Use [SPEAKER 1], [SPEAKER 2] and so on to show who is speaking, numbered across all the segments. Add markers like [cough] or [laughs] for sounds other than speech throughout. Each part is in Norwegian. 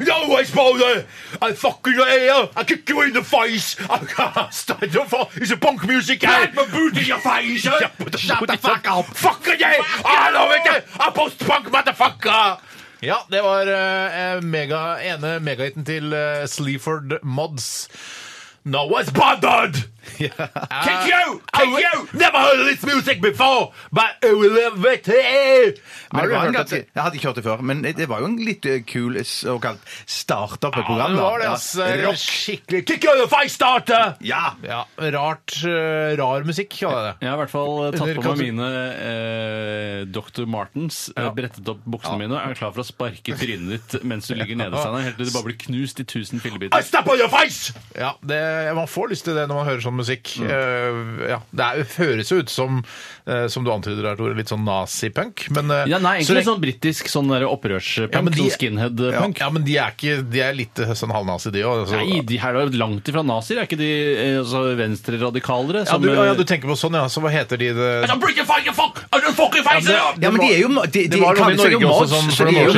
[SPEAKER 1] You always bother. I fucking ear. I kick you in the face. I can't stand your fault. It's a punk music. Get my boot in your face. Yeah, Shut the fuck up. Fucking yeah. I love it. I post-punk motherfucker.
[SPEAKER 2] Ja, det var eh, mega, ene megahiten til eh, Sleaford Mods.
[SPEAKER 1] No one's
[SPEAKER 2] [laughs]
[SPEAKER 1] bothered. Kick you. Kick you. Never heard of this music before, but I love it.
[SPEAKER 3] men
[SPEAKER 2] Har
[SPEAKER 3] det
[SPEAKER 2] du
[SPEAKER 3] var en
[SPEAKER 2] hørt at
[SPEAKER 3] ganske, Jeg hadde ikke hørt det før, men det var jo en litt eh, kul såkalt starter på programmet.
[SPEAKER 2] det var det,
[SPEAKER 3] Ja.
[SPEAKER 2] ass. eh,
[SPEAKER 3] Rock.
[SPEAKER 2] Skikkelig
[SPEAKER 1] Kick you in the face, starter.
[SPEAKER 3] Ja!
[SPEAKER 2] ja, rart, eh, rar musikk, kaller jeg det.
[SPEAKER 4] Jeg har i hvert fall tatt
[SPEAKER 2] Eller
[SPEAKER 4] på meg
[SPEAKER 2] kanskje-
[SPEAKER 4] mine eh, Dr. Martens, eh, brettet opp buksene mine og er klar for å sparke trynet ditt mens du ligger nede, Steinar, helt til du bare blir knust i tusen
[SPEAKER 1] I
[SPEAKER 4] fillebiter.
[SPEAKER 1] step on your face.
[SPEAKER 2] Ja, det, Man får lyst til det når man hører sånn musikk. Eh, ja, det er, høres jo ut som, eh, som du antyder her, Tore, litt sånn nazipunk. Men, eh,
[SPEAKER 4] Ja, nei,
[SPEAKER 2] så
[SPEAKER 4] egentlig
[SPEAKER 2] lenge-
[SPEAKER 4] sånn britisk sånn der opprørspunk,
[SPEAKER 2] Ja, men de-
[SPEAKER 4] sånn skinhead-punk.
[SPEAKER 2] Ja, ja, men de er, ikke, de er litt eh, sånn halvnazi, de òg.
[SPEAKER 4] Nei, de her er jo langt ifra nazier. Er ikke de eh, altså, venstreradikalere?
[SPEAKER 2] Ja,
[SPEAKER 4] som,
[SPEAKER 2] du, ja,
[SPEAKER 4] eh,
[SPEAKER 2] du tenker på sånn, ja. Så hva heter de eh? det?
[SPEAKER 1] I break your fucking fuck. I don't fucking face.
[SPEAKER 2] det-
[SPEAKER 1] it.
[SPEAKER 3] Ja, men de er jo de, de,
[SPEAKER 2] Det var noen i
[SPEAKER 3] kalles jo
[SPEAKER 2] Norge
[SPEAKER 3] mods,
[SPEAKER 2] også sånn
[SPEAKER 3] så
[SPEAKER 2] for
[SPEAKER 3] de
[SPEAKER 2] noen
[SPEAKER 3] er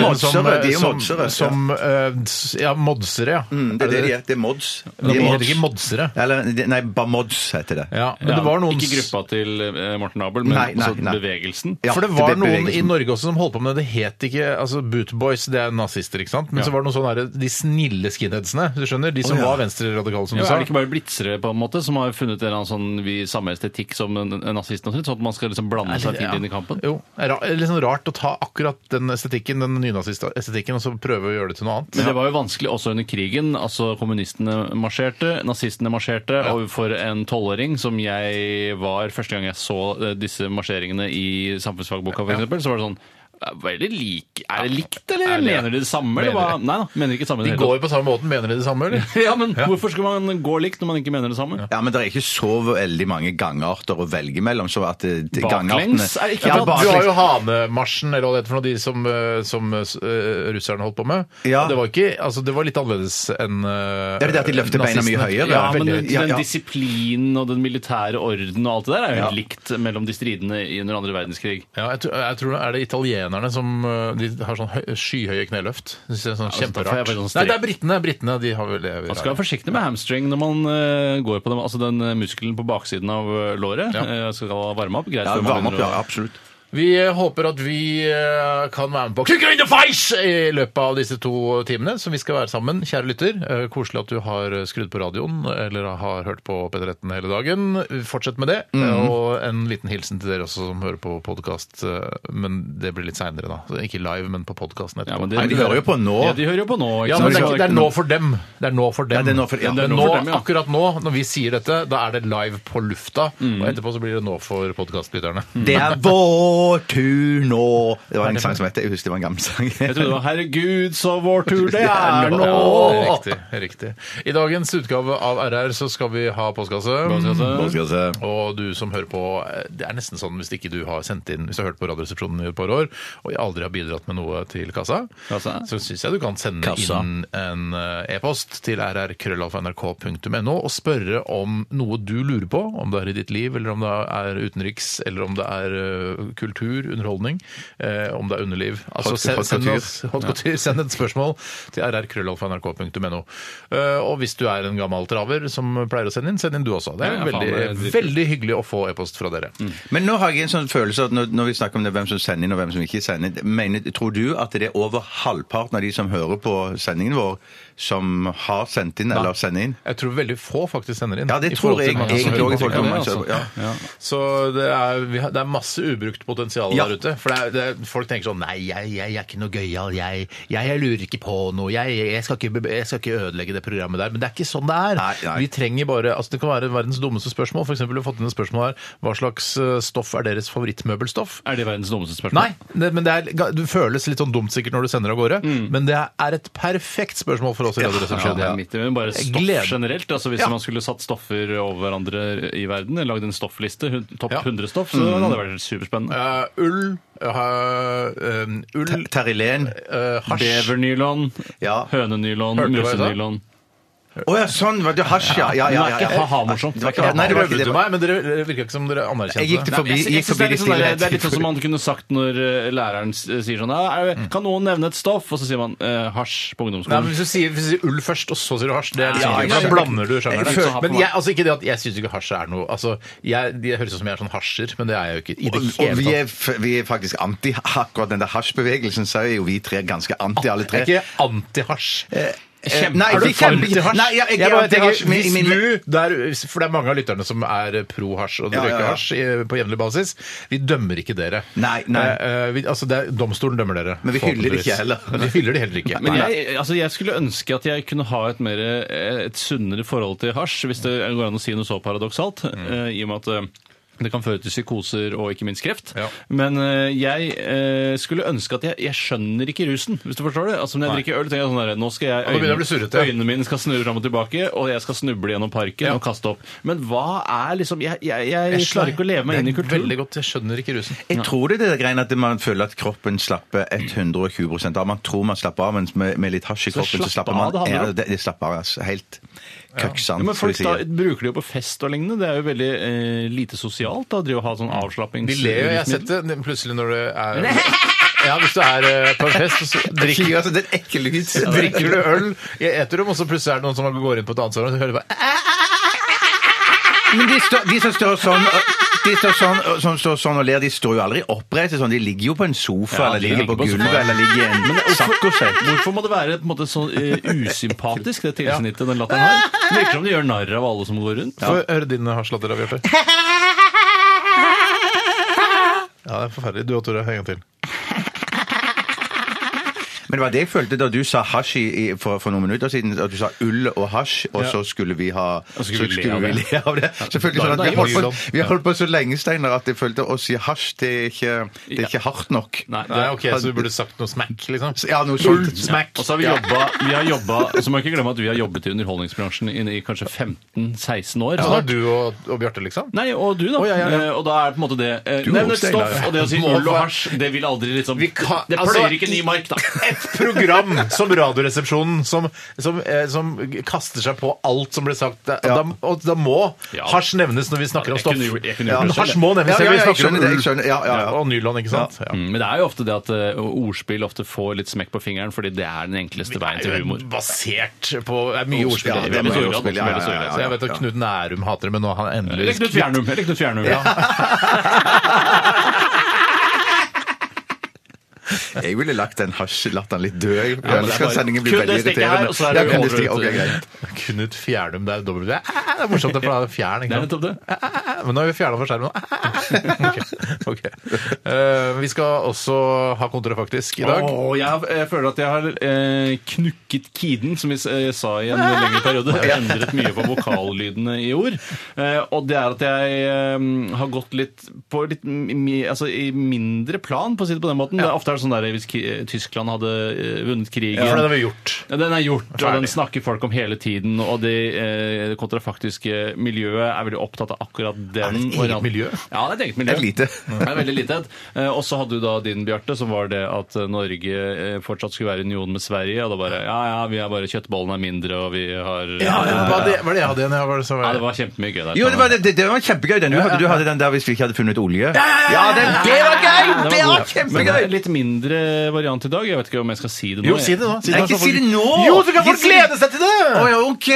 [SPEAKER 3] jo modsere.
[SPEAKER 2] år siden som, eh,
[SPEAKER 3] De er jo
[SPEAKER 2] som,
[SPEAKER 3] modsere.
[SPEAKER 2] som eh, s- ja, modsere, ja.
[SPEAKER 3] Mm, det er det de er. Det er mods.
[SPEAKER 2] De
[SPEAKER 3] De er
[SPEAKER 2] heter
[SPEAKER 3] mods.
[SPEAKER 2] ikke modsere.
[SPEAKER 3] Eller, de- nei, Bamods heter det.
[SPEAKER 2] Ja, men
[SPEAKER 4] ja,
[SPEAKER 2] det var noen
[SPEAKER 4] Ikke gruppa til eh, Morten Abel, men
[SPEAKER 3] Nei, nei,
[SPEAKER 4] altså
[SPEAKER 3] nei.
[SPEAKER 4] bevegelsen.
[SPEAKER 3] Ja,
[SPEAKER 2] For det var
[SPEAKER 3] det ble
[SPEAKER 2] noen i
[SPEAKER 3] bevegelsen.
[SPEAKER 2] Norge også som holdt på med det. Det het ikke altså Bootboys, det er nazister, ikke sant? Men
[SPEAKER 4] Ja.
[SPEAKER 2] så var det noen sånne der, de snille skinheadsene, du skjønner? De som
[SPEAKER 3] Å, ja.
[SPEAKER 2] var venstreradikale, som
[SPEAKER 4] Ja,
[SPEAKER 2] du
[SPEAKER 4] er
[SPEAKER 2] sa.
[SPEAKER 4] det ikke bare blitzere på en måte som har funnet en eller annen sånn vi, samme estetikk som en- en nazisten? og sånt, Sånn at man skal liksom blande seg tidlig inn i kampen?
[SPEAKER 2] Jo, det er ra- litt sånn rart å ta akkurat den estetikken, den nynazist-estetikken, og så prøve å gjøre det til noe annet.
[SPEAKER 4] Men det var jo vanskelig også under krigen. altså Kommunistene marsjerte, nazistene marsjerte. Og for en tolvåring som jeg var første gang jeg så eh, disse marsjeringene i samfunnsfagboka, for eksempel, så var det sånn er det, lik, er det likt, eller
[SPEAKER 2] Er det-
[SPEAKER 4] mener de det samme? Eller
[SPEAKER 2] Mener
[SPEAKER 4] hva? Nei da, mener ikke det samme. i
[SPEAKER 2] De
[SPEAKER 4] det hele
[SPEAKER 2] går jo på samme måten, mener de det samme,
[SPEAKER 3] [laughs]
[SPEAKER 2] eller?
[SPEAKER 4] tatt. [laughs] ja, men Hvorfor skal man gå likt når man ikke mener det samme?
[SPEAKER 3] Ja, men det er ikke så veldig mange gangarter å velge mellom. Så at eh, de
[SPEAKER 4] Baklengs
[SPEAKER 3] gangartene
[SPEAKER 4] er det ikke
[SPEAKER 3] ja,
[SPEAKER 4] tatt.
[SPEAKER 2] Du har
[SPEAKER 3] baklengs.
[SPEAKER 2] jo Hanemarsjen, eller hva det heter for noe, de som, eh, som eh, russerne holdt på med.
[SPEAKER 3] Ja.
[SPEAKER 2] Og Det, var ikke, altså, det var litt annerledes enn uh,
[SPEAKER 3] Det er det at de løfter beina mye høyere.
[SPEAKER 4] Ja, men
[SPEAKER 3] veldig
[SPEAKER 4] den,
[SPEAKER 3] høyt. Ja, ja.
[SPEAKER 4] disiplinen og den militære orden og alt det der er jo helt likt mellom de stridende i under andre verdenskrig.
[SPEAKER 2] Ja, jeg, tror, jeg tror det er det italienerne som eh, de har sånn høy, skyhøye kneløft. Det synes jeg er
[SPEAKER 4] Ja, altså, da får
[SPEAKER 2] sånn
[SPEAKER 4] jeg
[SPEAKER 2] kjemperart.
[SPEAKER 4] bare sånn
[SPEAKER 2] Nei,
[SPEAKER 4] strek.
[SPEAKER 2] det er britene. britene de har vel, det er vel-
[SPEAKER 4] Man skal være forsiktig med hamstring når man eh, går på den, altså den eh, muskelen på baksiden av eh, låret.
[SPEAKER 2] Ja.
[SPEAKER 4] Eh, skal varme opp, greit.
[SPEAKER 3] Ja,
[SPEAKER 4] før man
[SPEAKER 3] varme opp,
[SPEAKER 4] begynner
[SPEAKER 3] ja.
[SPEAKER 4] å-
[SPEAKER 3] Absolutt.
[SPEAKER 2] Vi eh, håper at vi eh, kan være med på Kick you in the face i løpet av disse to timene som vi skal være sammen. Kjære lytter, eh, koselig at du har skrudd på radioen eller har hørt på P13 hele dagen. Fortsett med det. eh, Og en liten hilsen til dere også som hører på podkast, men det blir litt seinere, da. Så Ikke live, men på podkasten etterpå.
[SPEAKER 4] Ja, men det-
[SPEAKER 3] Nei, de hører jo på nå.
[SPEAKER 4] Ja, de hører jo på nå. ikke
[SPEAKER 2] Ja,
[SPEAKER 4] sant?
[SPEAKER 2] men det er,
[SPEAKER 4] Så
[SPEAKER 2] ikke, det er nå for dem. Det er nå for dem.
[SPEAKER 3] Ja, det er nå for- ja.
[SPEAKER 2] Men
[SPEAKER 3] Det er
[SPEAKER 4] nå
[SPEAKER 2] nå,
[SPEAKER 4] for dem, ja.
[SPEAKER 2] Akkurat nå, når vi sier dette, da er det live på lufta. Og etterpå så blir det nå for podkastlytterne.
[SPEAKER 3] Det er vår tur nå. Det var en sang som het det. Jeg husker det var en gammel sang.
[SPEAKER 4] Jeg trodde det var 'Herregud, så vår tur det er nå'!
[SPEAKER 2] [laughs] Ja, Riktig. riktig. I dagens utgave av RR så skal vi ha postkasse.
[SPEAKER 3] Nå skal jeg se.
[SPEAKER 2] Eh, Og du som hører på, eh, det er nesten sånn hvis ikke du har sendt inn Hvis du har hørt på Radioresepsjonen i et par år og jeg aldri har bidratt med noe til kassa,
[SPEAKER 4] Kassa?
[SPEAKER 2] så syns jeg du kan sende
[SPEAKER 3] Kassa.
[SPEAKER 2] inn en eh, e-post til rrkrøllalfa.nrk.no og spørre om noe du lurer på, om det er i ditt liv, eller om det er utenriks, eller om det er eh, kultur, underholdning, eh, om det er underliv. Altså,
[SPEAKER 3] Hot-
[SPEAKER 2] send,
[SPEAKER 3] hot
[SPEAKER 2] send,
[SPEAKER 3] couture.
[SPEAKER 2] oss, hot couture, send et spørsmål til rrkrøllalfa.nrk.no. Eh, Og hvis du er en gammel traver som pleier å sende inn, send inn du også. Det er
[SPEAKER 4] Ja, ja, faen,
[SPEAKER 2] veldig,
[SPEAKER 4] det er dritkult. Mm.
[SPEAKER 2] veldig Veldig hyggelig å få e-post fra dere.
[SPEAKER 3] Men nå har jeg en sånn følelse at når, når vi snakker om det, hvem som sender inn og hvem som ikke sender inn, mener, tror du at det er over halvparten av de som hører på sendingen vår, som har sendt inn eller sender inn?
[SPEAKER 2] Jeg tror veldig få faktisk sender inn.
[SPEAKER 3] Ja, det
[SPEAKER 2] i
[SPEAKER 3] tror
[SPEAKER 2] forhold til
[SPEAKER 3] jeg
[SPEAKER 2] mange som
[SPEAKER 3] egentlig
[SPEAKER 2] hører
[SPEAKER 3] òg.
[SPEAKER 2] på
[SPEAKER 4] folk- Ja,
[SPEAKER 3] Altså.
[SPEAKER 4] altså.
[SPEAKER 3] Ja.
[SPEAKER 2] Så det er, vi har, det er masse ubrukt potensial
[SPEAKER 3] Ja.
[SPEAKER 2] der ute. For det er, det er, folk tenker sånn Nei, jeg, jeg, jeg er ikke noe gøyal. Jeg, jeg, jeg lurer ikke på noe. Jeg, jeg, skal ikke, be- jeg skal ikke ødelegge det programmet der. Men det er ikke sånn det er.
[SPEAKER 3] Nei, nei.
[SPEAKER 2] Vi trenger bare altså Det kan være verdens dummeste spørsmål. For eksempel, vi har fått inn et spørsmål her. Hva slags eh, stoff er deres favorittmøbelstoff?
[SPEAKER 4] Er det verdens dummeste spørsmål?
[SPEAKER 2] Nei, det, men det, er, ga- det føles litt sånn dumt sikkert når du sender av gårde, men det er et perfekt spørsmål for oss i
[SPEAKER 4] Ja,
[SPEAKER 2] Radioresepsjonen.
[SPEAKER 4] det er midt i, men bare
[SPEAKER 2] Jeg
[SPEAKER 4] stoff
[SPEAKER 2] gleder-
[SPEAKER 4] generelt. altså Hvis
[SPEAKER 2] Ja.
[SPEAKER 4] man skulle satt stoffer over hverandre i verden, lagd en stoffliste, hun- topp
[SPEAKER 2] Ja. Mm.
[SPEAKER 4] 100 stoff, så hadde det vært superspennende.
[SPEAKER 2] Ja, eh, ull eh, um, Ull,
[SPEAKER 3] Terrilén.
[SPEAKER 2] eh, hasj
[SPEAKER 4] Bevernylon,
[SPEAKER 3] Ja.
[SPEAKER 4] hønenylon,
[SPEAKER 2] Hørte du hva jeg sa?
[SPEAKER 4] musenylon.
[SPEAKER 3] Å ja, sånn! Var det hasj, ja. ja, ja,
[SPEAKER 4] Men det er
[SPEAKER 3] ja,
[SPEAKER 4] ikke
[SPEAKER 3] ja.
[SPEAKER 4] ha-ha-morsomt.
[SPEAKER 3] Det var ikke- Nei, det var ikke
[SPEAKER 2] Prøvde
[SPEAKER 3] det.
[SPEAKER 2] meg, men dere det virka ikke som dere anerkjente
[SPEAKER 3] Jeg gikk
[SPEAKER 2] det.
[SPEAKER 3] til forbi,
[SPEAKER 4] Jeg
[SPEAKER 3] gikk
[SPEAKER 4] synes
[SPEAKER 3] forbi
[SPEAKER 4] det, er
[SPEAKER 3] det
[SPEAKER 4] litt sånn der, det er
[SPEAKER 3] stillhet.
[SPEAKER 4] litt sånn som man kunne sagt når eh, læreren s- sier sånn "Ja, er- Kan noen nevne et stoff? Og så sier man eh, hasj på
[SPEAKER 2] Mm. Nei, men
[SPEAKER 4] ungdomsskolen.
[SPEAKER 2] Hvis du sier, hvis du sier ull først, og så sier du hasj, det er liksom,
[SPEAKER 3] Ja,
[SPEAKER 2] ikke-
[SPEAKER 3] jeg
[SPEAKER 2] da
[SPEAKER 3] skjønner.
[SPEAKER 2] blander du
[SPEAKER 3] Jeg
[SPEAKER 2] sjangerne.
[SPEAKER 3] føler-
[SPEAKER 2] Men jeg, altså, ikke det at, jeg syns ikke hasj er noe altså, jeg, Det høres ut som jeg er sånn hasjer, men det er jeg jo ikke. i det
[SPEAKER 3] Og,
[SPEAKER 2] hele
[SPEAKER 3] og vi,
[SPEAKER 2] tatt.
[SPEAKER 3] er, f- vi er faktisk anti [laughs] akkurat den der hasjbevegelsen, så er jo vi tre ganske anti, alle
[SPEAKER 2] Jeg
[SPEAKER 3] tre.
[SPEAKER 2] er Eh, ikke antihasj.
[SPEAKER 3] Kjempe- Nei,
[SPEAKER 2] er du
[SPEAKER 3] vi kjemper-
[SPEAKER 2] for hasj?
[SPEAKER 3] Nei, jeg- jeg-
[SPEAKER 2] bare
[SPEAKER 3] jeg-
[SPEAKER 2] tenker,
[SPEAKER 3] hasj, min-
[SPEAKER 2] hvis
[SPEAKER 3] min-
[SPEAKER 2] du, der, for det er mange av lytterne som er pro hasj, og de
[SPEAKER 3] Ja, ja,
[SPEAKER 2] røyker
[SPEAKER 3] ja.
[SPEAKER 2] hasj eh, på jevnlig basis. Vi dømmer ikke dere.
[SPEAKER 3] Nei, nei.
[SPEAKER 2] Eh, eh, vi, altså, det er, domstolen dømmer dere.
[SPEAKER 3] Men vi hyller det ikke
[SPEAKER 2] forhåpentligvis.
[SPEAKER 3] heller.
[SPEAKER 2] Men Vi hyller det heller
[SPEAKER 3] [laughs]
[SPEAKER 2] ikke.
[SPEAKER 4] Men
[SPEAKER 2] Nei.
[SPEAKER 4] jeg, altså jeg skulle ønske at jeg kunne ha et, mer, eh, et sunnere forhold til hasj, hvis det går an å si noe så paradoksalt,
[SPEAKER 2] Mm.
[SPEAKER 4] eh, i og med at eh, det kan føre til psykoser og ikke minst kreft.
[SPEAKER 2] Ja.
[SPEAKER 4] Men eh, jeg eh, skulle ønske at jeg, jeg skjønner ikke rusen, hvis du forstår det. Altså Når jeg drikker øl, tenker jeg sånn der, nå skal jeg,
[SPEAKER 2] nå begynner jeg å bli surrete, ja.
[SPEAKER 4] øynene mine skal snurre fram og tilbake, og jeg skal snuble gjennom parken og kaste opp. Men hva er liksom Jeg, jeg, jeg, klarer ikke å leve meg inn i
[SPEAKER 2] Det er
[SPEAKER 4] kulturen.
[SPEAKER 2] Veldig godt, jeg skjønner ikke rusen.
[SPEAKER 3] Jeg tror det er det greien at man føler at kroppen slapper 120 av. Man tror man slapper av, mens med, med litt hasj i
[SPEAKER 4] Så
[SPEAKER 3] kroppen så slapper
[SPEAKER 4] slappe
[SPEAKER 3] man
[SPEAKER 4] av, det handler
[SPEAKER 3] ja,
[SPEAKER 4] om.
[SPEAKER 3] det, det slapper av. Altså, helt køksan.
[SPEAKER 4] Ja, men folk da,
[SPEAKER 3] skal vi si.
[SPEAKER 4] bruker det jo på fest og lignende. Det er jo veldig eh, lite sosialt da, å drive og ha sånn avslappings...
[SPEAKER 2] De ler jo, jeg har sett det plutselig når det er
[SPEAKER 4] [laughs]
[SPEAKER 2] Ja, hvis du er eh, på en fest, og så drikker
[SPEAKER 3] [laughs] Fy, altså, det er en ekkel lyd.
[SPEAKER 2] drikker du øl i et eterom, og så plutselig er det noen som går inn på et annet sted og hører bare
[SPEAKER 3] Men de, står, de som står sånn ø, de står sånn, ø, som står sånn og ler, de står jo aldri oppreist. Sånn. De ligger jo på en sofa,
[SPEAKER 4] Ja,
[SPEAKER 3] eller ligger på,
[SPEAKER 4] sofaen.
[SPEAKER 3] gulvet, eller ligger i en sakkosett.
[SPEAKER 4] Hvorfor må det være på en måte sånn eh, usympatisk, det tilsnittet den latteren har? Det virker som de gjør narr av alle som går rundt.
[SPEAKER 2] Få høre din hasjlatter, da, Bjarte. Ja, det er forferdelig. Du og Tore, en gang til.
[SPEAKER 3] Men det var det jeg følte da du sa hasj i, i- for, for noen minutter siden. At du sa ull og hasj, og så skulle vi ha
[SPEAKER 4] så skulle vi le av det.
[SPEAKER 3] le av det. Så følte jeg sånn at
[SPEAKER 2] Da-
[SPEAKER 3] vi
[SPEAKER 2] da-
[SPEAKER 3] holdt på,
[SPEAKER 2] da-
[SPEAKER 3] vi holdt på så lenge, Steinar, at jeg følte å si hasj, det er ikke, det er ikke hardt nok.
[SPEAKER 4] Nei,
[SPEAKER 2] Det er ok, så du burde sagt noe smack, liksom.
[SPEAKER 3] Ja, noe
[SPEAKER 2] Full
[SPEAKER 3] sånt.
[SPEAKER 2] smack.
[SPEAKER 4] Og så har vi jobba, vi har jobba og så må jeg ikke glemme at vi har jobbet i underholdningsbransjen i, i kanskje 15-16 år. snart.
[SPEAKER 2] Ja, da er du og, og Bjarte, liksom?
[SPEAKER 4] Nei, og du, da.
[SPEAKER 2] Å, ja, ja, ja.
[SPEAKER 4] Eh, Og da er det på en måte det eh,
[SPEAKER 2] Du
[SPEAKER 4] Nevn et
[SPEAKER 2] også,
[SPEAKER 4] stoff, og
[SPEAKER 2] Steinar.
[SPEAKER 4] det å si
[SPEAKER 2] Må
[SPEAKER 4] ull og
[SPEAKER 2] få-
[SPEAKER 4] hasj, det vil aldri liksom
[SPEAKER 2] Vi kan-
[SPEAKER 4] Det
[SPEAKER 2] altså,
[SPEAKER 4] pløyer ikke ni mark, da.
[SPEAKER 2] Et program som Radioresepsjonen som, som, eh, som kaster seg på alt som blir sagt. Da, da, og da må
[SPEAKER 4] Ja.
[SPEAKER 2] hasj nevnes når vi snakker om
[SPEAKER 4] Jeg
[SPEAKER 2] stoff.
[SPEAKER 4] kunne gjort- jeg kunne
[SPEAKER 2] Ja,
[SPEAKER 4] gjort det selv,
[SPEAKER 2] hasj må nevnes
[SPEAKER 3] Ja, ja,
[SPEAKER 2] når
[SPEAKER 3] ja,
[SPEAKER 2] vi
[SPEAKER 3] jeg
[SPEAKER 2] snakker om
[SPEAKER 3] skjønner det, jeg
[SPEAKER 2] ull.
[SPEAKER 3] skjønner. Ja, ja, ja.
[SPEAKER 2] og nylon, ikke sant? Ja.
[SPEAKER 4] Mm, Men det er jo ofte det at eh, ordspill ofte får litt smekk på fingeren, fordi det er den enkleste veien til humor.
[SPEAKER 2] Basert på det er mye ordspill.
[SPEAKER 3] Ja,
[SPEAKER 2] i
[SPEAKER 3] det
[SPEAKER 2] det.
[SPEAKER 3] er mye ordspill, ja, ja, ja, ja, ja.
[SPEAKER 2] Så jeg vet at Knut Nærum hater det, men nå har han
[SPEAKER 4] Eller
[SPEAKER 2] endelig
[SPEAKER 4] Knut Fjernum. Eller Knut Fjernum.
[SPEAKER 3] Jeg ville lagt den hasjlatteren litt død. Jeg
[SPEAKER 4] men det er
[SPEAKER 3] ønsker
[SPEAKER 4] bare-
[SPEAKER 3] at sendingen blir
[SPEAKER 4] Kun det
[SPEAKER 3] veldig
[SPEAKER 4] stikket her,
[SPEAKER 3] irriterende.
[SPEAKER 4] og så er
[SPEAKER 3] Ja,
[SPEAKER 4] det
[SPEAKER 3] kun
[SPEAKER 4] over
[SPEAKER 3] det stikket.
[SPEAKER 4] ut.
[SPEAKER 3] Ok, greit.
[SPEAKER 2] [laughs] Knut Fjernum, det er dobbelt Det er morsomt, det, for det er fjern.
[SPEAKER 4] Det er
[SPEAKER 2] Ikke sant?
[SPEAKER 4] nettopp det.
[SPEAKER 2] Men nå har vi fjerna fra skjermen. [laughs] Ok, ok. Eh, vi skal også ha kontrafaktisk i dag.
[SPEAKER 4] Åh, jeg, har- jeg føler at jeg har eh, knukket kiden, som vi s- eh, sa i en lengre periode. Jeg har endret mye på vokallydene i ord. Eh, og det er at jeg eh, har gått litt på litt mi- mi, altså, i mindre plan, på å si det på den måten. Det er ofte er det sånn der hvis ki- Tyskland hadde eh, vunnet krigen
[SPEAKER 2] For det har vi gjort.
[SPEAKER 4] Ja, Den er gjort, og
[SPEAKER 2] Ferdig.
[SPEAKER 4] den snakker folk om hele tiden. Og det eh, kontrafaktiske miljøet er veldig opptatt av akkurat den.
[SPEAKER 2] eget
[SPEAKER 4] varianten.
[SPEAKER 2] miljø?
[SPEAKER 4] Ja, det er et eget miljø.
[SPEAKER 3] Et lite.
[SPEAKER 4] Det er veldig lite. Eh, Og så hadde du da din, Bjarte, som var det at eh, Norge eh, fortsatt skulle være i union med Sverige. Og da bare Ja, ja, vi er bare Kjøttbollene er mindre, og vi har
[SPEAKER 2] Hva er det, hva er det jeg hadde igjen? Jeg var så,
[SPEAKER 4] Ja, det var kjempemye gøy der.
[SPEAKER 3] Jo, det var, det, det var kjempegøy. Den du hadde, du hadde den der hvis vi ikke hadde funnet olje. Ja, den, det var gøy!
[SPEAKER 4] Ja,
[SPEAKER 3] Det
[SPEAKER 4] god.
[SPEAKER 3] var
[SPEAKER 4] Men det er
[SPEAKER 3] kjempegøy!
[SPEAKER 4] en litt mindre variant i dag. Jeg vet ikke om jeg skal si det nå.
[SPEAKER 2] jo, si det nå. Si
[SPEAKER 3] Nei, ikke si det nå!
[SPEAKER 2] Jo, så kan
[SPEAKER 3] Ikke
[SPEAKER 2] folk
[SPEAKER 3] si det-
[SPEAKER 2] glede seg til det!
[SPEAKER 3] Å ja, OK!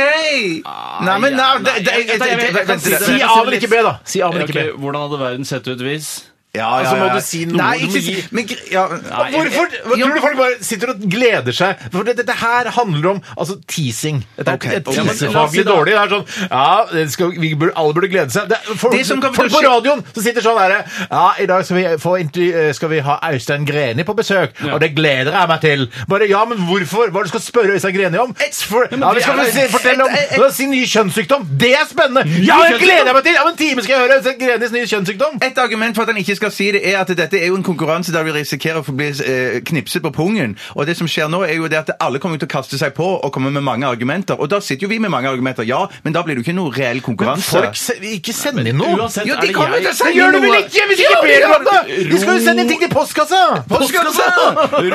[SPEAKER 3] Nei, men nei, det- det-
[SPEAKER 4] jeg- jeg- jeg- jeg- jeg-
[SPEAKER 3] vent litt.
[SPEAKER 2] Si A, men ikke B, da. Si A, men
[SPEAKER 4] Ok,
[SPEAKER 2] ikke B.
[SPEAKER 4] Hvordan hadde verden sett ut hvis
[SPEAKER 3] Ja, ja,
[SPEAKER 2] Altså, må
[SPEAKER 3] ja.
[SPEAKER 2] du si noe,
[SPEAKER 3] Nei,
[SPEAKER 2] du må
[SPEAKER 3] ikke
[SPEAKER 2] gi-
[SPEAKER 3] si men, gr- ja.
[SPEAKER 4] Nei, jeg-
[SPEAKER 2] Hvorfor hva, tror du folk bare sitter og gleder seg? For det- dette her handler om altså, teasing. Dette er
[SPEAKER 3] Ok,
[SPEAKER 2] okay,
[SPEAKER 3] ok. Ja, men
[SPEAKER 4] la oss si
[SPEAKER 2] teasefaglig
[SPEAKER 4] da-
[SPEAKER 2] dårlig. Det er sånn Ja, det skal, vi burde, alle burde glede seg. Det er, folk,
[SPEAKER 3] Det som kommer
[SPEAKER 2] folk
[SPEAKER 3] til å
[SPEAKER 2] på
[SPEAKER 3] skje-
[SPEAKER 2] radioen som sitter sånn herre Ja, i dag skal vi, få intervju, skal vi ha Øystein Greni på besøk, og det gleder jeg meg til. Bare ja, men hvorfor? Hva er det du skal spørre Øystein Greni om? For, ja, vi skal
[SPEAKER 3] det er-
[SPEAKER 2] si- fortelle om
[SPEAKER 3] Et- et-
[SPEAKER 2] la oss si ny kjønnssykdom. Det er spennende! Ja, det gleder jeg meg til! Om en time skal jeg høre Øystein Grenis nye kjønnssykdom.
[SPEAKER 3] Et argument for at han ikke skal si det er at dette er jo en konkurranse der vi risikerer å få bli eh, knipset på pungen. Og det som skjer nå, er jo det at alle kommer til å kaste seg på og komme med mange argumenter. Og da sitter jo vi med mange argumenter, ja, men da blir det jo ikke noe reell konkurranse.
[SPEAKER 2] Folk, se- ikke send inn noe!
[SPEAKER 4] uansett
[SPEAKER 3] Jo,
[SPEAKER 4] er
[SPEAKER 3] de
[SPEAKER 4] det
[SPEAKER 3] kommer
[SPEAKER 4] jeg-
[SPEAKER 3] til å si gjør du vel ikke! Hvis ikke ber om det!
[SPEAKER 2] Vi skal jo sende inn ting til postkassa!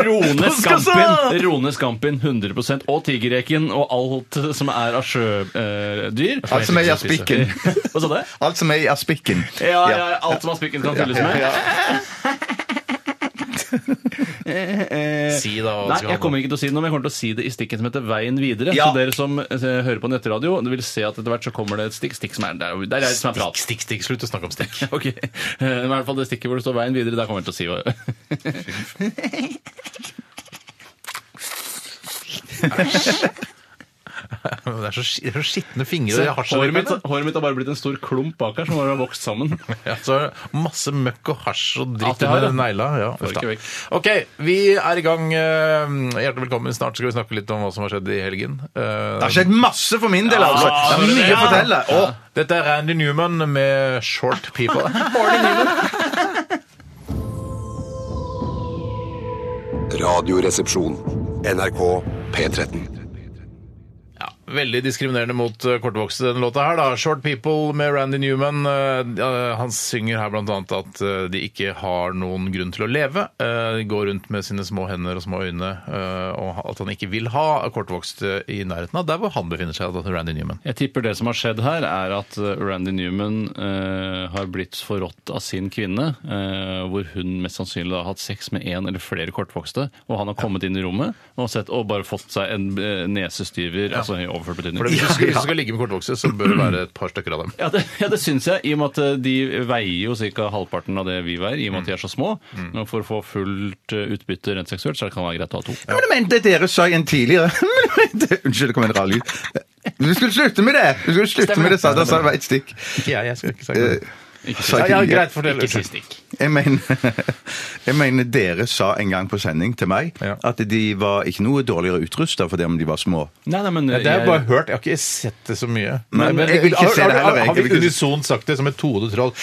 [SPEAKER 4] Rone
[SPEAKER 2] Postkassa!
[SPEAKER 4] Skampen, Rone Skampen 100 og Tigerreken og alt som er av sjødyr.
[SPEAKER 3] Alt som er i aspikken.
[SPEAKER 4] Hva sa du?
[SPEAKER 3] Alt som er i aspikken.
[SPEAKER 4] Ja, ja, alt som aspikken kan fylles med.
[SPEAKER 2] Si da hva det
[SPEAKER 4] Nei,
[SPEAKER 2] skal
[SPEAKER 4] jeg kommer ikke til å si det nå, men jeg kommer til å si det i stikken som heter Veien videre.
[SPEAKER 3] Ja.
[SPEAKER 4] Så dere som eh, hører på nettradio, du vil se at etter hvert så kommer det et stikk. Stikk som er der, der er det som er prat.
[SPEAKER 2] Stikk, stikk, slutt å snakke om stikk.
[SPEAKER 4] [laughs] Ok, Eh, men i hvert fall det stikket hvor det står Veien videre, der kommer jeg til å si hva
[SPEAKER 2] Det er så, sk- det er så skitne fingre. og hasj
[SPEAKER 4] håret,
[SPEAKER 2] og
[SPEAKER 4] mitt,
[SPEAKER 2] litt,
[SPEAKER 4] håret mitt har bare blitt en stor klump bak her som bare har vokst sammen.
[SPEAKER 2] [laughs] Ja, så er det masse møkk og hasj og
[SPEAKER 4] Alt
[SPEAKER 2] dritt
[SPEAKER 4] jeg har,
[SPEAKER 2] under
[SPEAKER 4] ja.
[SPEAKER 2] negla. Ja,
[SPEAKER 4] Får
[SPEAKER 2] uff da.
[SPEAKER 4] ikke vekk.
[SPEAKER 2] ok, vi er i gang. eh, Hjertelig velkommen. Snart skal vi snakke litt om hva som har skjedd i helgen. Eh,
[SPEAKER 3] Det har skjedd masse for min del, altså. Det er mye å fortelle.
[SPEAKER 2] Og dette er Randy Newman med Short People.
[SPEAKER 5] Radioresepsjon.
[SPEAKER 6] NRK P13.
[SPEAKER 2] Ja, Veldig diskriminerende mot eh, kortvokste, denne låta her. da. Short People med Randy Newman. eh, eh, Han synger her bl.a. at eh, de ikke har noen grunn til å leve. Eh, De går rundt med sine små hender og små øyne, eh, og at han ikke vil ha kortvokste i nærheten av der hvor han befinner seg. da, Randy Newman.
[SPEAKER 4] Jeg tipper det som har skjedd her, er at eh, Randy Newman eh, har blitt forrådt av sin kvinne, eh, hvor hun mest sannsynlig har hatt sex med én eller flere kortvokste, og han har kommet inn i rommet og, sett, og bare fått seg en eh, nesestyver, altså i overført betydning.
[SPEAKER 2] For det- Hvis du skal- hvis du skal ligge med kortvokste, så bør det være et par stykker av dem.
[SPEAKER 4] Ja, det, ja, det syns jeg, i og med at eh, de veier jo ca. halvparten av det vi veier, i og med at de er så små.
[SPEAKER 2] Mm.
[SPEAKER 4] Og For å få fullt eh, utbytte rent seksuelt, så det kan være greit å ha to.
[SPEAKER 3] Ja, Men jeg mente dere sa i en tidligere [laughs] men jeg mente- Unnskyld, det kom en rar lyd. Du skulle slutte med det! Du skulle slutte med det, sa da sa det var ett stikk.
[SPEAKER 2] Ikke jeg, jeg skulle ikke sagt
[SPEAKER 3] Eh,
[SPEAKER 2] det.
[SPEAKER 3] sa
[SPEAKER 2] Ja,
[SPEAKER 3] ikke
[SPEAKER 2] ja,
[SPEAKER 3] jeg.
[SPEAKER 2] greit, fortell.
[SPEAKER 4] Ikke si stikk.
[SPEAKER 3] Jeg mener, [laughs] jeg mener dere sa en gang på sending til meg
[SPEAKER 2] Ja.
[SPEAKER 3] at de var ikke noe dårligere utrusta for det om de var små.
[SPEAKER 4] Nei, nei, men
[SPEAKER 2] Ja,
[SPEAKER 4] eh,
[SPEAKER 2] det har jeg bare
[SPEAKER 4] jeg-
[SPEAKER 2] hørt. Jeg har ikke sett det så mye.
[SPEAKER 3] Men
[SPEAKER 2] Nei,
[SPEAKER 3] jeg vil ikke se
[SPEAKER 2] har-
[SPEAKER 3] det
[SPEAKER 2] har-
[SPEAKER 3] heller, jeg. Jeg
[SPEAKER 2] Har vi
[SPEAKER 3] vil ikke-
[SPEAKER 2] unisont sagt det som et todet troll?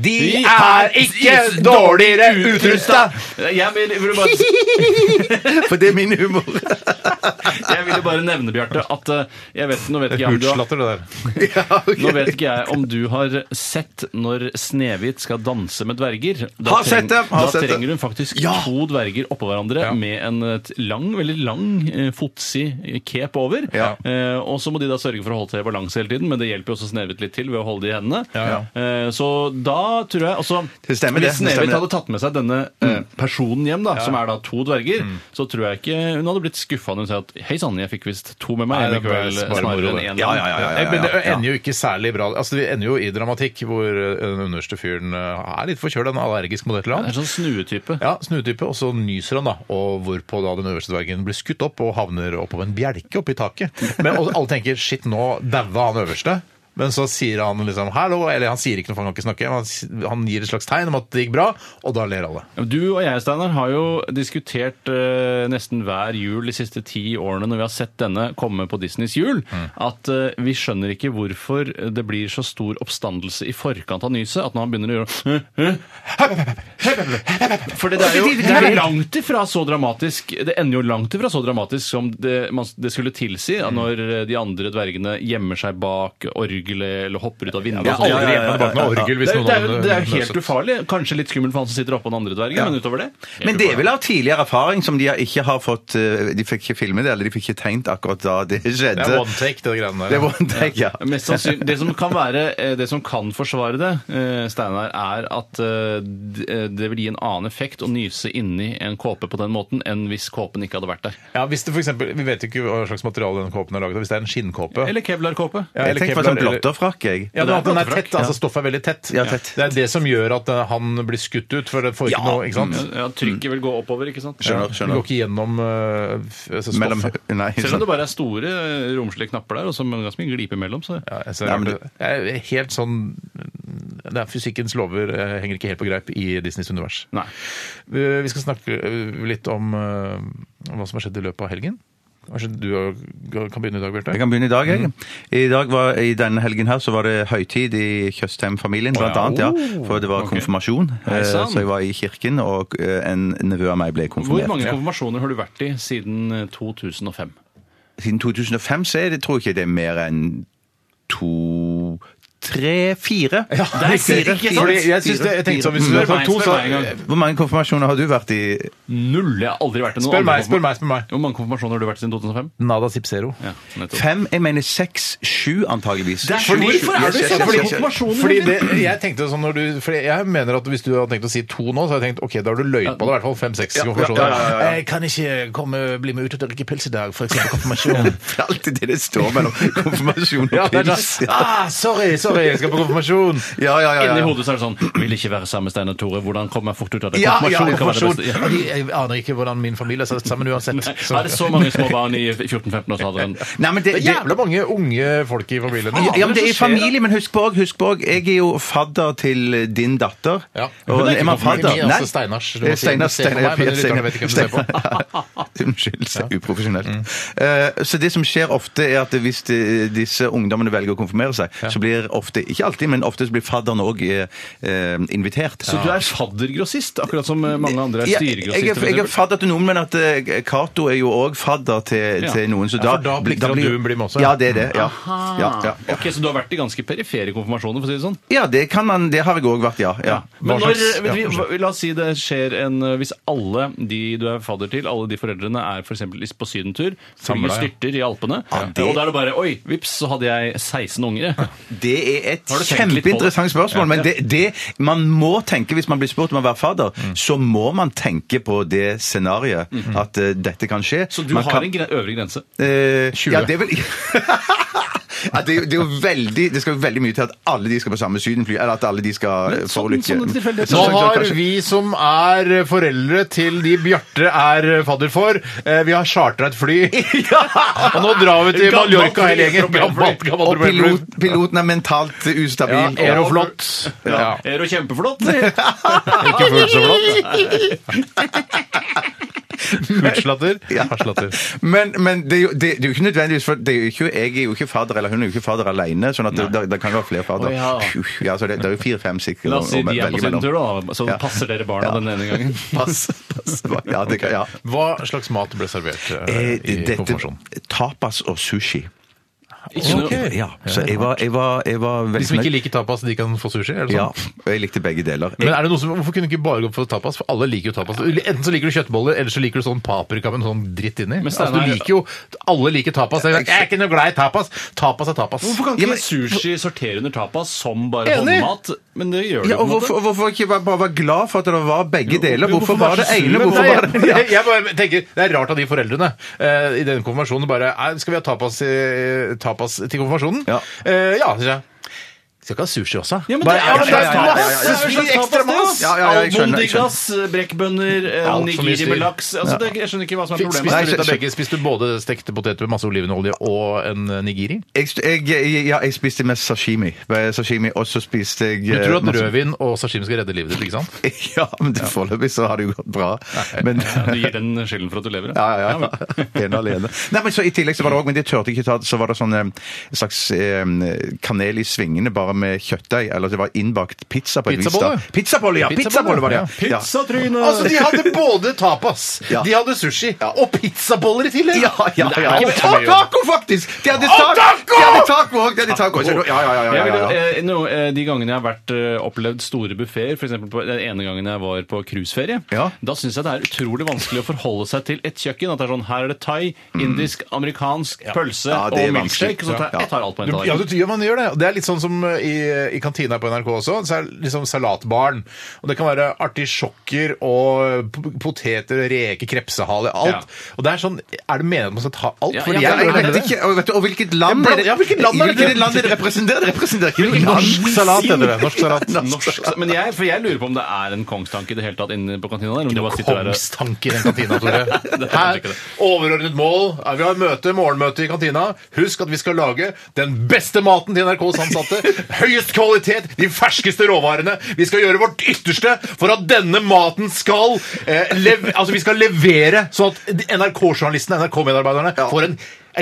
[SPEAKER 2] De er ikke dårligere utrusta!
[SPEAKER 4] Jeg vil- jeg ville bare,
[SPEAKER 3] For det er min humor.
[SPEAKER 4] jeg ville bare nevne, Bjarte, at eh, jeg vet, nå vet ikke jeg om du har
[SPEAKER 2] Hurtslatter, det der.
[SPEAKER 4] Nå vet ikke jeg om du har sett når Snehvit skal danse med dverger. Da,
[SPEAKER 3] Har sett det, har
[SPEAKER 4] da
[SPEAKER 3] sett det.
[SPEAKER 4] trenger hun faktisk
[SPEAKER 3] Ja.
[SPEAKER 4] to dverger oppå hverandre
[SPEAKER 2] Ja.
[SPEAKER 4] med en et lang, veldig lang eh, fotsi eh, cape over.
[SPEAKER 3] Ja.
[SPEAKER 4] Eh, og så må de da sørge for å holde seg i balanse hele tiden, men det hjelper jo også Snehvit litt til ved å holde det i hendene.
[SPEAKER 2] Ja,
[SPEAKER 4] Eh, så da tror jeg altså,
[SPEAKER 3] Det stemmer det,
[SPEAKER 4] Hvis
[SPEAKER 3] det Mm.
[SPEAKER 4] Snehvit
[SPEAKER 3] stemmer.
[SPEAKER 4] hadde tatt med seg denne eh, personen hjem, da, som er da to dverger,
[SPEAKER 3] Mm.
[SPEAKER 4] så tror jeg ikke hun hadde blitt skuffa når hun sa at hei sann, jeg fikk visst to med meg
[SPEAKER 2] Nei,
[SPEAKER 4] denne
[SPEAKER 2] det er
[SPEAKER 4] kvelden
[SPEAKER 2] bare moro,
[SPEAKER 4] snarere enn
[SPEAKER 2] det.
[SPEAKER 4] én.
[SPEAKER 3] Ja, ja, ja, ja, ja, ja.
[SPEAKER 2] Men det ender jo ikke særlig bra. Altså, Vi ender jo i dramatikk, hvor eh, den underste fyren eh, er litt forkjøla, en allergisk mot et
[SPEAKER 4] Det er
[SPEAKER 2] eller annet.
[SPEAKER 4] en sånn snuetype.
[SPEAKER 2] Ja, Snutype, og så nyser han, da. Og hvorpå da den øverste dvergen blir skutt opp og havner oppå en bjelke oppi taket. Men og alle tenker 'shit, nå daua han øverste'. Men så sier han liksom 'hallo', eller han sier ikke noe, for han kan ikke snakke. men Han, s- han gir et slags tegn om at det gikk bra, og da ler alle.
[SPEAKER 4] Du og jeg, Steinar, har jo diskutert eh, nesten hver jul de siste ti årene når vi har sett denne komme på Disneys jul,
[SPEAKER 3] Mm.
[SPEAKER 4] at eh, vi skjønner ikke hvorfor det blir så stor oppstandelse i forkant av nyset. At når han begynner å
[SPEAKER 3] [laughs]
[SPEAKER 4] gjøre For det er jo det er jo langt ifra så dramatisk Det ender jo langt ifra så dramatisk som det, man, det skulle tilsi
[SPEAKER 3] Mm.
[SPEAKER 4] at når eh, de andre dvergene gjemmer seg bak orgelet eller hopper ut av vinduet. og sånt.
[SPEAKER 3] ja,
[SPEAKER 2] Aldri
[SPEAKER 3] ja, ja,
[SPEAKER 2] hjemme bak noe orgel hvis
[SPEAKER 4] Det er,
[SPEAKER 2] noen
[SPEAKER 4] det, er, jo- det er
[SPEAKER 2] hadde
[SPEAKER 4] jo helt ufarlig. Kanskje litt skummelt for han som sitter oppå den andre dvergen, men utover det
[SPEAKER 3] Men det er vel av tidligere erfaring som de ikke har fått eh, De fikk ikke filme det, eller de fikk ikke tegnet akkurat da det skjedde.
[SPEAKER 2] Det er one take, det greiene
[SPEAKER 3] Det er
[SPEAKER 2] der.
[SPEAKER 3] one take, ja.
[SPEAKER 4] Mest sannsynlig, det som kan være eh, Det som kan forsvare det, eh, Steinar, er at eh, d- eh, det vil gi en annen effekt å nyse inni en kåpe på den måten enn hvis kåpen ikke hadde vært der.
[SPEAKER 2] Ja, hvis det for eksempel, Vi vet jo ikke hva slags materiale den kåpen er laget av. Hvis det er en skinnkåpe
[SPEAKER 4] Eller kevlarkåpe.
[SPEAKER 2] ja,
[SPEAKER 3] Jeg
[SPEAKER 2] eller
[SPEAKER 3] tenker på
[SPEAKER 2] kevlar,
[SPEAKER 3] sånn
[SPEAKER 2] eller-
[SPEAKER 3] blotterfrakk, jeg.
[SPEAKER 2] Ja, det er at den er
[SPEAKER 4] blotterfrakk,
[SPEAKER 2] tett, altså Stoffet er veldig tett.
[SPEAKER 3] Ja, tett.
[SPEAKER 2] Det er det som gjør at eh, han blir skutt ut, for det får ikke noe ikke sant?
[SPEAKER 4] Ja, Trykket vil gå oppover, ikke sant?
[SPEAKER 3] Mm, Skjønner,
[SPEAKER 2] Det går
[SPEAKER 3] skjønner.
[SPEAKER 2] ikke gjennom eh, f- altså, stoffet.
[SPEAKER 3] Mellom Nei.
[SPEAKER 4] Selv
[SPEAKER 2] sånn
[SPEAKER 4] om det bare er store, eh, romslige knapper der, og så men ganske mye glipe imellom. Så.
[SPEAKER 2] Ja, jeg ser
[SPEAKER 3] Nei, men
[SPEAKER 2] det. Jeg er helt sånn det er Fysikkens lover eh, henger ikke helt på greip i Disneys univers.
[SPEAKER 4] Nei.
[SPEAKER 2] Eh, Vi skal snakke eh, litt om eh, hva som har skjedd i løpet av helgen. Kanskje du kan begynne i dag, Bjarte?
[SPEAKER 3] Jeg kan begynne i dag, jeg. I, dag var, I denne helgen her så var det høytid i Tjøstheim-familien, blant
[SPEAKER 4] ja.
[SPEAKER 3] annet. Ja, for det var konfirmasjon. Eh,
[SPEAKER 4] sann.
[SPEAKER 3] Så jeg var i kirken, og eh, en nevø av meg ble
[SPEAKER 4] Hvor
[SPEAKER 3] konfirmert.
[SPEAKER 4] mange konfirmasjoner har du vært i siden eh, 2005?
[SPEAKER 3] Siden 2005 så er det, tror jeg ikke det er mer enn to Tre, fire. Ja, det
[SPEAKER 4] er ikke sant?
[SPEAKER 2] Fordi jeg synes det- jeg tenkte sånn, hvis du hadde
[SPEAKER 4] Spør meg,
[SPEAKER 2] fått to,
[SPEAKER 4] spør
[SPEAKER 2] så-
[SPEAKER 4] meg en gang.
[SPEAKER 3] Hvor mange konfirmasjoner har du vært i?
[SPEAKER 4] Null! Jeg har aldri vært i noen
[SPEAKER 2] Spør
[SPEAKER 4] andre
[SPEAKER 2] meg, spør
[SPEAKER 4] konfirma-
[SPEAKER 2] meg, spør meg.
[SPEAKER 4] Hvor mange konfirmasjoner har du vært i siden 2005?
[SPEAKER 2] Nada Zipzero.
[SPEAKER 4] Ja, nettopp.
[SPEAKER 3] Fem? Jeg mener seks, sju antageligvis.
[SPEAKER 4] Det er
[SPEAKER 3] Sju,
[SPEAKER 4] sju.
[SPEAKER 3] sju,
[SPEAKER 4] Hvorfor er
[SPEAKER 3] yes,
[SPEAKER 4] du
[SPEAKER 3] yes, yes,
[SPEAKER 4] så flink
[SPEAKER 3] yes,
[SPEAKER 4] på
[SPEAKER 3] yes.
[SPEAKER 4] konfirmasjoner?
[SPEAKER 2] Fordi det, jeg tenkte sånn når du, fordi jeg mener at Hvis du hadde tenkt å si to nå, så hadde jeg tenkt ok, da har du løyet på det. I hvert fall fem-seks konfirmasjoner.
[SPEAKER 3] ja, ja, ja, ja.
[SPEAKER 2] Jeg kan ikke komme, bli med ut og drikke pils i dag, for eksempel konfirmasjon.
[SPEAKER 3] [laughs] Det er alltid det det står mellom konfirmasjon
[SPEAKER 2] Ja,
[SPEAKER 3] og
[SPEAKER 2] det er
[SPEAKER 3] pils.
[SPEAKER 2] sånn, ah, sorry, sorry, jeg skal på konfirmasjon.
[SPEAKER 3] Ja, ja, ja,
[SPEAKER 4] Inni
[SPEAKER 3] ja.
[SPEAKER 4] hodet så er det sånn Vil ikke være sammen med Steinar Tore. Hvordan kommer jeg fort ut av det?
[SPEAKER 2] Ja, ja,
[SPEAKER 4] Konfirmasjon kan være det
[SPEAKER 2] konfirmasjon.
[SPEAKER 4] beste. Ja.
[SPEAKER 2] Og de- Jeg aner ikke hvordan min familie er satt sammen uansett.
[SPEAKER 3] [laughs]
[SPEAKER 4] Så er det så mange små barn i 14-15-årsalderen.
[SPEAKER 3] Nei, men
[SPEAKER 2] Det er jævla mange unge folk i familien.
[SPEAKER 3] Ja, ja, men det er i
[SPEAKER 2] som skjer, da?
[SPEAKER 3] familie, men husk på, husk på jeg er jo fadder til din datter.
[SPEAKER 2] Ja.
[SPEAKER 3] Og
[SPEAKER 2] Hun er ikke
[SPEAKER 3] man
[SPEAKER 2] konfirmert.
[SPEAKER 3] fadder?
[SPEAKER 2] Min er altså
[SPEAKER 3] Nei. Eh,
[SPEAKER 2] Steinars. Du må
[SPEAKER 3] Det er
[SPEAKER 2] si- du ser på
[SPEAKER 3] Steinar,
[SPEAKER 2] meg,
[SPEAKER 3] Steinar,
[SPEAKER 2] men lytterne vet ikke hvem du ser på.
[SPEAKER 3] Steinar- [laughs] Unnskyld, så uprofesjonelt.
[SPEAKER 2] Mm.
[SPEAKER 3] Eh, så det som skjer ofte, er at hvis de, disse ungdommene velger å konfirmere seg, så blir ofte, ikke alltid, men ofte så blir fadderen òg eh, eh, invitert.
[SPEAKER 4] Så du er faddergrossist, akkurat som eh, mange andre er
[SPEAKER 3] Ja, jeg, jeg,
[SPEAKER 4] styregrossister.
[SPEAKER 3] er- jeg er fadder til noen, men at eh, Cato er jo òg fadder til,
[SPEAKER 4] Ja.
[SPEAKER 3] til noen. Så da,
[SPEAKER 2] Ja, for da plikter at du blir med også, ja.
[SPEAKER 3] Ja, det er det. Ja. Ja, ja.
[SPEAKER 4] Ok, Så du har vært i ganske perifere konfirmasjoner, for å si det sånn?
[SPEAKER 3] Ja, det kan man, det har jeg òg vært, ja. ja.
[SPEAKER 4] Men
[SPEAKER 2] Hva
[SPEAKER 4] når,
[SPEAKER 2] slags- ja,
[SPEAKER 4] vi, hva- la oss si det skjer en Hvis alle de du er fadder til, alle de foreldrene er f.eks. på sydentur, flyet
[SPEAKER 2] Samla, ja.
[SPEAKER 4] styrter i Alpene,
[SPEAKER 3] det-
[SPEAKER 4] og da er det bare Oi, vips, så hadde jeg 16 unger. jeg.
[SPEAKER 3] Det er et
[SPEAKER 4] Har du tenkt litt på det?
[SPEAKER 3] kjempeinteressant spørsmål, men det, det man må tenke hvis man blir spurt om å være fadder,
[SPEAKER 4] Mm.
[SPEAKER 3] så må man tenke på det scenarioet at eh, dette kan skje.
[SPEAKER 4] Mhm. Så du
[SPEAKER 3] man
[SPEAKER 4] har
[SPEAKER 3] kan,
[SPEAKER 4] en gre øvre [laughs] grense.
[SPEAKER 3] eh,
[SPEAKER 2] 20.
[SPEAKER 3] Ja, det er vel... [laughs] Ja, det, er jo- det, er jo veldig, det skal jo veldig mye til at alle de skal på samme sydenfly, eller at alle de skal eh,
[SPEAKER 4] sånn-
[SPEAKER 3] forulykke.
[SPEAKER 4] sånn tilfeldighet.
[SPEAKER 3] Så-
[SPEAKER 2] Nå
[SPEAKER 3] så- så-
[SPEAKER 2] har
[SPEAKER 3] kanskje-
[SPEAKER 2] vi som er foreldre til de Bjarte er fadder for, eh, vi har chartra et [laughs] fly. Og nå drar vi til
[SPEAKER 4] Gammelt
[SPEAKER 2] Mallorca hele
[SPEAKER 4] fly,
[SPEAKER 2] gjengen.
[SPEAKER 4] gammelt fly.
[SPEAKER 2] gammelt
[SPEAKER 3] sånn- Og
[SPEAKER 2] fly.
[SPEAKER 3] pilot, piloten er mentalt eh,
[SPEAKER 2] Ja,
[SPEAKER 3] ustabil.
[SPEAKER 2] Aeroflot. Ja.
[SPEAKER 4] Er du kjempeflott? [laughs] eller?
[SPEAKER 2] Ikke fullt så flott. [laughs] Utslatter. Harslatter.
[SPEAKER 3] Men, men det, er jo, det, det er jo ikke nødvendigvis, for det er jo ikke, jeg er jo ikke fader, eller hun er jo ikke fader alene, sånn at det, der, der kan jo være flere fader.
[SPEAKER 4] Å, ja.
[SPEAKER 3] Ja, så det, det er jo fire-fem sikkert.
[SPEAKER 4] La oss si
[SPEAKER 3] å- å
[SPEAKER 4] de er på
[SPEAKER 3] velge mellom.
[SPEAKER 4] sydentur, da. Så
[SPEAKER 3] Ja.
[SPEAKER 4] passer dere barna
[SPEAKER 3] Ja.
[SPEAKER 4] den ene gangen.
[SPEAKER 3] [laughs] Pass, pass. Ja, det kan, ja.
[SPEAKER 2] Hva slags mat ble servert eh,
[SPEAKER 3] Eh,
[SPEAKER 2] i
[SPEAKER 3] Dette,
[SPEAKER 2] konfirmasjonen?
[SPEAKER 3] tapas og sushi.
[SPEAKER 4] [laughs] Ikke noe-
[SPEAKER 2] Ok.
[SPEAKER 3] Ja, så jeg var, jeg var, jeg var veldig
[SPEAKER 2] De som ikke
[SPEAKER 3] fornøyd.
[SPEAKER 2] liker tapas, de kan få sushi? Er det sånn?
[SPEAKER 3] Ja, og jeg likte begge deler.
[SPEAKER 2] Men er det noe som, Hvorfor kunne du ikke bare gå for tapas? For alle liker jo tapas. Enten så liker du kjøttboller, eller så liker du sånn paprika med sånn dritt inni.
[SPEAKER 4] Men
[SPEAKER 2] Altså,
[SPEAKER 4] Steinar-
[SPEAKER 2] du liker jo, Alle liker tapas. Jeg er ikke noe glad i tapas. Tapas er tapas.
[SPEAKER 4] Hvorfor kan
[SPEAKER 2] [laughs]
[SPEAKER 3] Ja,
[SPEAKER 4] ikke
[SPEAKER 3] men-
[SPEAKER 4] sushi sortere under tapas som bare
[SPEAKER 2] Enig.
[SPEAKER 4] håndmat? Men det gjør det
[SPEAKER 3] Ja,
[SPEAKER 4] jo
[SPEAKER 3] og
[SPEAKER 4] på en måte.
[SPEAKER 3] hvorfor, hvorfor ikke bare bare være glad for at det var begge deler?
[SPEAKER 4] men
[SPEAKER 3] Hvorfor
[SPEAKER 4] hvorfor
[SPEAKER 3] var det
[SPEAKER 4] være så
[SPEAKER 3] ene?
[SPEAKER 4] sur?
[SPEAKER 3] Hvorfor
[SPEAKER 2] Nei,
[SPEAKER 3] var det...
[SPEAKER 2] jeg, jeg bare [laughs] tenker, Det er rart av de foreldrene eh, i denne konfirmasjonen bare «Nei, Skal vi ha tapas, eh, tapas til konfirmasjonen?
[SPEAKER 3] Ja.
[SPEAKER 2] Eh, ja, sier jeg. Skal ikke ha sushi også?
[SPEAKER 4] Ja, men
[SPEAKER 2] Bare,
[SPEAKER 4] det er jo
[SPEAKER 3] ja, ja, ja, ja, ja, ja.
[SPEAKER 2] masse sushi, ekstra mas!
[SPEAKER 3] Ja, ja, ja, jeg skjønner, jeg skjønner.
[SPEAKER 4] Almondigas, brekkbønner, eh,
[SPEAKER 2] Alt for mye
[SPEAKER 4] nigiri med
[SPEAKER 2] styr.
[SPEAKER 4] laks altså, det, Jeg skjønner ikke hva som er
[SPEAKER 2] Spiste
[SPEAKER 4] problemet.
[SPEAKER 3] Nei,
[SPEAKER 2] du litt av
[SPEAKER 3] skjønner.
[SPEAKER 2] begge? Spiste du både stekte poteter med masse olivenolje og en eh, nigiri?
[SPEAKER 3] Jeg, jeg, jeg, ja, jeg spiste mest sashimi. Bare Sashimi, og så spiste jeg...
[SPEAKER 2] Du
[SPEAKER 3] eh,
[SPEAKER 2] tror at
[SPEAKER 3] masse-
[SPEAKER 2] rødvin og sashimi skal redde livet ditt, ikke sant?
[SPEAKER 3] [laughs] Ja, men det foreløpig så har det jo gått bra. Men,
[SPEAKER 4] Ja, Du gir den skylden for at du lever.
[SPEAKER 3] [laughs] ja, ja, ja. Ene og alene. Nei, men så I tillegg så var det også, men det tørte jeg ikke ta, så var det sånn eh, en slags eh, kanel i svingene bare med kjøttdeig. Eller det var innbakt pizza på et vis. da.
[SPEAKER 2] Pizzabolle?
[SPEAKER 3] Pizzabolle, ja!
[SPEAKER 2] Pizzabolle,
[SPEAKER 3] Pizzabolle var det, ja.
[SPEAKER 4] Pizzatryne!
[SPEAKER 2] [laughs] Altså, De hadde både tapas,
[SPEAKER 3] Ja.
[SPEAKER 2] de hadde sushi og pizzaboller i tillegg!
[SPEAKER 3] Ja, ja, ja.
[SPEAKER 2] Men
[SPEAKER 3] Og
[SPEAKER 2] det er ikke-
[SPEAKER 3] taco, faktisk! De hadde taco!
[SPEAKER 2] taco!
[SPEAKER 3] De hadde taco også, de hadde taco også. Ja, ja, ja.
[SPEAKER 4] Jeg
[SPEAKER 3] ja, ja,
[SPEAKER 4] vil,
[SPEAKER 3] ja.
[SPEAKER 4] eh, nå, eh, de gangene jeg har vært, eh, opplevd store buffeer, f.eks. den ene gangen jeg var på cruiseferie,
[SPEAKER 3] Ja.
[SPEAKER 4] da syns jeg det er utrolig vanskelig å forholde seg til et kjøkken. At det er sånn Her er det thai, indisk, amerikansk, pølse
[SPEAKER 3] Ja, det er
[SPEAKER 4] og
[SPEAKER 3] vanskelig.
[SPEAKER 4] milkshake. Så tar,
[SPEAKER 3] Ja.
[SPEAKER 4] jeg tar alt på en
[SPEAKER 2] Du, ja,
[SPEAKER 4] tallerken.
[SPEAKER 2] du, ja, man gjør det. Og Det er litt sånn som eh, i, i kantina på NRK også. Så er det liksom salatbaren. Og det kan være artisjokker og p- poteter, reker, krepsehale, alt.
[SPEAKER 4] Ja.
[SPEAKER 2] Og det er sånn Er det meningen at man skal ta alt?
[SPEAKER 4] Ja,
[SPEAKER 2] Fordi
[SPEAKER 4] ja,
[SPEAKER 3] Ja,
[SPEAKER 2] jeg,
[SPEAKER 3] jeg
[SPEAKER 2] gjør
[SPEAKER 3] vet
[SPEAKER 2] det.
[SPEAKER 3] ikke, og, vet du, og hvilket land
[SPEAKER 2] Ja,
[SPEAKER 3] er det
[SPEAKER 2] ja, hvilket land er det?
[SPEAKER 3] Hvilket land er det representerer? Det representerer ikke noe
[SPEAKER 2] Norsk
[SPEAKER 3] land.
[SPEAKER 2] salat heter det. Norsk salat.
[SPEAKER 4] Norsk, men jeg, for jeg lurer på om det er en kongstanke i det hele tatt inne på kantina der. Om de bare sitter der og
[SPEAKER 2] Kongstanke i den kantina, Tore.
[SPEAKER 4] er kanskje
[SPEAKER 2] Her,
[SPEAKER 4] ikke [laughs] det.
[SPEAKER 2] overordnet mål. er
[SPEAKER 4] [laughs]
[SPEAKER 2] Vi har møte, morgenmøte i kantina. Husk at vi skal lage den beste maten til NRKs ansatte.
[SPEAKER 1] høyest kvalitet, de ferskeste råvarene. Vi skal gjøre vårt ytterste for at denne maten skal eh, lev Altså, vi skal levere sånn at NRK-journalistene, NRK-medarbeiderne, får en,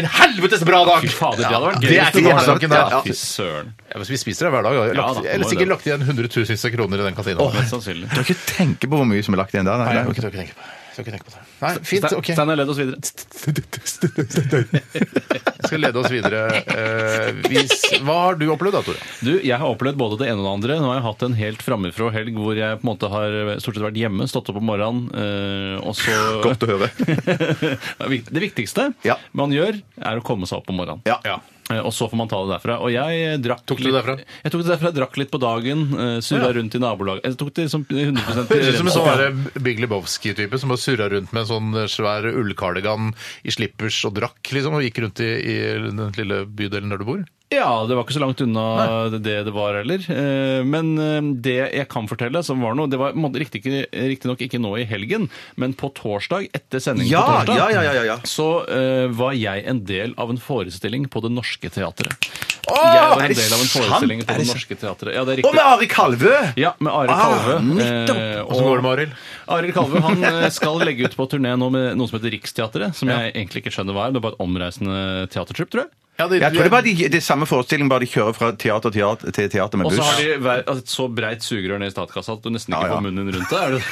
[SPEAKER 1] en helvetes bra dag!
[SPEAKER 4] Fy fader, det hadde vært gøy.
[SPEAKER 1] Det
[SPEAKER 4] hvis
[SPEAKER 1] er ikke
[SPEAKER 4] var
[SPEAKER 3] helt
[SPEAKER 4] det.
[SPEAKER 1] saken, det.
[SPEAKER 4] Ja, Fy søren.
[SPEAKER 2] Ja, hvis vi spiser det hver dag, har jeg
[SPEAKER 4] Ja,
[SPEAKER 2] lagt,
[SPEAKER 4] da,
[SPEAKER 2] eller
[SPEAKER 4] må
[SPEAKER 2] sikkert
[SPEAKER 4] det.
[SPEAKER 2] lagt igjen 100 000 av kroner i den kantina.
[SPEAKER 4] Mest sannsynlig.
[SPEAKER 3] Du kan ikke tenke på hvor mye som er lagt igjen der.
[SPEAKER 2] Nei,
[SPEAKER 3] Nei,
[SPEAKER 2] jeg
[SPEAKER 3] ok.
[SPEAKER 2] skal ikke tenke på det. Jeg skal ikke tenke på det. Nei, fint, ok.
[SPEAKER 4] Stein har ledd oss videre.
[SPEAKER 2] Jeg skal lede oss videre. Eh, hvis, hva har du opplevd da, Tore?
[SPEAKER 4] Du, jeg har opplevd både det ene og det andre. Nå har jeg hatt en helt framifrå helg hvor jeg på en måte har eh, stort sett vært hjemme, stått opp om morgenen, eh, og så
[SPEAKER 1] Godt å høre.
[SPEAKER 4] Det viktigste
[SPEAKER 1] Ja.
[SPEAKER 4] man gjør, er å komme seg opp om morgenen.
[SPEAKER 1] Ja.
[SPEAKER 4] Eh, Og så får man ta det derfra. Og jeg drakk
[SPEAKER 2] Tok du det derfra?
[SPEAKER 4] Litt, jeg tok det derfra, drakk litt på dagen, uh, surra rundt i nabolaget. Jeg tok det liksom 100 til
[SPEAKER 2] Høres ut som en
[SPEAKER 4] rensen.
[SPEAKER 2] sånn der Big Lebowski-type som bare surra rundt med en sånn svær ullkardigan i slippers og drakk, liksom, og gikk rundt i, i den lille bydelen der du bor.
[SPEAKER 4] Ja, det var ikke så langt unna det det var heller. Eh, Men eh, det jeg kan fortelle, som var noe Det var riktignok ikke nå i helgen, men på torsdag, etter sending
[SPEAKER 3] Ja,
[SPEAKER 4] på torsdag,
[SPEAKER 3] ja, ja, ja, ja, ja.
[SPEAKER 4] så eh, var jeg en del av en forestilling på Det Norske Teatret. jeg var
[SPEAKER 3] er
[SPEAKER 4] en
[SPEAKER 3] det
[SPEAKER 4] del av en
[SPEAKER 3] sant?
[SPEAKER 4] forestilling
[SPEAKER 3] Er
[SPEAKER 4] på
[SPEAKER 3] det
[SPEAKER 4] Det
[SPEAKER 3] sant?
[SPEAKER 4] Norske Teatret. Ja, det er
[SPEAKER 3] Og med
[SPEAKER 4] riktig.
[SPEAKER 3] Ari Kalvø!
[SPEAKER 4] Ja, med Arild
[SPEAKER 3] Ah,
[SPEAKER 4] Kalve.
[SPEAKER 3] nettopp.
[SPEAKER 4] Eh,
[SPEAKER 2] Åssen går det med Arild?
[SPEAKER 4] Arild Kalve han eh, skal legge ut på turné nå med noe som heter Riksteatret, som jeg egentlig ikke skjønner hva er. Det er bare et omreisende teatertrip, tror jeg.
[SPEAKER 3] Jeg tror det var de, det er samme forestilling, bare de kjører fra teater, teater til teater med
[SPEAKER 4] Og så
[SPEAKER 3] buss.
[SPEAKER 4] har de hver- altså, et så breit sugerør ned i statskassa at du nesten ikke
[SPEAKER 3] Ja, ja.
[SPEAKER 4] får munnen rundt det. Er det?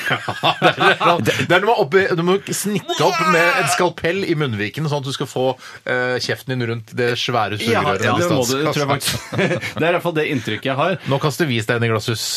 [SPEAKER 2] Det det er når man oppi, Du må snitte opp med et skalpell i munnviken, sånn at du skal få eh, kjeften din rundt det svære
[SPEAKER 4] Ja,
[SPEAKER 2] sugerøret.
[SPEAKER 4] ja,
[SPEAKER 2] i
[SPEAKER 4] det, må du,
[SPEAKER 2] statskassa.
[SPEAKER 4] tror jeg faktisk. [laughs] det er i hvert fall det inntrykket jeg har.
[SPEAKER 2] Nå kaster vi stein i glasshus.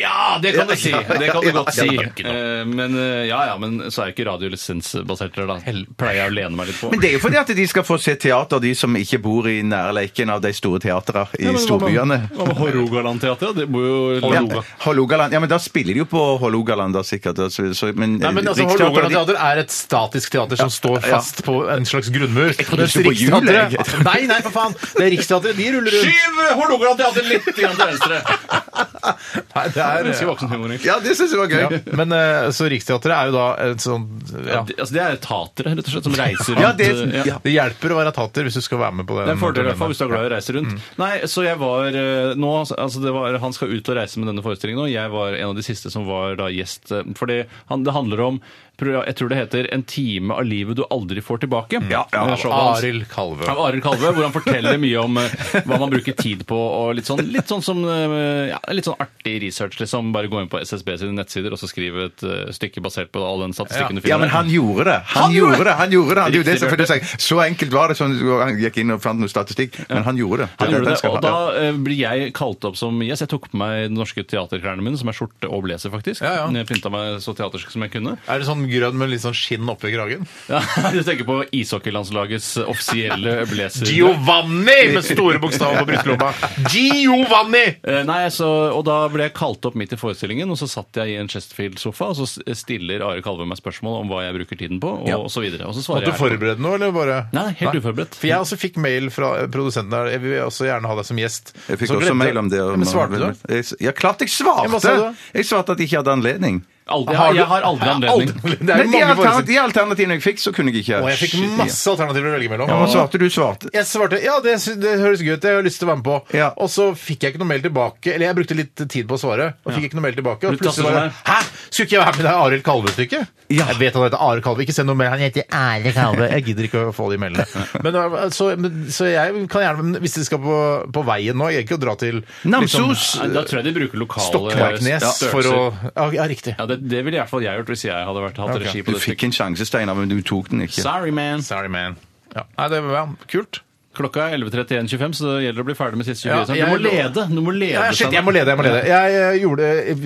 [SPEAKER 4] Ja, det kan du si! Det kan du godt
[SPEAKER 2] ja,
[SPEAKER 4] si.
[SPEAKER 2] ja, ja.
[SPEAKER 4] Eh, Men eh, ja, ja, men så er jeg ikke radiolisensbasert, da. Hell- Pleier jeg å lene meg litt på.
[SPEAKER 3] Men det er jo fordi at de skal få se teater, de som ikke bor i nærleiken av de store teatrene i storbyene.
[SPEAKER 4] Hva med Hålogalandteatret? Det bor jo
[SPEAKER 3] Ja, Hålogaland. Ja, men da spiller de jo på Hålogaland, da, sikkert. altså, så, men,
[SPEAKER 2] Nei, men altså,
[SPEAKER 3] Riksteatret,
[SPEAKER 2] Hålogaland
[SPEAKER 3] de-
[SPEAKER 2] teater er et statisk teater som står fast på en slags grunnmur. Jeg
[SPEAKER 3] tror ikke på hjul, jeg.
[SPEAKER 2] Nei, nei, for faen! Det er Riksteatret, de ruller rundt.
[SPEAKER 4] Hålogalandteatret litt grann til venstre!
[SPEAKER 2] Nei, det er,
[SPEAKER 4] Ganske voksen humor. egentlig.
[SPEAKER 3] Ja, det syns jeg var gøy.
[SPEAKER 2] ja. Men eh, så Riksteatret er jo da et sånn ja.
[SPEAKER 4] Ja, det- Altså, det er tatere, rett og slett, som reiser
[SPEAKER 3] Ja,
[SPEAKER 4] rundt.
[SPEAKER 3] det-
[SPEAKER 4] eh, ja.
[SPEAKER 3] ja.
[SPEAKER 2] Det hjelper å være tater hvis du skal være med på den.
[SPEAKER 4] Det er en fordel i hvert fall hvis du er
[SPEAKER 2] turneen.
[SPEAKER 4] glad i å reise
[SPEAKER 3] Mm.
[SPEAKER 4] rundt. Nei, så jeg var eh, nå, altså det var, Han skal ut og reise med denne forestillingen nå. Jeg var en av de siste som var da gjest. eh, Fordi han, det handler om pro- Jeg tror det heter 'En time av livet du aldri får tilbake'.
[SPEAKER 3] Ja, ja.
[SPEAKER 4] Det er showet hans.
[SPEAKER 2] Arild Kalve.
[SPEAKER 4] Av Arild Kalve, hvor han forteller mye om eh, hva man bruker tid på, og litt sånn, litt sånn som eh, ja, litt sånn artig research, liksom. Bare gå inn på SSB sine nettsider og så skrive et eh, stykke basert på all den statistikken du finner.
[SPEAKER 3] Ja, men han gjorde det. Han, gjorde det! Han gjorde det. Han, det, er jo det som- for det er så enkelt var det. Sånn, han gikk inn og fant noe statistikk, men han gjorde det.
[SPEAKER 4] Han gjorde
[SPEAKER 3] Den
[SPEAKER 4] det,
[SPEAKER 3] skal
[SPEAKER 4] og
[SPEAKER 3] ha-
[SPEAKER 4] da
[SPEAKER 3] ja.
[SPEAKER 4] eh, blir jeg kalt opp som gjest. Jeg tok på meg de norske teaterklærne mine, som er skjorte og blazer, faktisk.
[SPEAKER 2] Ja, ja.
[SPEAKER 4] Jeg pynta meg så teatersk som jeg kunne. [laughs]
[SPEAKER 2] Er det sånn grønn med litt sånn skinn oppi kragen?
[SPEAKER 4] Ja, du tenker på ishockeylandslagets offisielle blazer.
[SPEAKER 2] Giovanni med store bokstaver på brystlomma. Giovanni!
[SPEAKER 4] Eh, Nei, så, og da ble jeg kalt opp midt i forestillingen, og så satt jeg i en Chesterfield-sofa, og så s- stiller Are Kalve meg spørsmål om hva jeg bruker tiden på, og, og så videre. Og så svarer
[SPEAKER 2] Måtte du
[SPEAKER 4] jeg ærlig.
[SPEAKER 2] forberede noe, eller bare
[SPEAKER 4] Nei, nei, helt uforberedt.
[SPEAKER 2] For jeg også fikk mail fra eh, produsenten der. Jeg vil også gjerne ha deg som gjest.
[SPEAKER 3] Jeg fikk
[SPEAKER 2] Så
[SPEAKER 3] også
[SPEAKER 2] glemte-
[SPEAKER 3] mail om det. og-
[SPEAKER 2] Ja, Men svarte du?
[SPEAKER 3] Jeg s- Ja, klart jeg
[SPEAKER 2] Ja, hva sa du da?
[SPEAKER 3] svarte! Jeg svarte at jeg ikke hadde anledning.
[SPEAKER 4] Aldri,
[SPEAKER 2] Har
[SPEAKER 4] jeg,
[SPEAKER 2] du-
[SPEAKER 4] jeg har aldri anledning.
[SPEAKER 3] Men
[SPEAKER 2] Det er jo
[SPEAKER 3] de,
[SPEAKER 2] mange
[SPEAKER 3] altern
[SPEAKER 2] forestillinger.
[SPEAKER 3] de alternativene jeg fikk, så kunne jeg ikke
[SPEAKER 2] Og jeg fikk
[SPEAKER 3] Shit, ja.
[SPEAKER 2] masse alternativer å velge mellom.
[SPEAKER 3] Ja, Hva svarte du? Svarte
[SPEAKER 2] Jeg svarte ja, det, sy- det høres gøy ut, det har jeg lyst til å være med på.
[SPEAKER 3] Ja.
[SPEAKER 2] Og så fikk jeg ikke noe mail tilbake. Eller jeg brukte litt tid på å svare, og fikk ikke noe mail tilbake.
[SPEAKER 4] Du
[SPEAKER 2] Og
[SPEAKER 4] tastet
[SPEAKER 2] plutselig bare
[SPEAKER 4] sånn
[SPEAKER 2] Hæ! Skulle ikke jeg være med i det Arild Kalve-stykket?
[SPEAKER 3] Ja.
[SPEAKER 2] Jeg vet han heter Arild Kalve. Ikke send noe mail. Han heter Arild Kalve. Jeg gidder ikke å få de mailene.
[SPEAKER 3] [laughs]
[SPEAKER 2] Men, uh, så, men, så jeg kan gjerne men Hvis de skal på, på veien nå, jeg gidder ikke å dra til
[SPEAKER 3] Namsos!
[SPEAKER 4] Liksom- Nei, Da tror jeg de bruker lokale
[SPEAKER 2] Stokmarknes
[SPEAKER 4] ja,
[SPEAKER 2] for å
[SPEAKER 4] størrelser.
[SPEAKER 2] ja, ja, riktig.
[SPEAKER 4] Ja, det, det ville i hvert fall jeg gjort hvis jeg hadde vært, hatt
[SPEAKER 2] Ok.
[SPEAKER 4] regi på
[SPEAKER 3] Du
[SPEAKER 4] det
[SPEAKER 3] fikk
[SPEAKER 4] stykket.
[SPEAKER 3] en sjanse, Steinar, men du tok den ikke.
[SPEAKER 4] Sorry, man.
[SPEAKER 2] Sorry, man. Ja. Nei, det var ja, kult.
[SPEAKER 4] Klokka er 11.31,25, så det gjelder å bli ferdig med siste 24
[SPEAKER 2] Ja,
[SPEAKER 4] sekunder. Du må
[SPEAKER 2] jeg-
[SPEAKER 4] lede! Du må lede
[SPEAKER 2] Ja, shit,
[SPEAKER 4] Sanne.
[SPEAKER 2] jeg må lede, jeg må lede. Jeg, eh, gjorde,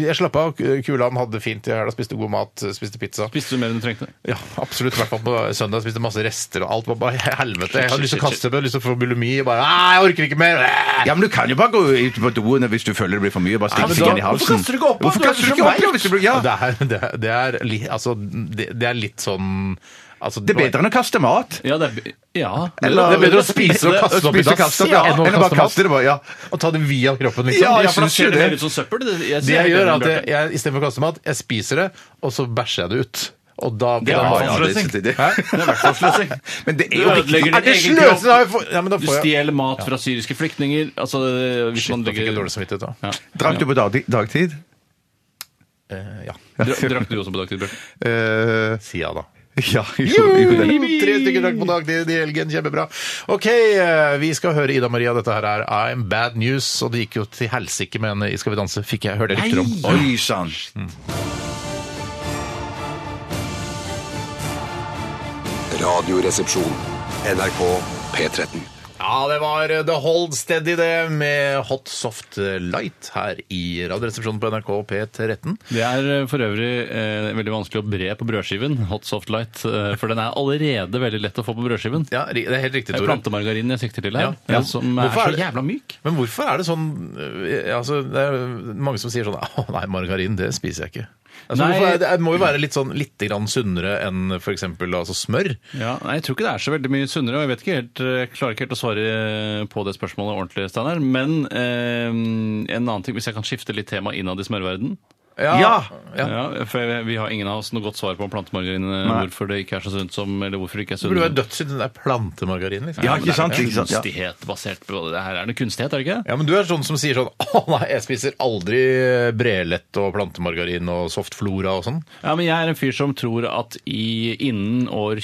[SPEAKER 2] jeg slapp av. Kulan hadde det fint. Jeg helga spiste god mat, eh, spiste pizza.
[SPEAKER 4] Spiste du mer enn du trengte?
[SPEAKER 2] Ja, absolutt. I hvert fall på søndag spiste masse rester, og alt var bare [laughs] helvete. Jeg hadde lyst til å kaste opp, jeg hadde lyst til å få bulimi. og Bare, «Nei, jeg orker ikke mer!
[SPEAKER 3] Ja, men Du kan jo bare gå ut på doen hvis du føler det blir for mye. Bare
[SPEAKER 2] Ja,
[SPEAKER 3] stikke
[SPEAKER 2] men
[SPEAKER 3] fingeren
[SPEAKER 2] da-
[SPEAKER 3] i halsen.
[SPEAKER 4] hvorfor kaster du ikke opp, da?
[SPEAKER 3] Hvorfor
[SPEAKER 4] Du er
[SPEAKER 3] kaster du
[SPEAKER 4] så
[SPEAKER 3] ikke opp
[SPEAKER 4] smart.
[SPEAKER 3] da, hvis du blir, ja.
[SPEAKER 2] Det, er, det, er, det, er, li- altså, det, det er litt sånn altså,
[SPEAKER 3] Det er bedre enn å kaste mat.
[SPEAKER 4] Ja, det er b- Ja.
[SPEAKER 3] Eller-
[SPEAKER 2] det er bedre
[SPEAKER 4] [laughs]
[SPEAKER 2] å spise og kaste opp i
[SPEAKER 3] Spise og
[SPEAKER 2] dass,
[SPEAKER 3] kaste opp,
[SPEAKER 2] ja,
[SPEAKER 3] ja.
[SPEAKER 2] enn å
[SPEAKER 3] Eller bare
[SPEAKER 2] kaste
[SPEAKER 3] kaste det, bare. Ja.
[SPEAKER 2] og ta det via kroppen, liksom.
[SPEAKER 3] Ja, jeg
[SPEAKER 4] for da
[SPEAKER 3] synes
[SPEAKER 4] ser
[SPEAKER 3] jo
[SPEAKER 4] det
[SPEAKER 3] det.
[SPEAKER 4] mer ut som søppel. Det, jeg
[SPEAKER 2] Det
[SPEAKER 4] ser
[SPEAKER 2] jeg
[SPEAKER 4] helt
[SPEAKER 2] gjør,
[SPEAKER 4] enig
[SPEAKER 2] er
[SPEAKER 4] med
[SPEAKER 2] at jeg,
[SPEAKER 4] Bjarte.
[SPEAKER 2] jeg istedenfor å kaste mat, jeg spiser det, og så bæsjer jeg det ut. Og da
[SPEAKER 4] er
[SPEAKER 2] da-
[SPEAKER 4] bare-
[SPEAKER 3] avsløsing.
[SPEAKER 4] avsløsing.
[SPEAKER 3] Hæ? Det er i hvert fall sløsing. Men det er jo
[SPEAKER 4] Du ødelegger
[SPEAKER 3] viktig.
[SPEAKER 4] din
[SPEAKER 3] Er det
[SPEAKER 4] egen
[SPEAKER 3] sløsing?
[SPEAKER 4] kropp.
[SPEAKER 2] Løsen har jo fått- Ja, men da
[SPEAKER 4] Du
[SPEAKER 2] får jeg
[SPEAKER 4] stjeler mat fra syriske flyktninger. Altså, hvis
[SPEAKER 2] Shit,
[SPEAKER 4] man
[SPEAKER 2] da fikk jeg
[SPEAKER 4] legger
[SPEAKER 2] dårlig samvittighet da.
[SPEAKER 4] ja.
[SPEAKER 2] [laughs]
[SPEAKER 3] Drakk du på dag- dagtid?
[SPEAKER 2] Eh, ja.
[SPEAKER 4] Dra- Drakk du også på dagtid, Bjørn?
[SPEAKER 3] Eh, [laughs]
[SPEAKER 2] Si ja, da.
[SPEAKER 3] ja, jo, jo, det.
[SPEAKER 2] Tre stykker drakk på dag i helgen. Kjempebra. OK, eh, vi skal høre Ida Maria. Dette her er I'm Bad News. Og det gikk jo til helsike med henne i Skal vi danse, fikk jeg hørte rykter om.
[SPEAKER 3] Oi sann.
[SPEAKER 5] Radioresepsjon.
[SPEAKER 6] NRK P13.
[SPEAKER 2] Ja, det var eh, The Hold Steady, det, med Hot Soft Light her i Radioresepsjonen på NRK P13.
[SPEAKER 4] Det er eh, for øvrig eh, veldig vanskelig å bre på brødskiven, hot soft light, eh, for den er allerede veldig lett å få på brødskiven.
[SPEAKER 2] Ja, ri- det er helt riktig,
[SPEAKER 4] Det er
[SPEAKER 2] Tore.
[SPEAKER 4] plantemargarin jeg sikter til her,
[SPEAKER 2] Ja.
[SPEAKER 4] eh, som er
[SPEAKER 2] Hvorfor er
[SPEAKER 4] så
[SPEAKER 2] det-
[SPEAKER 4] jævla myk.
[SPEAKER 2] Men hvorfor er det sånn eh, altså, Det er mange som sier sånn [laughs] Å nei, margarin, det spiser jeg ikke. Altså,
[SPEAKER 4] Nei.
[SPEAKER 2] hvorfor er det, det må jo være litt, sånn, litt grann sunnere enn f.eks. Altså, smør.
[SPEAKER 4] Ja, nei, jeg tror ikke det er så veldig mye sunnere, og jeg vet ikke helt, eh, jeg klarer ikke helt å svare eh, på det spørsmålet ordentlig, Steinar. Men eh, en annen ting, hvis jeg kan skifte litt tema innad i smørverden.
[SPEAKER 3] Ja.
[SPEAKER 2] ja.
[SPEAKER 4] Ja, for jeg- vi har ingen av oss noe godt svar på om plantemargarin, eh, hvorfor det ikke er så sunt som, eller hvorfor det ikke er
[SPEAKER 2] Det burde
[SPEAKER 4] sunnere.
[SPEAKER 2] være dødssynd, den der plantemargarinen. Liksom.
[SPEAKER 3] Ja, ikke sant?
[SPEAKER 4] Det er
[SPEAKER 3] Ikke sant, ja.
[SPEAKER 4] Kunstighet basert på det her. Er det kunstighet, er det ikke?
[SPEAKER 2] Ja, men du er sånn som sier sånn [laughs] Å nei, jeg spiser aldri brelett og plantemargarin og softflora og sånn.
[SPEAKER 4] Ja, men jeg er en fyr som tror at i, innen år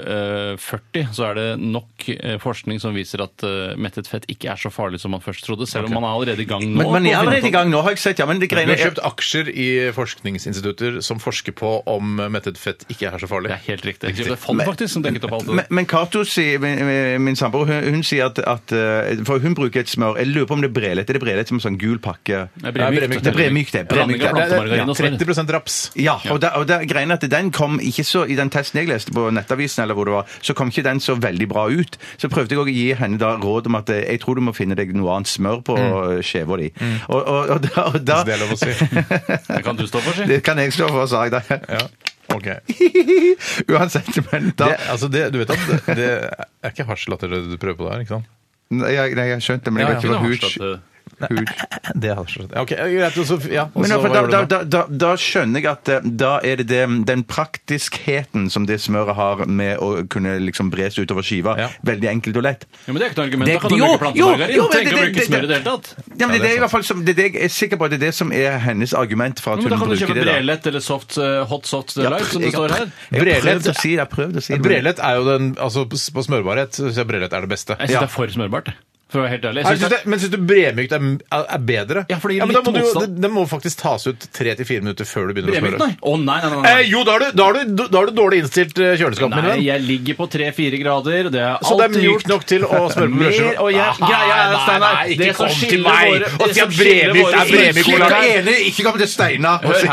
[SPEAKER 4] 2040 så er det nok eh, forskning som viser at eh, mettet fett ikke er så farlig som man først trodde, selv om man er allerede i gang nå.
[SPEAKER 3] Men, men jeg er
[SPEAKER 4] på å finne
[SPEAKER 3] allerede i
[SPEAKER 4] på-
[SPEAKER 3] gang nå, har jeg sett. Ja, men det
[SPEAKER 2] Du
[SPEAKER 3] greiene
[SPEAKER 2] har kjøpt aksjer i forskningsinstitutter som forsker på om mettet fett ikke er så farlig.
[SPEAKER 4] Det er helt riktig. Det er fond faktisk som dekket opp alt
[SPEAKER 3] Men,
[SPEAKER 4] det.
[SPEAKER 3] men Cato, sier- min, min samboer, hun, hun sier at, at eh, For hun bruker et smør Jeg lurer på om det er brelet. Er det brelet som en sånn gul pakke?
[SPEAKER 4] Det
[SPEAKER 2] Nei,
[SPEAKER 4] bremykt,
[SPEAKER 2] bremykt,
[SPEAKER 3] det
[SPEAKER 4] da.
[SPEAKER 3] er bremykt, det er bremykt,
[SPEAKER 4] Blanding av
[SPEAKER 3] det er-
[SPEAKER 4] plantemargarin og smør.
[SPEAKER 2] 30 raps.
[SPEAKER 3] Ja, og, der, og der, greien er at den kom ikke så I den testen jeg leste på Nettavisen, eller hvor det var, så kom ikke den så veldig bra ut. Så prøvde jeg også å gi henne da råd om at eh, jeg tror du må finne deg noe annet smør på mm. skiva di. Og, og, og da, og da
[SPEAKER 2] Det er lov å si.
[SPEAKER 4] Det kan du stå for, si.
[SPEAKER 3] Det kan jeg stå for, sa jeg da.
[SPEAKER 2] Ja. Ok.
[SPEAKER 3] [laughs] Uansett, men da
[SPEAKER 2] Det, altså det, du vet at det, det er ikke hasjlatter du prøver på der, ikke sant?
[SPEAKER 3] Nei, jeg, nei, jeg skjønte det, men jeg
[SPEAKER 2] Ja,
[SPEAKER 3] vet
[SPEAKER 4] Det
[SPEAKER 3] ikke
[SPEAKER 4] var
[SPEAKER 3] hva
[SPEAKER 4] hardt
[SPEAKER 3] hud
[SPEAKER 4] at, eh,
[SPEAKER 3] hud-
[SPEAKER 2] Det er hasjlatter. Ok, greit. Og så, ja, og
[SPEAKER 3] Men i
[SPEAKER 2] så,
[SPEAKER 3] hvert fall,
[SPEAKER 2] hva gjør
[SPEAKER 3] da,
[SPEAKER 2] du nå?
[SPEAKER 3] da, da, da skjønner jeg at eh, da er det, det den praktiskheten som det smøret har med å kunne liksom bres utover skiva,
[SPEAKER 2] Ja.
[SPEAKER 3] veldig enkelt og lett.
[SPEAKER 4] Ja, men det er ikke noe argument.
[SPEAKER 3] Det-
[SPEAKER 4] Da kan du
[SPEAKER 3] jo,
[SPEAKER 4] bruke
[SPEAKER 3] jo, jo,
[SPEAKER 4] plantemargarin.
[SPEAKER 3] men
[SPEAKER 4] Tenk å
[SPEAKER 3] det-
[SPEAKER 4] bruke
[SPEAKER 3] det-
[SPEAKER 4] smør
[SPEAKER 3] det-
[SPEAKER 4] i det hele tatt.
[SPEAKER 3] Ja, men det,
[SPEAKER 2] det
[SPEAKER 3] er
[SPEAKER 2] er
[SPEAKER 3] i hvert fall som, det er det jeg er sikker på at det er det som er hennes argument for at
[SPEAKER 4] Men
[SPEAKER 3] hun
[SPEAKER 4] da kan du
[SPEAKER 3] bruker
[SPEAKER 4] kjøpe
[SPEAKER 3] det. da.
[SPEAKER 4] brelett eller soft, eh, hot soft
[SPEAKER 3] Jeg har
[SPEAKER 4] light,
[SPEAKER 3] pr-
[SPEAKER 4] som det
[SPEAKER 3] jeg har
[SPEAKER 4] står
[SPEAKER 3] pr-
[SPEAKER 4] her.
[SPEAKER 3] Jeg har
[SPEAKER 2] Brelett-
[SPEAKER 3] prøvd å si det. jeg har prøvd å si det, men-
[SPEAKER 2] Brelett er jo den altså På smørbarhet syns jeg brelett er det beste.
[SPEAKER 4] Jeg syns det er for smørbart. For å være helt ærlig.
[SPEAKER 2] Jeg
[SPEAKER 4] Jeg
[SPEAKER 2] synes
[SPEAKER 4] synes det
[SPEAKER 2] det, men syns du bremykt er, er bedre?
[SPEAKER 4] Ja, for det gir
[SPEAKER 2] men da
[SPEAKER 4] litt
[SPEAKER 2] må du jo-
[SPEAKER 4] motstand.
[SPEAKER 2] det, det må faktisk tas ut tre til fire minutter før du begynner
[SPEAKER 4] Bremykt,
[SPEAKER 2] å
[SPEAKER 4] nei.
[SPEAKER 2] smøre.
[SPEAKER 4] Å, nei, nei, nei, nei.
[SPEAKER 2] Eh, jo, da har du, da har du, da har du dårlig innstilt eh, kjøleskap, min
[SPEAKER 4] Nei,
[SPEAKER 2] venn.
[SPEAKER 4] jeg ligger på 3-4 grader. Det er
[SPEAKER 2] Så det er
[SPEAKER 4] alltid
[SPEAKER 2] mykt
[SPEAKER 4] gjort.
[SPEAKER 2] nok til
[SPEAKER 4] [laughs]
[SPEAKER 2] å smøre på
[SPEAKER 4] Mer, og jeg,
[SPEAKER 2] Nei,
[SPEAKER 4] greia er,
[SPEAKER 2] nei,
[SPEAKER 4] Steinar,
[SPEAKER 2] nei,
[SPEAKER 4] det
[SPEAKER 2] ikke
[SPEAKER 4] som
[SPEAKER 2] kom til
[SPEAKER 4] skiller
[SPEAKER 2] meg
[SPEAKER 4] våre-
[SPEAKER 2] og
[SPEAKER 4] det
[SPEAKER 2] si
[SPEAKER 4] som
[SPEAKER 2] at
[SPEAKER 4] skiller
[SPEAKER 2] bremykt
[SPEAKER 4] våre-
[SPEAKER 2] er bremykt.
[SPEAKER 3] Jeg er enig, ikke kom til Steinar!
[SPEAKER 4] Hør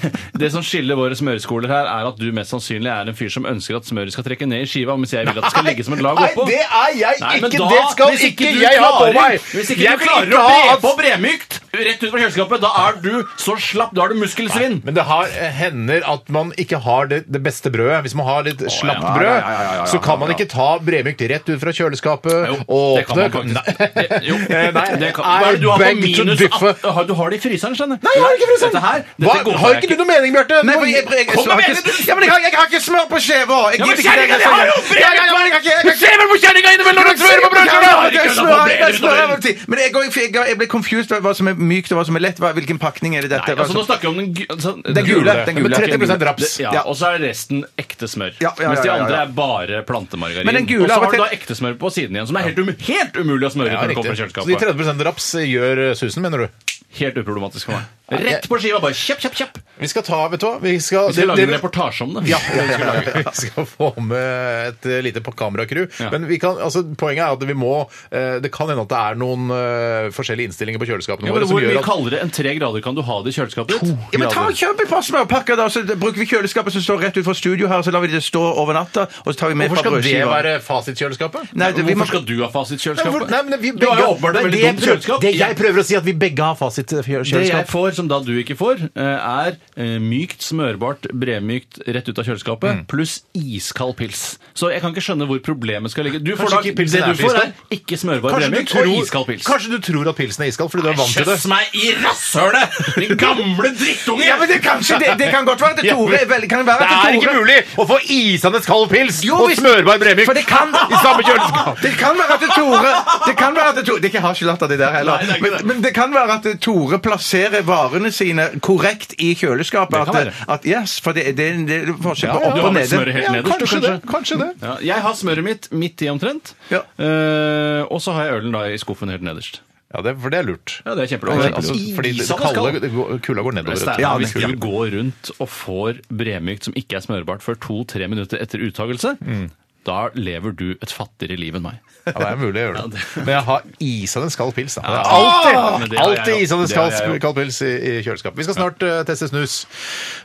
[SPEAKER 4] her. [laughs] Det som skiller våre smøreskoler her, er at du mest sannsynlig er en fyr som ønsker at smøret skal trekke ned i skiva, mens jeg vil at det skal ligge som et lag oppå.
[SPEAKER 2] Nei, det er jeg
[SPEAKER 4] Nei, men
[SPEAKER 2] ikke!
[SPEAKER 4] da-
[SPEAKER 2] det skal
[SPEAKER 4] hvis
[SPEAKER 2] ikke,
[SPEAKER 4] du
[SPEAKER 2] jeg ha på
[SPEAKER 4] klarer-
[SPEAKER 2] meg!
[SPEAKER 4] Hvis ikke
[SPEAKER 2] jeg
[SPEAKER 4] du klarer
[SPEAKER 2] vil
[SPEAKER 4] å
[SPEAKER 2] ikke
[SPEAKER 4] bre
[SPEAKER 2] ha at-
[SPEAKER 4] på bremykt rett ut fra kjøleskapet, da er du så slapp, da er du muskelsvinn.
[SPEAKER 2] Men det har, eh, hender at man ikke har det, det beste brødet. Hvis man har litt slapt
[SPEAKER 4] ja,
[SPEAKER 2] brød,
[SPEAKER 3] ja, ja, ja, ja,
[SPEAKER 2] så kan man
[SPEAKER 3] ja.
[SPEAKER 2] ikke ta bremykt rett ut fra kjøleskapet
[SPEAKER 4] Jo,
[SPEAKER 2] og
[SPEAKER 4] det kan man
[SPEAKER 2] åpne.
[SPEAKER 4] faktisk. Det, jo,
[SPEAKER 2] [laughs] Eh, nei,
[SPEAKER 4] det kan, hva er det du har på
[SPEAKER 2] I beg to
[SPEAKER 4] minus
[SPEAKER 2] differ.
[SPEAKER 4] 18? Har- Du har det i fryseren, skjønner
[SPEAKER 2] Nei, jeg har ikke fryseren!
[SPEAKER 4] Dette her,
[SPEAKER 2] Hva,
[SPEAKER 4] dette godtar
[SPEAKER 2] har
[SPEAKER 4] jeg
[SPEAKER 2] ikke du noe mening, Bjarte?
[SPEAKER 3] Nei,
[SPEAKER 2] Nå-
[SPEAKER 3] for jeg, jeg, jeg,
[SPEAKER 2] Kom
[SPEAKER 3] jeg, jeg,
[SPEAKER 2] med mening, du-
[SPEAKER 3] ja, men jeg, har- jeg har ikke smør på skjeva! Jeg
[SPEAKER 4] Ja, men
[SPEAKER 3] gidder ikke
[SPEAKER 4] kjerringa,
[SPEAKER 3] lenger.
[SPEAKER 4] det har jo
[SPEAKER 3] Ja, ja, ja, men jeg har ikke- jeg har ikke-
[SPEAKER 4] Se vel på kjerringa innimellom når du smører på brødskiva!
[SPEAKER 3] Ja, jeg smører, jeg smører over tid. Men jeg, går- jeg, jeg ble confused over hva som er mykt og hva som er lett. Hva, hvilken pakning er det dette?
[SPEAKER 4] Nei,
[SPEAKER 3] Hva
[SPEAKER 4] altså Nå
[SPEAKER 3] som-
[SPEAKER 4] snakker vi om den, gu- altså,
[SPEAKER 3] Den gule. Den gule.
[SPEAKER 4] Men
[SPEAKER 2] 30% raps.
[SPEAKER 4] Det- Ja,
[SPEAKER 3] Ja.
[SPEAKER 4] Og så er resten ekte smør.
[SPEAKER 3] Ja, ja, ja,
[SPEAKER 4] Mens de
[SPEAKER 3] ja, ja.
[SPEAKER 4] andre er bare plantemargarin.
[SPEAKER 3] Men den gule
[SPEAKER 4] og så
[SPEAKER 3] av og
[SPEAKER 4] har du
[SPEAKER 3] til-
[SPEAKER 4] da ekte smør på siden igjen, som er helt, um helt umulig å smøre
[SPEAKER 2] Ja,
[SPEAKER 4] når du kommer
[SPEAKER 2] riktig.
[SPEAKER 4] fra
[SPEAKER 2] Så de
[SPEAKER 4] kjøleskapet.
[SPEAKER 2] 30 raps gjør eh, susen, mener du?
[SPEAKER 4] Helt uproblematisk for meg. Rett på skiva, bare kjapp, kjapp, kjapp.
[SPEAKER 2] Vi skal ta, vet du hva Vi skal,
[SPEAKER 4] Vi skal
[SPEAKER 2] det-
[SPEAKER 4] lage
[SPEAKER 2] det-
[SPEAKER 4] en reportasje om det.
[SPEAKER 2] [laughs] Ja, vi skal få med et eh, lite på kameracrew.
[SPEAKER 4] Ja.
[SPEAKER 2] Men vi kan, altså, poenget er at vi må eh, Det kan hende at det er noen eh, forskjellige innstillinger på kjøleskapene
[SPEAKER 4] Ja, men
[SPEAKER 2] våre
[SPEAKER 4] hvor
[SPEAKER 2] som gjør
[SPEAKER 4] mye
[SPEAKER 2] at
[SPEAKER 4] kaldere enn tre grader kan du ha det i kjøleskapet ditt?
[SPEAKER 3] Ja, men ta og Kjøp et par smørpakker, da, så bruker vi kjøleskapet som står rett utenfor studio her. Så lar vi det stå over natta, og så tar vi med et
[SPEAKER 2] Hvorfor
[SPEAKER 3] par
[SPEAKER 2] skal det
[SPEAKER 3] brødskiver.
[SPEAKER 2] være fasitkjøleskapet?
[SPEAKER 3] Nei, det, vi må...
[SPEAKER 4] Hvorfor skal du ha
[SPEAKER 2] Nei, hvor-
[SPEAKER 4] fasitkjøleskapet?
[SPEAKER 2] nei, men vi
[SPEAKER 4] Du har
[SPEAKER 2] begge-
[SPEAKER 4] jo åpenbart
[SPEAKER 2] Nei,
[SPEAKER 4] et
[SPEAKER 2] det
[SPEAKER 4] veldig
[SPEAKER 2] jeg
[SPEAKER 4] dumt
[SPEAKER 2] prøver-
[SPEAKER 4] kjøleskap.
[SPEAKER 2] Det jeg prøver å si, er at vi begge har
[SPEAKER 4] Det jeg
[SPEAKER 2] fasitkjøleskap.
[SPEAKER 4] får som da du ikke får, eh, er eh, mykt, smørbart, bremykt rett ut av kjøleskapet,
[SPEAKER 2] Mm.
[SPEAKER 4] pluss iskald pils. Så jeg kan ikke skjønne hvor problemet skal ligge. Du får da,
[SPEAKER 2] ikke pilsen
[SPEAKER 4] det
[SPEAKER 2] er
[SPEAKER 4] du får,
[SPEAKER 2] iskald?
[SPEAKER 4] er ikke smørbar
[SPEAKER 2] Kanskje du,
[SPEAKER 4] bremykt
[SPEAKER 2] tror,
[SPEAKER 4] og iskald pils.
[SPEAKER 2] kanskje du tror at pilsen er iskald fordi du er vant til det.
[SPEAKER 4] meg i rasshølet! Din gamle drittunge!
[SPEAKER 3] Ja, men det, kanskje, det, det kan godt være at
[SPEAKER 2] Ja,
[SPEAKER 3] Tore
[SPEAKER 2] men-
[SPEAKER 3] er veldig- kan være at
[SPEAKER 2] Det er
[SPEAKER 3] Tore-
[SPEAKER 2] ikke mulig å få isende kald pils
[SPEAKER 3] Jo,
[SPEAKER 2] og
[SPEAKER 3] hvis-
[SPEAKER 2] smørbar bremyk
[SPEAKER 3] For det kan-
[SPEAKER 2] i samme kjøleskap!
[SPEAKER 3] Det kan være at Tore Det kan være at Tore, det er ikke hasjelatter, det der heller.
[SPEAKER 2] Nei, det er ikke det.
[SPEAKER 3] men, men det kan være at Tore plasserer varene sine korrekt i kjøleskapet.
[SPEAKER 2] Det kan
[SPEAKER 3] At, at, yes, for det, det, er en- det er forskjell
[SPEAKER 4] Ja,
[SPEAKER 3] på
[SPEAKER 4] du
[SPEAKER 3] opp
[SPEAKER 4] har
[SPEAKER 3] og
[SPEAKER 4] vel smøret
[SPEAKER 3] nede.
[SPEAKER 4] helt nederst, du,
[SPEAKER 2] kanskje det. Kanskje det.
[SPEAKER 4] Ja, jeg har smøret mitt midt i omtrent.
[SPEAKER 3] Ja.
[SPEAKER 4] Eh, og så har jeg ølen da i skuffen helt nederst.
[SPEAKER 2] Ja, det, for det er lurt.
[SPEAKER 4] Ja, det er kjempelov.
[SPEAKER 2] Men, altså, fordi det kalde det går- kulda går nedover. vet du.
[SPEAKER 4] Steinar,
[SPEAKER 3] Ja,
[SPEAKER 4] hvis
[SPEAKER 3] men-
[SPEAKER 4] du går rundt og får bremykt som ikke er smørbart før to-tre minutter etter uttagelse,
[SPEAKER 3] Mm.
[SPEAKER 4] da lever du et fattigere liv enn meg.
[SPEAKER 2] Ja, det er mulig å gjøre det. Men jeg har isende kald pils. Da. Det er
[SPEAKER 4] Ja, Ah! men
[SPEAKER 2] alltid
[SPEAKER 4] det har jeg
[SPEAKER 2] alltid
[SPEAKER 4] jo.
[SPEAKER 2] isende
[SPEAKER 4] Det har
[SPEAKER 2] kald,
[SPEAKER 4] jeg jo.
[SPEAKER 2] kald pils i, i kjøleskapet. Vi skal snart eh, teste snus.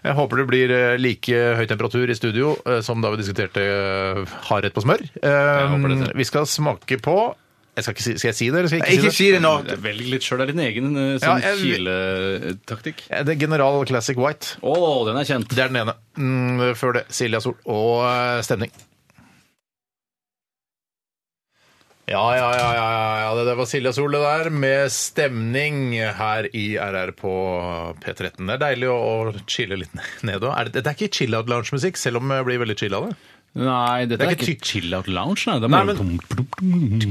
[SPEAKER 2] Jeg håper det blir eh, like høy temperatur i studio eh, som da vi diskuterte uh, hardrett på smør. Eh,
[SPEAKER 4] håper det, dere.
[SPEAKER 2] vi skal smake på jeg skal, ikke si, skal jeg si det, eller skal jeg ikke,
[SPEAKER 3] Ikke
[SPEAKER 2] si det?
[SPEAKER 3] si det nå.
[SPEAKER 4] Velg litt sjøl. Det er din egen eh,
[SPEAKER 2] Ja,
[SPEAKER 4] sånn
[SPEAKER 2] jeg-
[SPEAKER 4] kiletaktikk.
[SPEAKER 2] Eh, Det er General Classic White.
[SPEAKER 4] Å, den er kjent.
[SPEAKER 2] Det er den ene. Mm, før det Silja Sol og eh, stemning. Ja, ja, ja, ja, ja, ja. Det, det var Silja Sol, det der, med stemning her i RR på P13. Det er deilig å, å chille litt ned òg. Er det, det er ikke chill-out lounge-musikk, selv om jeg blir veldig chill av det?
[SPEAKER 4] Nei, dette
[SPEAKER 2] Det er
[SPEAKER 4] er,
[SPEAKER 2] ikke
[SPEAKER 4] ikke chill-out lounge, nei. Det er
[SPEAKER 2] Nei,
[SPEAKER 4] bare-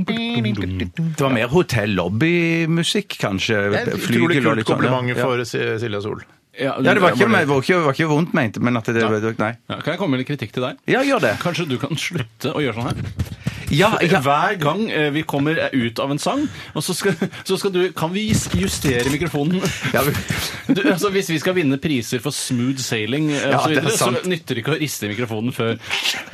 [SPEAKER 3] Det var mer hotell-lobbymusikk, kanskje.
[SPEAKER 2] Utrolig
[SPEAKER 3] Flygel og
[SPEAKER 2] kult
[SPEAKER 3] litt sånn, ja.
[SPEAKER 2] kompliment
[SPEAKER 3] Ja.
[SPEAKER 2] for Si- Silja Sol.
[SPEAKER 3] Ja, det var ikke, det var ikke, det var ikke vondt ment, men at det Nei.
[SPEAKER 4] Ja, Kan jeg komme med litt kritikk til deg?
[SPEAKER 3] Ja, gjør det.
[SPEAKER 4] Kanskje du kan slutte å gjøre sånn her?
[SPEAKER 3] Ja, ja.
[SPEAKER 4] Hver gang eh, vi kommer ut av en sang, og så skal, så skal du Kan vi jus- justere mikrofonen?
[SPEAKER 3] Ja, vi-
[SPEAKER 4] Du, altså, hvis vi skal vinne priser for smooth sailing, eh,
[SPEAKER 3] Ja,
[SPEAKER 4] og så,
[SPEAKER 3] det er
[SPEAKER 4] videre, så
[SPEAKER 3] sant.
[SPEAKER 4] nytter det ikke å riste mikrofonen før.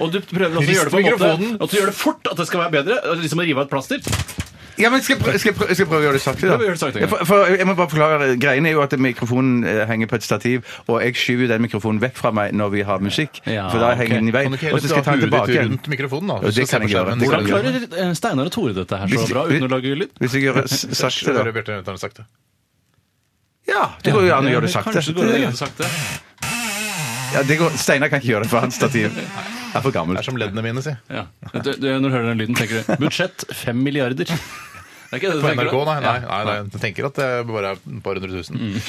[SPEAKER 4] Og du prøver også å
[SPEAKER 2] Rist
[SPEAKER 4] gjøre det på en
[SPEAKER 2] mikrofonen.
[SPEAKER 4] måte At du gjør det fort, at det skal være bedre. og Liksom å rive av et plaster.
[SPEAKER 3] Ja, men skal jeg prøve, skal jeg prøve, skal jeg prøve å gjøre det sakte, da?
[SPEAKER 4] Prøv å gjøre det sakte, ja.
[SPEAKER 3] Ja, for, for jeg må bare forklare, Greien er jo at mikrofonen eh, henger på et stativ, og jeg skyver jo den mikrofonen vekk fra meg når vi har musikk.
[SPEAKER 4] Ja,
[SPEAKER 3] for da
[SPEAKER 4] ok.
[SPEAKER 3] henger den i
[SPEAKER 2] Kan
[SPEAKER 3] veien.
[SPEAKER 2] du ikke
[SPEAKER 3] Og så skal jeg ta den
[SPEAKER 2] heller ta huet
[SPEAKER 3] tilbake
[SPEAKER 2] ditt
[SPEAKER 3] igjen.
[SPEAKER 2] rundt mikrofonen, da?
[SPEAKER 3] Jo, det
[SPEAKER 2] Så
[SPEAKER 3] kan jeg gjøre.
[SPEAKER 2] se på
[SPEAKER 3] Hvordan
[SPEAKER 4] Hvordan
[SPEAKER 2] skjermen. Det kan du gjøre.
[SPEAKER 4] klarer eh, Steinar og Tore dette her så
[SPEAKER 3] Hvis-
[SPEAKER 4] bra uten å lage lyd?
[SPEAKER 3] Hvis jeg gjør det s- sakte,
[SPEAKER 2] Hører
[SPEAKER 3] da.
[SPEAKER 2] Bjarte Nøytland sakte.
[SPEAKER 3] Ja, det går jo an å gjøre det sakte.
[SPEAKER 4] Kanskje det går an å gjøre det sakte.
[SPEAKER 3] Ja, det går, Steinar kan ikke gjøre det, for hans stativ er for
[SPEAKER 2] Det er
[SPEAKER 3] gammelt.
[SPEAKER 2] som leddene mine, si.
[SPEAKER 4] Ja. Du, du, når du hører den lyden, tenker du budsjett 5 milliarder. Det er ikke det du
[SPEAKER 2] På
[SPEAKER 4] tenker,
[SPEAKER 2] NRK,
[SPEAKER 4] da?
[SPEAKER 2] nei.
[SPEAKER 4] Ja.
[SPEAKER 2] nei,
[SPEAKER 4] Mm.
[SPEAKER 2] nei, nei. Jeg tenker at det bare er et par hundre tusen.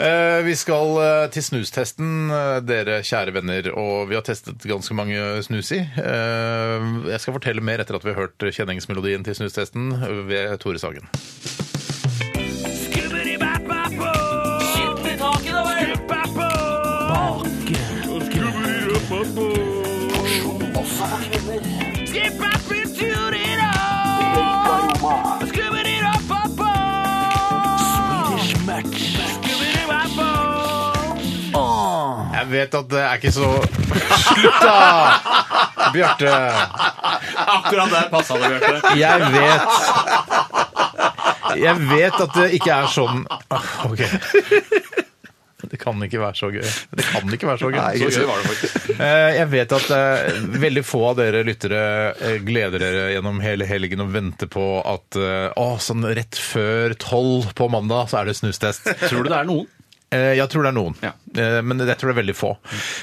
[SPEAKER 2] Eh, vi skal eh, til snustesten, eh, dere kjære venner. Og vi har testet ganske mange snus i. Eh, jeg skal fortelle mer etter at vi har hørt kjenningsmelodien til snustesten ved Tore Sagen. Jeg vet at det er ikke så [laughs] Slutt, da! Bjarte.
[SPEAKER 4] Akkurat der passa det,
[SPEAKER 2] [laughs]
[SPEAKER 4] Bjarte.
[SPEAKER 2] Jeg vet Jeg vet at det ikke er sånn Ah, OK. Det kan ikke være så gøy. Det kan ikke være så gøy. så gøy var det faktisk. Jeg vet at eh, veldig få av dere lyttere eh, gleder dere gjennom hele helgen og venter på at eh, Å, sånn rett før tolv på mandag, så er det snustest.
[SPEAKER 4] Tror du det er noen?
[SPEAKER 2] Eh, Jeg tror det er noen,
[SPEAKER 4] Ja.
[SPEAKER 2] Eh, men jeg tror det er veldig få.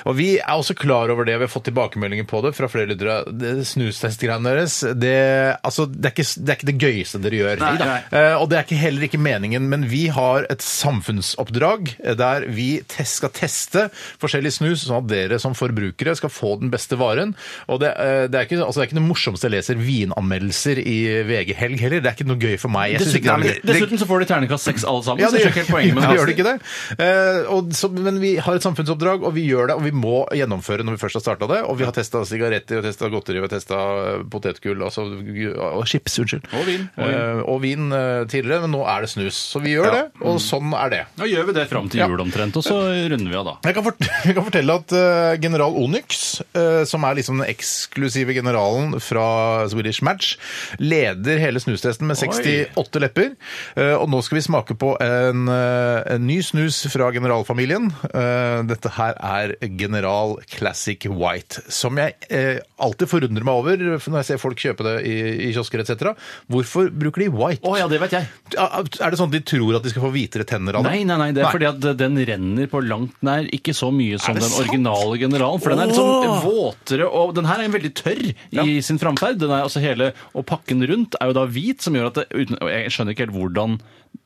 [SPEAKER 2] Og Vi er også klar over det, vi har fått tilbakemeldinger på det fra flere lyttere. Det Snustestgreiene deres, det, altså, det, er ikke, det er ikke det gøyeste dere gjør.
[SPEAKER 4] Nei, nei.
[SPEAKER 2] Eh, Og det er ikke heller ikke meningen, men vi har et samfunnsoppdrag eh, der vi tes- skal teste forskjellig snus, sånn at dere som forbrukere skal få den beste varen. Og det, eh, det, er, ikke, altså, det er ikke det morsomste jeg leser vinanmeldelser i VG Helg heller. Det er ikke noe gøy for meg. Jeg synes ikke det er noe gøy.
[SPEAKER 4] Dessuten så får de terningkast seks alle sammen. så
[SPEAKER 2] det
[SPEAKER 4] jeg skjønner ikke helt poenget med
[SPEAKER 2] Ja, [laughs] gjør det ikke det? Eh, og så, men vi har et samfunnsoppdrag, og vi gjør det, og vi må gjennomføre når vi først har starta det. Og vi har testa sigaretter, og testa godteri, og testa potetgull, altså og chips, unnskyld.
[SPEAKER 4] Og vin, og
[SPEAKER 2] Og
[SPEAKER 4] vin.
[SPEAKER 2] vin, og vin eh, tidligere, men nå er det snus. Så vi gjør det, og sånn er det.
[SPEAKER 4] Da gjør vi det fram til jul omtrent, og så runder vi av da.
[SPEAKER 2] Jeg kan, fort [laughs] jeg kan fortelle at eh, general Onyx, eh, som er liksom den eksklusive generalen fra Swedish Match, leder hele snustesten med 68 lepper. Eh, og nå skal vi smake på en, eh, en ny snus fra generalfamilien. Eh, dette her er General Classic White, som jeg eh, alltid forundrer meg over når jeg ser folk kjøpe det i, i kiosker etc. Hvorfor bruker de white?
[SPEAKER 4] Å ja, det vet jeg.
[SPEAKER 2] Er det sånn at de tror at de skal få hvitere tenner av det?
[SPEAKER 4] Nei, nei, nei, det er fordi at den renner på langt nær ikke så mye som
[SPEAKER 2] det
[SPEAKER 4] den
[SPEAKER 2] sant?
[SPEAKER 4] originale generalen. For den er litt sånn våtere, og den her er veldig tørr i sin framferd. Den er altså hele, og pakken rundt er jo da hvit, som gjør at det, uten, og Jeg skjønner ikke helt hvordan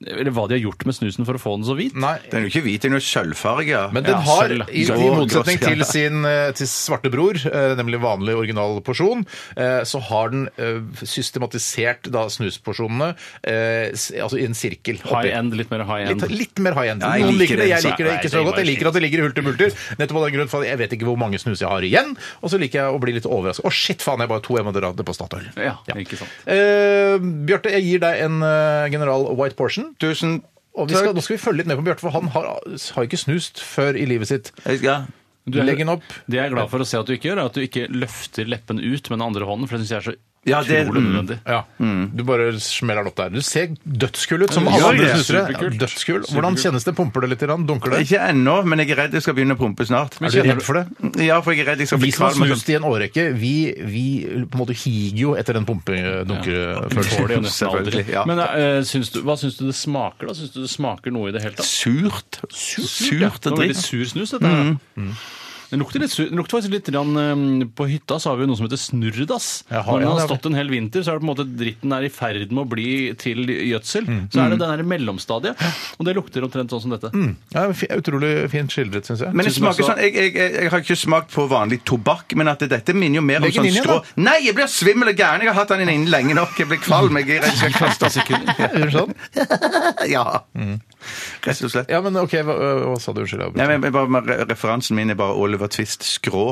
[SPEAKER 4] Eller hva de har gjort med snusen for å få den så hvit.
[SPEAKER 2] Nei.
[SPEAKER 3] Den er jo ikke hvit, den er jo sølvfarge.
[SPEAKER 2] Men den
[SPEAKER 4] Ja,
[SPEAKER 2] har,
[SPEAKER 4] sølv, da.
[SPEAKER 2] i,
[SPEAKER 3] Sølv.
[SPEAKER 2] i motsetning
[SPEAKER 3] Gross, ja.
[SPEAKER 2] til sin eh, til svarte bror, eh, nemlig vanlig original porsjon, eh, så har den eh, systematisert da snusporsjonene eh, s- altså i en sirkel. oppi.
[SPEAKER 4] High end, litt mer high end.
[SPEAKER 2] Litt, litt mer high end.
[SPEAKER 3] Ja, jeg
[SPEAKER 2] Noen
[SPEAKER 3] liker
[SPEAKER 2] liker det,
[SPEAKER 3] det,
[SPEAKER 2] jeg
[SPEAKER 3] så-
[SPEAKER 2] liker det
[SPEAKER 4] Nei,
[SPEAKER 2] ikke
[SPEAKER 4] det
[SPEAKER 2] så
[SPEAKER 4] er
[SPEAKER 2] godt. Jeg
[SPEAKER 4] bare
[SPEAKER 2] liker at det ligger i hulter bulter. Nettopp av den grunn for at jeg vet ikke hvor mange snus jeg har igjen. Og så liker jeg å bli litt overrasket. Å shit, faen, jeg bare to emaderater på Statoil.
[SPEAKER 4] Ja, ikke sant.
[SPEAKER 2] Eh, Bjarte, jeg gir deg en eh, General White Portion.
[SPEAKER 3] Tusen
[SPEAKER 2] Og vi skal, nå skal vi følge litt med på Bjarte, for han har, har ikke snust før i livet sitt.
[SPEAKER 3] Jeg skal-
[SPEAKER 4] Du er-
[SPEAKER 2] Legg den opp.
[SPEAKER 4] Det jeg er glad for å se at du ikke gjør, er at du ikke løfter leppen ut med den andre hånden, for det syns jeg er så
[SPEAKER 3] Ja, det-
[SPEAKER 4] utrolig
[SPEAKER 3] mm.
[SPEAKER 4] nødvendig.
[SPEAKER 2] Ja. Du bare smeller den opp der. Du ser dødskul ut, som
[SPEAKER 4] Ja,
[SPEAKER 2] alle andre
[SPEAKER 4] det er
[SPEAKER 2] snusere. Ja,
[SPEAKER 4] superkult.
[SPEAKER 2] dødskul. Hvordan kjennes det? Pumper det litt? i rand? Dunker det?
[SPEAKER 3] Ikke ennå, men jeg er redd jeg skal begynne å pumpe snart.
[SPEAKER 2] Er du redd for det?
[SPEAKER 3] Ja, for jeg er redd jeg skal bli
[SPEAKER 2] Vi som har
[SPEAKER 3] kvalm. og sånn.
[SPEAKER 2] snust i en årrekke, vi, vi på en måte higer jo etter den
[SPEAKER 4] Får det jo
[SPEAKER 2] [laughs] pumpe-dunkefølelsen.
[SPEAKER 4] nesten aldri.
[SPEAKER 3] Selvfølgelig, ja.
[SPEAKER 4] Men eh, syns du, hva syns du det smaker, da? Syns du det smaker noe i det hele tatt?
[SPEAKER 3] Surt.
[SPEAKER 4] ja.
[SPEAKER 3] Surt
[SPEAKER 4] Det var
[SPEAKER 3] dritt.
[SPEAKER 4] veldig sur snus, dette. her. Den lukter, litt, sur- den lukter faktisk litt grann, eh, På hytta så har vi jo noe som heter snurredass. Når
[SPEAKER 2] Jaha,
[SPEAKER 4] den
[SPEAKER 2] ja,
[SPEAKER 4] har
[SPEAKER 2] det har vi.
[SPEAKER 4] stått en hel vinter, så er det på en måte dritten er i ferd med å bli til gjødsel. Så er det den her mellomstadiet, og det lukter omtrent sånn som dette.
[SPEAKER 2] [laughs] Mm. Ja, fi- utrolig fint skildret, syns jeg.
[SPEAKER 3] Men det
[SPEAKER 4] Tusen takk
[SPEAKER 3] smaker
[SPEAKER 4] skal
[SPEAKER 3] sånn, jeg, jeg, jeg, jeg har ikke smakt på vanlig tobakk, men at det- dette minner jo mer om
[SPEAKER 2] Legg den
[SPEAKER 3] sånn
[SPEAKER 2] inn igjen,
[SPEAKER 3] strå.
[SPEAKER 2] da.
[SPEAKER 3] Nei, jeg blir svimmel og gæren! Jeg har hatt den inne lenge nok. Jeg blir kvalm. Jeg er redd jeg skal kaste
[SPEAKER 2] [laughs] Ja, gjør du sånn?
[SPEAKER 3] [laughs]
[SPEAKER 2] Mm.
[SPEAKER 3] Ja. Rett og slett.
[SPEAKER 2] Ja, men OK, hva, hva sa du? Unnskyld. jeg
[SPEAKER 3] Nei,
[SPEAKER 2] avbrøt.
[SPEAKER 3] men, bare, bare- referansen min er bare Oliver Twist skrå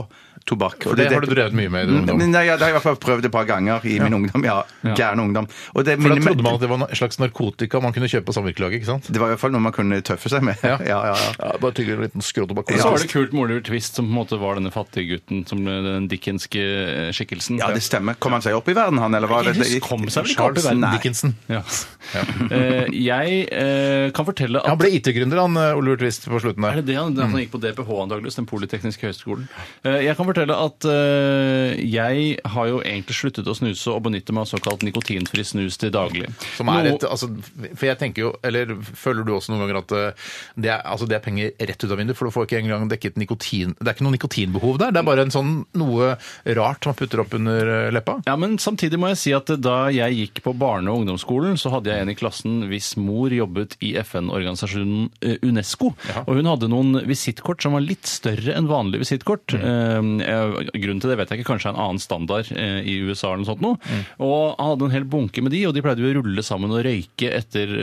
[SPEAKER 3] tobakk. Og Mm,
[SPEAKER 2] det har du drevet mye med i din ungdom.
[SPEAKER 3] Nei, ja, det har jeg i hvert fall prøvd et par ganger i min ungdom. ja. Gæren ungdom. Og det
[SPEAKER 2] For da
[SPEAKER 3] minner meg-
[SPEAKER 2] trodde man at det var en slags narkotika man kunne kjøpe på samvirkelaget, ikke sant?
[SPEAKER 3] Det var i hvert fall noe man kunne tøffe seg med. Ja, [laughs] ja, ja.
[SPEAKER 2] Ja, bare tygge en liten skråtobakk.
[SPEAKER 4] Så var det kult med Oliver Twist, som på en måte var denne fattige gutten, som ble den dickenske eh, skikkelsen.
[SPEAKER 3] Ja, det stemmer. Kom han seg opp i verden, han, eller var det
[SPEAKER 4] Jeg husker- kom seg vel ikke opp i
[SPEAKER 2] Charles
[SPEAKER 4] verden.
[SPEAKER 2] Dickinson.
[SPEAKER 4] Ja. [laughs] Eh, jeg eh, kan fortelle at
[SPEAKER 2] Han ble IT-gründer, han eh, Oliver Twist, på slutten
[SPEAKER 4] Er
[SPEAKER 2] der.
[SPEAKER 4] det det han,
[SPEAKER 2] Mm.
[SPEAKER 4] han gikk på DPH antakeligvis, den polytekniske høgskolen? Eh, Jeg kan fortelle at eh, jeg har jo egentlig sluttet å snuse og benytte meg av såkalt nikotinfri snus til daglig.
[SPEAKER 2] Som er
[SPEAKER 4] Nå-
[SPEAKER 2] et, altså, for jeg tenker jo, eller Føler du også noen ganger at eh, det er, altså det er penger rett ut av vinduet? For du får ikke engang dekket nikotin Det er ikke noe nikotinbehov der, det er bare en sånn noe rart man putter opp under eh, leppa.
[SPEAKER 4] Ja, men samtidig må jeg si at da jeg gikk på barne- og ungdomsskolen, så hadde jeg en i klassen hvis mor jobbet i FN-organisasjonen eh, UNESCO. Og hun hadde noen visittkort som var litt større enn vanlige visittkort.
[SPEAKER 2] Mm.
[SPEAKER 4] Eh, eh, Grunnen til det vet jeg ikke, kanskje det er en annen standard eh, i USA eller noe sånt noe.
[SPEAKER 2] Mm.
[SPEAKER 4] Og han hadde en hel bunke med de, og de pleide jo å rulle sammen og røyke etter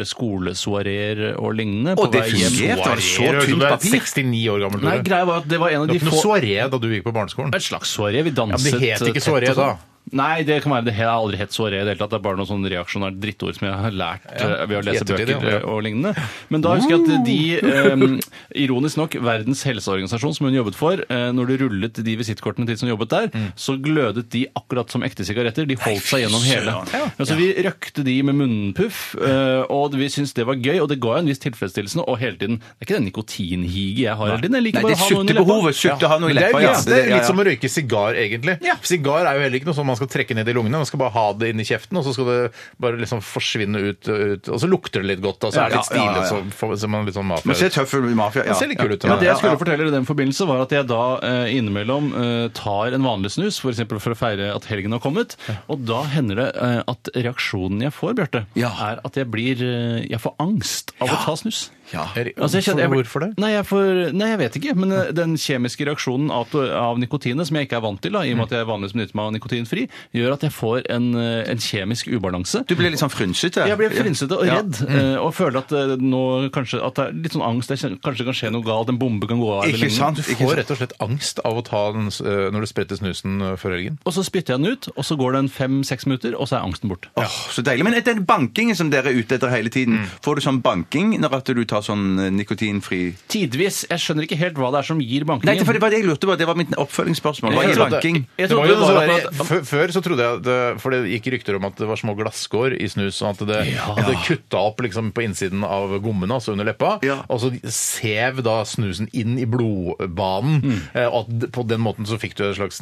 [SPEAKER 4] skolesoareer og lignende. på
[SPEAKER 3] Og det
[SPEAKER 4] vei hjem.
[SPEAKER 3] fungerte, var det så
[SPEAKER 2] Soaré,
[SPEAKER 3] tynt
[SPEAKER 2] du er
[SPEAKER 3] papir?
[SPEAKER 2] 69 år gammel,
[SPEAKER 4] Nei,
[SPEAKER 2] Tore.
[SPEAKER 4] greia var at det var en av
[SPEAKER 2] Det var
[SPEAKER 4] de
[SPEAKER 2] ikke noe
[SPEAKER 4] få
[SPEAKER 2] soaré da du gikk på barneskolen.
[SPEAKER 4] et slags soaré. Vi danset
[SPEAKER 2] Mm. Ja, men det het ikke
[SPEAKER 4] tett
[SPEAKER 2] soaré
[SPEAKER 4] og sånn.
[SPEAKER 2] da.
[SPEAKER 4] Nei, det kan være det har aldri hett soaré i det hele tatt. Det er bare noen sånne reaksjonære drittord som jeg har lært eh, ved å
[SPEAKER 2] i
[SPEAKER 4] lese
[SPEAKER 2] ettertid,
[SPEAKER 4] bøker
[SPEAKER 2] ja. Uh.
[SPEAKER 4] eh, og lignende. Men da husker jeg at de, eh, ironisk nok, Verdens helseorganisasjon som hun jobbet for, eh, når du rullet de visittkortene til de som jobbet der,
[SPEAKER 2] Mm.
[SPEAKER 4] så glødet de akkurat som ekte sigaretter. De holdt seg gjennom hele. Altså, vi røkte de med munnpuff, eh, og vi syntes det var gøy, og det ga en viss tilfredsstillelse, og hele tiden Det er ikke den nikotinhiget jeg har hele tiden. Jeg
[SPEAKER 3] Nei,
[SPEAKER 4] liker bare
[SPEAKER 3] det
[SPEAKER 4] å
[SPEAKER 3] er
[SPEAKER 4] ha noe under leppa.
[SPEAKER 3] suttebehovet. Sutte, ha noe i
[SPEAKER 2] Men
[SPEAKER 3] leppa,
[SPEAKER 2] Det er,
[SPEAKER 3] ja.
[SPEAKER 2] jo litt, det
[SPEAKER 3] ja,
[SPEAKER 2] er
[SPEAKER 3] ja.
[SPEAKER 2] litt som å røyke sigar, egentlig. Sigar er jo heller ikke noe som man skal trekke ned i lungene. Man skal bare ha det inn i kjeften, og så skal det bare liksom forsvinne ut, ut og så lukter det litt godt. Og så er det litt
[SPEAKER 3] Ja, ja,
[SPEAKER 2] stilig,
[SPEAKER 3] ja, ja.
[SPEAKER 2] så får- så man litt sånn
[SPEAKER 3] Men se
[SPEAKER 2] matflau.
[SPEAKER 3] tøffel mafia. Ja.
[SPEAKER 2] Han ser litt kul ut,
[SPEAKER 3] Ja,
[SPEAKER 4] Men det
[SPEAKER 3] ja,
[SPEAKER 4] jeg
[SPEAKER 3] ja.
[SPEAKER 4] skulle fortelle i den forbindelse var at jeg da eh, innimellom eh, tar en vanlig snus, f.eks. eksempel for å feire at helgen har kommet, og da hender det eh, at reaksjonen jeg får, Bjarte,
[SPEAKER 3] Ja.
[SPEAKER 4] er at jeg blir eh, Jeg får angst av å ta snus.
[SPEAKER 2] Er-
[SPEAKER 4] Altså, jeg kjenner- jeg-
[SPEAKER 2] Hvorfor det?
[SPEAKER 4] Nei jeg, får, nei, jeg vet ikke. Men eh, den kjemiske reaksjonen av, av nikotinet, som jeg ikke er vant til, da, i og med at jeg vanligvis benytter meg av nikotinfri, gjør at jeg får en, eh, en kjemisk ubalanse.
[SPEAKER 3] Du blir litt sånn frynsete.
[SPEAKER 4] Jeg blir frynsete og
[SPEAKER 3] Ja. Mm.
[SPEAKER 4] redd, eh, og føler at eh, nå kanskje at det er litt sånn angst. Jeg kjenner, kanskje det kan skje noe galt, en bombe kan gå av. eller
[SPEAKER 3] Ikke
[SPEAKER 4] lignende.
[SPEAKER 3] sant?
[SPEAKER 2] Du
[SPEAKER 3] Ikke
[SPEAKER 2] får
[SPEAKER 3] sant?
[SPEAKER 2] rett og slett angst av å ta den s- eh, når du spretter snusen eh, før helgen.
[SPEAKER 4] Og så spytter jeg den ut, og så går den fem-seks minutter, og så er angsten borte.
[SPEAKER 3] Åh, så deilig. Men den bankingen som dere er ute etter hele tiden, får du sånn banking når at du tar ta sånn eh, nikotinfri
[SPEAKER 4] Tidvis. Jeg skjønner ikke helt hva det er som gir bankingen.
[SPEAKER 3] Nei, for det var det jeg lurte på. Det var mitt oppfølgingsspørsmål. Hva
[SPEAKER 2] Jeg
[SPEAKER 3] er
[SPEAKER 2] trodde-
[SPEAKER 3] banking?
[SPEAKER 4] Jeg
[SPEAKER 2] Det var
[SPEAKER 4] trodde
[SPEAKER 2] jo
[SPEAKER 4] det var
[SPEAKER 2] bare
[SPEAKER 4] at-
[SPEAKER 2] at- Før- Før så trodde jeg at det, For det gikk rykter om at det var små glasskår i snus, og at det, at det kutta opp liksom på innsiden av gommene, altså under leppa,
[SPEAKER 3] Ja.
[SPEAKER 2] og så sev da snusen inn i blodbanen, eh, og at d- på den måten så fikk du et slags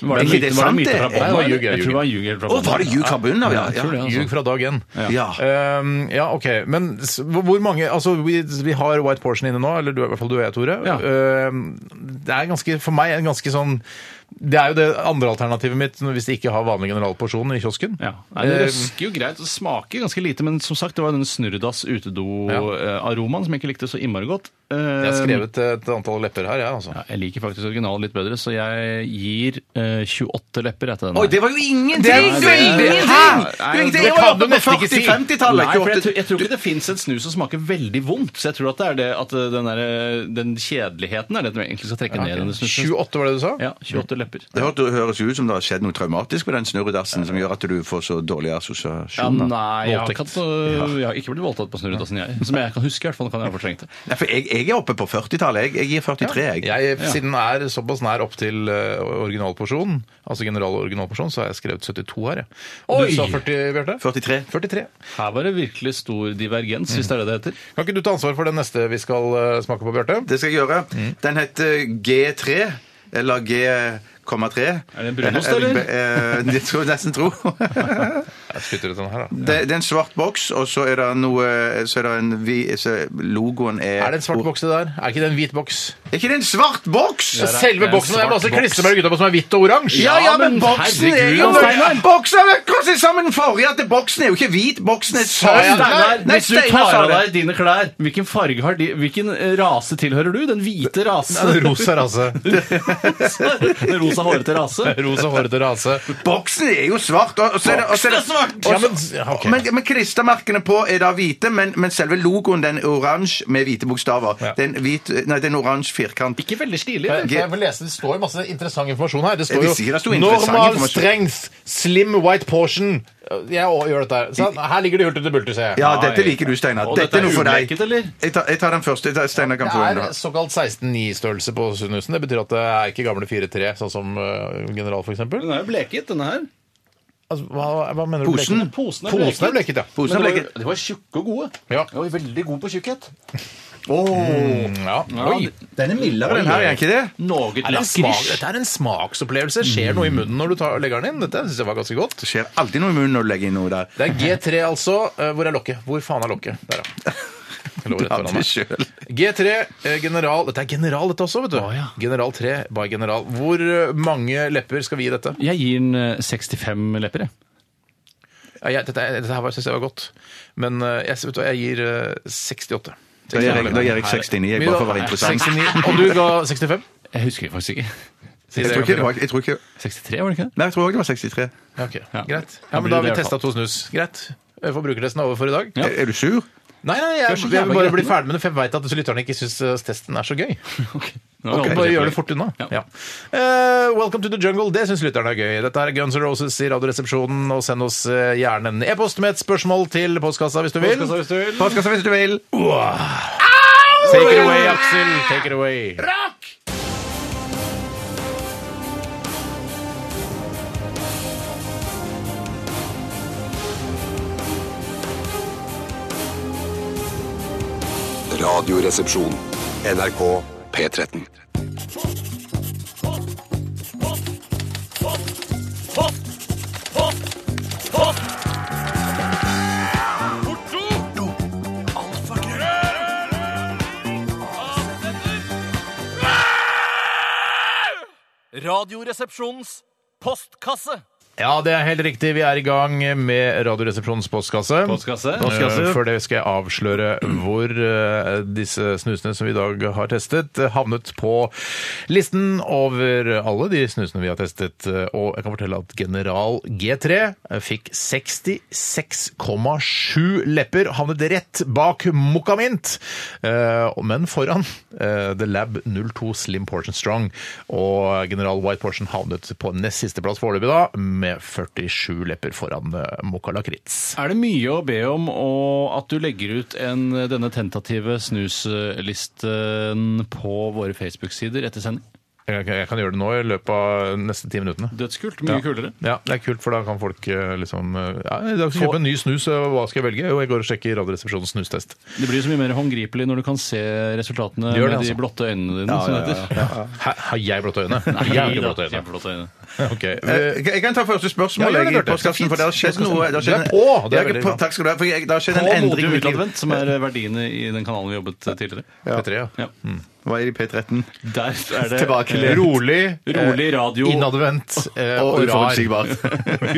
[SPEAKER 4] Var det,
[SPEAKER 3] Men
[SPEAKER 4] myte-
[SPEAKER 3] ikke det
[SPEAKER 4] var det
[SPEAKER 3] sant,
[SPEAKER 4] myte
[SPEAKER 3] det?
[SPEAKER 4] fra
[SPEAKER 2] Nei, det
[SPEAKER 4] bånn?
[SPEAKER 2] var
[SPEAKER 4] eller?
[SPEAKER 2] ljug,
[SPEAKER 4] Jeg tror det
[SPEAKER 2] ljug.
[SPEAKER 4] var ljug helt fra
[SPEAKER 3] Å, var det ljug fra bunnen av?
[SPEAKER 4] Ja,
[SPEAKER 3] Ja,
[SPEAKER 4] jeg tror det,
[SPEAKER 3] ja.
[SPEAKER 4] altså.
[SPEAKER 2] Ljug fra dag én.
[SPEAKER 3] Ja.
[SPEAKER 4] Ah.
[SPEAKER 2] Ehm, ja, OK. Men s- hvor mange Altså, vi, vi har White Portion inne nå, eller du, i hvert fall du og jeg, Tore.
[SPEAKER 4] Ja.
[SPEAKER 2] Ehm, det er ganske, for meg en ganske sånn Det er jo det andre alternativet mitt hvis de ikke har vanlig generalporsjon i kiosken.
[SPEAKER 4] Ja. Nei, det
[SPEAKER 3] Eh.
[SPEAKER 2] Ehm,
[SPEAKER 4] røsker jo greit og smaker ganske lite, men som sagt, det var den snurredass utedo-aromaen som jeg ikke likte så innmari godt.
[SPEAKER 2] jeg har skrevet et antall lepper her, jeg, ja, altså.
[SPEAKER 4] Ehm. Ja, jeg liker faktisk originalen litt bedre, så jeg gir eh, 28 lepper etter den.
[SPEAKER 3] Oi,
[SPEAKER 4] her.
[SPEAKER 3] det var jo ingenting! Det er
[SPEAKER 4] Nei,
[SPEAKER 3] ingenting!
[SPEAKER 4] Hæ?
[SPEAKER 3] Det er ingenting! Jeg
[SPEAKER 2] Det
[SPEAKER 3] var
[SPEAKER 2] kan
[SPEAKER 3] oppe
[SPEAKER 2] du
[SPEAKER 3] på
[SPEAKER 2] nesten ikke si.
[SPEAKER 3] 40-50-tallet.
[SPEAKER 4] Nei, for jeg, tror-
[SPEAKER 3] ikke
[SPEAKER 4] jeg tror ikke det fins en snus som smaker veldig vondt. Så jeg tror at det er det at eh, den, der, eh, den kjedeligheten er det som egentlig skal trekke ned denne snusen.
[SPEAKER 2] 28 var det du sa?
[SPEAKER 4] Ja, 28 lepper.
[SPEAKER 3] Det hørte- høres jo ut som det har skjedd noe traumatisk med den snurredassen som gjør at du får så dårlige
[SPEAKER 4] Ja,
[SPEAKER 3] assosiasjoner.
[SPEAKER 4] nei, jeg har, ikke,
[SPEAKER 2] Voldtekt.
[SPEAKER 4] hatt, øh, jeg har ikke blitt voldtatt på snurredassen, sånn, jeg. Som jeg kan huske, i hvert fall. Kan jeg ha fortrengt det.
[SPEAKER 3] Nei, for jeg, jeg er oppe på 40-tallet. Jeg, jeg gir 43, jeg.
[SPEAKER 2] Jeg, siden den er såpass nær opp til eh, originalporsjonen, altså general originalporsjon, så har jeg skrevet 72 her, jeg. Og
[SPEAKER 4] Oi!
[SPEAKER 2] du sa 40, Bjarte?
[SPEAKER 3] 43.
[SPEAKER 2] 43.
[SPEAKER 4] Her var det virkelig stor divergens, hvis det er det det heter.
[SPEAKER 2] Kan ikke du ta ansvar for den neste vi skal eh, smake på, Bjarte?
[SPEAKER 3] Det skal jeg gjøre.
[SPEAKER 4] Mm.
[SPEAKER 3] Den heter G3, eller G... 3.
[SPEAKER 4] Er det en brunost, eller?
[SPEAKER 3] Eh, Det skulle jeg nesten
[SPEAKER 4] [laughs]
[SPEAKER 3] tro.
[SPEAKER 2] Jeg spytter ut den her, da.
[SPEAKER 3] Det, det er en svart boks, og så er det noe eh, så er det en, vi- så Logoen er
[SPEAKER 2] Er det en svart boks, det der? Er ikke det en hvit boks?
[SPEAKER 3] Er ikke det en svart boks?!
[SPEAKER 2] Så selve
[SPEAKER 4] det er en
[SPEAKER 2] boksen det er
[SPEAKER 4] svart
[SPEAKER 2] masse
[SPEAKER 4] boks.
[SPEAKER 2] klistremerker gutta på som er hvitt og oransje?
[SPEAKER 3] Ja, ja, men
[SPEAKER 4] men
[SPEAKER 3] boksen er
[SPEAKER 4] herregud,
[SPEAKER 3] jo
[SPEAKER 4] Hans Steinar.
[SPEAKER 3] Boksen er akkurat den samme den forrige! At det- boksen er jo ikke hvit, boksen er
[SPEAKER 2] jeg det?
[SPEAKER 3] sølv! Nei,
[SPEAKER 4] hvis du
[SPEAKER 3] Steinar
[SPEAKER 4] tar
[SPEAKER 3] sa
[SPEAKER 4] av
[SPEAKER 3] det.
[SPEAKER 4] deg dine klær, hvilken farge har de Hvilken eh, rase tilhører du? [laughs] Den hvite rase?
[SPEAKER 2] Nei, det er [laughs] Rosa rase.
[SPEAKER 4] [laughs] Den rosa hårete rase?
[SPEAKER 2] Rosa, hårete rase.
[SPEAKER 3] Boksen er jo svart. Og, og så er det, og så er det,
[SPEAKER 4] Boksen er svart!
[SPEAKER 3] og så-
[SPEAKER 2] Ja, men- ja, ok.
[SPEAKER 3] men, men klistremerkene på er da hvite, men, men selve logoen den er oransje med hvite bokstaver.
[SPEAKER 2] Ja.
[SPEAKER 3] Det er en hvit, nei, det er en oransje firkant.
[SPEAKER 4] Ikke veldig stilig.
[SPEAKER 2] Jeg,
[SPEAKER 4] eller?
[SPEAKER 2] jeg vil lese, Det står jo masse interessant informasjon her. Det står
[SPEAKER 3] Jeg
[SPEAKER 2] jo
[SPEAKER 3] visste ikke det sto interessant
[SPEAKER 2] normal
[SPEAKER 3] informasjon».
[SPEAKER 2] strength, slim white portion. Jeg også gjør dette her. Så her ligger det hulter til bulter, ser jeg.
[SPEAKER 3] Ja, dette liker du, Steinar.
[SPEAKER 4] Og
[SPEAKER 3] Dette er noe for deg.
[SPEAKER 4] uleket, eller?
[SPEAKER 3] Jeg tar, jeg tar den første. Jeg tar- Steinar kan få den.
[SPEAKER 2] Det er såkalt 16-9-størrelse på snusen. Det betyr at det er ikke gamle 4-3, sånn som øh, General, f.eks.
[SPEAKER 4] Den er jo bleket, denne her.
[SPEAKER 2] Altså, hva, hva mener du?
[SPEAKER 3] Posen.
[SPEAKER 2] bleket?
[SPEAKER 4] Posen er
[SPEAKER 2] Posen er bleket, ja.
[SPEAKER 3] Posen er
[SPEAKER 4] Men det var-
[SPEAKER 3] bleket.
[SPEAKER 4] De var tjukke og gode.
[SPEAKER 2] Ja. Mm,
[SPEAKER 4] De var veldig gode på tjukkhet.
[SPEAKER 2] ja. Oi.
[SPEAKER 3] Den er mildere, den her, er den ikke det?
[SPEAKER 4] Noe
[SPEAKER 2] Er det en smak, dette er en smaksopplevelse. Skjer noe i munnen når du tar, legger den inn? Dette synes jeg var ganske godt.
[SPEAKER 3] Det skjer alltid noe i munnen når du legger inn noe der.
[SPEAKER 2] Det er G3, altså. Eh, Hvor er lokket? Hvor faen er lokket? Der, ja. Jeg lover
[SPEAKER 3] [laughs]
[SPEAKER 2] rett
[SPEAKER 3] Ja,
[SPEAKER 2] foran
[SPEAKER 3] det
[SPEAKER 2] meg.
[SPEAKER 3] selv.
[SPEAKER 2] G3, eh, general Dette er general, dette også, vet du.
[SPEAKER 4] Å, ja.
[SPEAKER 2] General 3 by general. Hvor eh, mange lepper skal vi gi dette?
[SPEAKER 4] Jeg gir den eh, 65 lepper, jeg.
[SPEAKER 2] Ja, jeg, dette, er- dette her var- synes jeg var godt. Men eh, jeg, vet du hva, jeg gir eh, 68.
[SPEAKER 3] Da gir jeg- da gir jeg 69, jeg, bare for å være interessant.
[SPEAKER 2] 69, og du ga 65?
[SPEAKER 4] Jeg husker faktisk ikke. [laughs]
[SPEAKER 2] Si
[SPEAKER 3] Jeg
[SPEAKER 2] det
[SPEAKER 3] tror ikke
[SPEAKER 2] en
[SPEAKER 3] det
[SPEAKER 2] gang
[SPEAKER 3] var, jeg tror ikke,
[SPEAKER 4] 63, var det ikke det?
[SPEAKER 3] nei, jeg tror også det var 63.
[SPEAKER 2] til. Ja, ok.
[SPEAKER 4] Ja.
[SPEAKER 2] Greit.
[SPEAKER 4] Da
[SPEAKER 2] Ja,
[SPEAKER 4] blir
[SPEAKER 2] men da har
[SPEAKER 4] det
[SPEAKER 2] vi
[SPEAKER 4] i hvert
[SPEAKER 2] testa to snus. Greit. Eh, Forbrukertesten er over for i dag.
[SPEAKER 4] Ja.
[SPEAKER 3] Er- Er du sur?
[SPEAKER 2] Nei, nei, jeg,
[SPEAKER 4] så
[SPEAKER 2] jeg, vil
[SPEAKER 4] jævla
[SPEAKER 2] bare
[SPEAKER 4] gretten,
[SPEAKER 2] bli
[SPEAKER 4] da.
[SPEAKER 2] ferdig med det, for jeg veit at lytterne ikke syns eh, testen er så gøy.
[SPEAKER 4] Nå har vi holdt på
[SPEAKER 2] Bare
[SPEAKER 4] kjempelenge.
[SPEAKER 2] gjør det fort unna.
[SPEAKER 4] Ja.
[SPEAKER 2] Ja. Eh, welcome to the jungle, det syns lytterne er gøy. Dette er Guns N' Roses i Radioresepsjonen, og send oss eh, gjerne en e-post med et spørsmål til postkassa hvis du vil.
[SPEAKER 3] Postkassa hvis du vil.
[SPEAKER 2] Take it away, Aksel. Take it away.
[SPEAKER 5] Radioresepsjon.
[SPEAKER 6] NRK P13.
[SPEAKER 7] Radioresepsjonens postkasse.
[SPEAKER 2] Ja, det er helt riktig. Vi er i gang med Radioresepsjonens postkasse.
[SPEAKER 4] Postkasse.
[SPEAKER 2] Eh, Før det skal jeg avsløre hvor eh, disse snusene som vi i dag har testet, eh, havnet på listen over alle de snusene vi har testet. Eh, Og jeg kan fortelle at General G3 fikk 66,7 lepper. Havnet rett bak Mokamint, eh, men foran eh, The Lab 02 Slim Portion Strong. Og General White Portion havnet på nest siste plass foreløpig, da. med med 47 lepper foran eh, Mokka Lakritz.
[SPEAKER 4] Er det mye å be om og at du legger ut en, eh, denne tentative snuslisten på våre Facebook-sider etter sending?
[SPEAKER 2] Jeg, jeg kan gjøre det nå i løpet av neste ti minuttene.
[SPEAKER 4] Dødskult. Mye kulere.
[SPEAKER 2] Ja, det er kult, for da kan folk eh, liksom eh, ja, I dag skal jeg kjøpe en ny snus, eh, hva skal jeg velge? Jo, jeg går og sjekker Radioresepsjonens snustest.
[SPEAKER 4] Det blir så mye mer håndgripelig når du kan se resultatene
[SPEAKER 2] Det gjør det,
[SPEAKER 4] med de
[SPEAKER 2] altså.
[SPEAKER 4] blotte øynene dine. som det heter.
[SPEAKER 2] Hæ, Har jeg blått øyne?
[SPEAKER 4] Nei,
[SPEAKER 2] jeg har [laughs] ikke
[SPEAKER 4] da,
[SPEAKER 2] blått øyne.
[SPEAKER 4] kjempeblått øyne.
[SPEAKER 2] Ok.
[SPEAKER 3] Eh, Jeg jeg kan ta første spørsmål.
[SPEAKER 2] Ja, gjør det,
[SPEAKER 3] jeg, i
[SPEAKER 2] Bjarte.
[SPEAKER 3] postkassen, for det har skjedd
[SPEAKER 2] Postkassen.
[SPEAKER 3] noe det har skjedd en-
[SPEAKER 2] Du er på! Det er
[SPEAKER 3] Jeg
[SPEAKER 2] veldig
[SPEAKER 3] på.
[SPEAKER 2] bra.
[SPEAKER 3] Takk skal du ha. For jeg, det har skjedd
[SPEAKER 4] På
[SPEAKER 3] en endring i
[SPEAKER 4] Modium
[SPEAKER 3] mitt liv.
[SPEAKER 4] Utadvendt, som er verdiene i den kanalen vi jobbet tidligere.
[SPEAKER 2] P3, ja.
[SPEAKER 4] Ja.
[SPEAKER 3] Hva er det i P13?
[SPEAKER 4] Der er det
[SPEAKER 2] Tilbakelent. Rolig, eh,
[SPEAKER 4] Rolig radio.
[SPEAKER 2] innadvendt eh,
[SPEAKER 3] Og
[SPEAKER 2] og rar. [laughs]
[SPEAKER 3] uforutsigbart.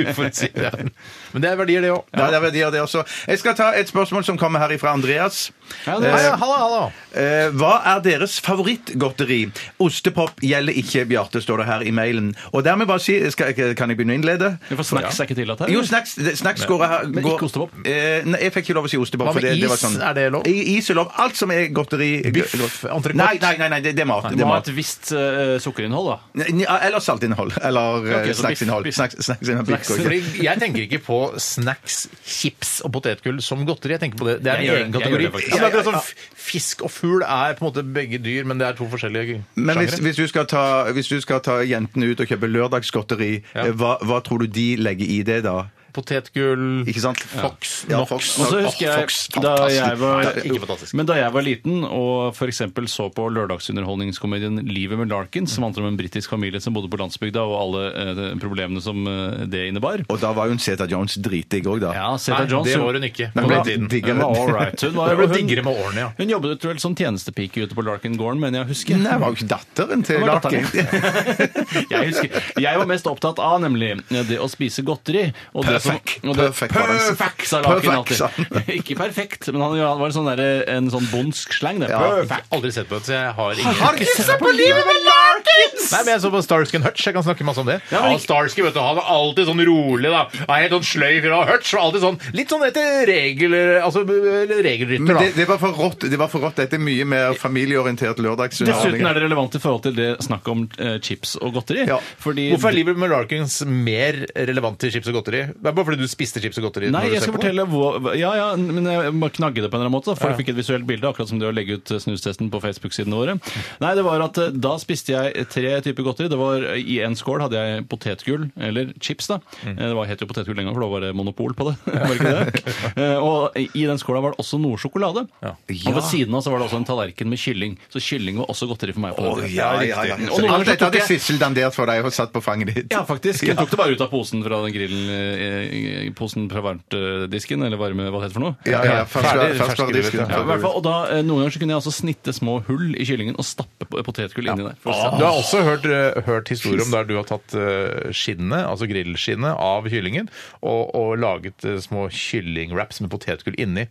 [SPEAKER 2] Uforutsigbart. Men det er verdier, det òg.
[SPEAKER 3] Ja, det er verdier, det også. Jeg skal ta et spørsmål som kommer her fra Andreas.
[SPEAKER 4] Ja, det er-
[SPEAKER 2] Halla, halla.
[SPEAKER 3] Eh, hva er deres favorittgodteri? Ostepop gjelder ikke, Bjarte, står det her i mailen. Og dermed bare si skal, jeg- Kan jeg begynne å innlede?
[SPEAKER 4] Ja, For snacks er ikke tillatt her?
[SPEAKER 3] Jo,
[SPEAKER 4] eller?
[SPEAKER 3] snacks, det- snacks går her
[SPEAKER 4] Men
[SPEAKER 3] går-
[SPEAKER 4] ikke ostepop?
[SPEAKER 3] Eh, nei, jeg fikk ikke lov å si ostepop.
[SPEAKER 2] Hva
[SPEAKER 3] for
[SPEAKER 2] med
[SPEAKER 3] det, det var
[SPEAKER 2] is?
[SPEAKER 3] sånn.
[SPEAKER 2] Er det lov?
[SPEAKER 3] I- Is er lov. Alt som er godteri
[SPEAKER 2] Biff, entrecôte?
[SPEAKER 3] Nei, nei, nei, nei, det, det er mat.
[SPEAKER 4] Det
[SPEAKER 3] Det er
[SPEAKER 4] må ha
[SPEAKER 3] mat.
[SPEAKER 4] et visst eh, sukkerinnhold, da.
[SPEAKER 3] Nei, eh, Eller saltinnhold. Eller
[SPEAKER 4] Ok,
[SPEAKER 3] okay,
[SPEAKER 4] så
[SPEAKER 3] snacksinnhold.
[SPEAKER 4] biff- biff.
[SPEAKER 3] Snacks, snacksinnhold, biff går ikke.
[SPEAKER 2] Fordi jeg tenker ikke på snacks, chips og potetgull som godteri. Jeg tenker på det. Det er
[SPEAKER 4] Jeg
[SPEAKER 2] en
[SPEAKER 4] gjør det.
[SPEAKER 2] egen
[SPEAKER 4] Jeg
[SPEAKER 2] kategori.
[SPEAKER 4] gjør det faktisk.
[SPEAKER 2] Ja, det er akkurat som fisk og fugl er på en måte begge dyr, men det er to forskjellige
[SPEAKER 3] Men hvis,
[SPEAKER 2] sjangere.
[SPEAKER 3] hvis, du skal ta, hvis du skal ta jentene ut og kjøpe lørdagsgodteri,
[SPEAKER 2] Ja.
[SPEAKER 3] eh, hva, hva tror du de legger i det da?
[SPEAKER 2] Potetgull
[SPEAKER 3] Ikke sant?
[SPEAKER 2] Fox,
[SPEAKER 3] Ja,
[SPEAKER 2] Nox.
[SPEAKER 3] Fox.
[SPEAKER 4] Og så
[SPEAKER 3] Åh,
[SPEAKER 4] husker jeg,
[SPEAKER 3] Fox,
[SPEAKER 4] da
[SPEAKER 3] fantastisk.
[SPEAKER 4] jeg var,
[SPEAKER 2] Nei, ikke fantastisk.
[SPEAKER 4] men da jeg var liten og f.eks. så på lørdagsunderholdningskomedien 'Livet med Larkin', som handler om en britisk familie som bodde på landsbygda, og alle eh, problemene som eh, det innebar
[SPEAKER 3] Og da var jo en Zeta Jones dritdigg òg, da.
[SPEAKER 4] Ja, Zeta
[SPEAKER 2] Nei,
[SPEAKER 4] Jones
[SPEAKER 2] det var hun ikke.
[SPEAKER 3] Nei,
[SPEAKER 4] Hun
[SPEAKER 3] ble
[SPEAKER 4] var-
[SPEAKER 3] digg- diggere.
[SPEAKER 4] hun var all right. Hun var-
[SPEAKER 2] Hun ble
[SPEAKER 4] hun-
[SPEAKER 2] diggere med årene, ja.
[SPEAKER 4] Hun jobbet jo vel som tjenestepike ute på Larkin-gården, mener jeg å huske.
[SPEAKER 3] Nei, var jo ikke datteren til
[SPEAKER 4] Det var
[SPEAKER 3] Larkin.
[SPEAKER 4] datteren. jeg husker. Jeg var mest opptatt av nemlig det å spise godteri. Og det som,
[SPEAKER 3] Perfekt.
[SPEAKER 4] og det,
[SPEAKER 3] Perfekt var det.
[SPEAKER 4] Perfekt, sa Larkin
[SPEAKER 3] Perfekt, sa han.
[SPEAKER 4] alltid. [laughs] Ikke perfekt, men han han var en sånn der, en sånn bondsk slang. Det.
[SPEAKER 2] Perfekt. Aldri sett på det, så jeg har ingen
[SPEAKER 3] ikke sett på livet med Larkins!
[SPEAKER 2] Nei, men jeg så på Starsky and Hutch. Jeg kan snakke masse om det. Ja,
[SPEAKER 4] men ikke-
[SPEAKER 2] Starsky vet du, han var alltid sånn rolig, da. Han er Helt sånn sløy fyr. Og Hutch var alltid sånn litt sånn etter regler, altså eller regelrytter,
[SPEAKER 3] Men
[SPEAKER 2] da.
[SPEAKER 3] det, det var for rått. Det var for rått. Dette er mye mer familieorientert
[SPEAKER 4] Dessuten
[SPEAKER 3] lørdagsunderholdning.
[SPEAKER 4] er det relevant i forhold til det snakket om eh, chips og godteri.
[SPEAKER 3] Ja.
[SPEAKER 4] Fordi
[SPEAKER 2] Hvorfor er livet med Larkins mer relevant til chips og godteri? Det er bare fordi du spiste chips og godteri?
[SPEAKER 4] Nei,
[SPEAKER 2] når du
[SPEAKER 4] jeg
[SPEAKER 2] ser
[SPEAKER 4] skal
[SPEAKER 2] på det.
[SPEAKER 4] fortelle hvor, Ja, ja, men jeg må knagge det på en eller annen måte. da, For jeg fikk et visuelt bilde, akkurat som det å legge ut eh, snustesten på Facebook-sidene våre. Nei, det var at eh, da spiste jeg tre typer godteri. Det var eh, I en skål hadde jeg potetgull, eller chips, da. Eh, Det var het jo potetgull den gangen, for da var det monopol på det. [laughs] Var ikke det? Eh, Og i den skåla var det også noe sjokolade. Og ved siden av så var det også en tallerken med kylling. Så kylling var også godteri for meg. på den tiden.
[SPEAKER 3] Ja, ja, ja.
[SPEAKER 4] Og noen ganger
[SPEAKER 3] Alt
[SPEAKER 4] så
[SPEAKER 3] dette
[SPEAKER 4] tok
[SPEAKER 3] hadde
[SPEAKER 4] jeg
[SPEAKER 3] Sissel dandert for deg og satt på fanget ditt.
[SPEAKER 4] ja, faktisk. Hun tok det bare ut av posen fra den grillen, eh, eh, posen fra varmtdisken, eller varme, hva det heter for noe.
[SPEAKER 3] Ja, ja,
[SPEAKER 2] Ferdig,
[SPEAKER 3] fersk- ferskvaredisken.
[SPEAKER 2] ferskvaredisken.
[SPEAKER 4] Ja, i hvert fall, og da, eh, Noen ganger så kunne jeg også snitte små hull i kyllingen og stappe po- potetgull inni der. For å
[SPEAKER 3] Ah.
[SPEAKER 4] se.
[SPEAKER 2] Ah. Du har også hørt, eh, hørt historier om der du har tatt eh, skinnet, altså grillskinnet, av kyllingen og, og laget eh, små kyllingwraps med potetgull inni.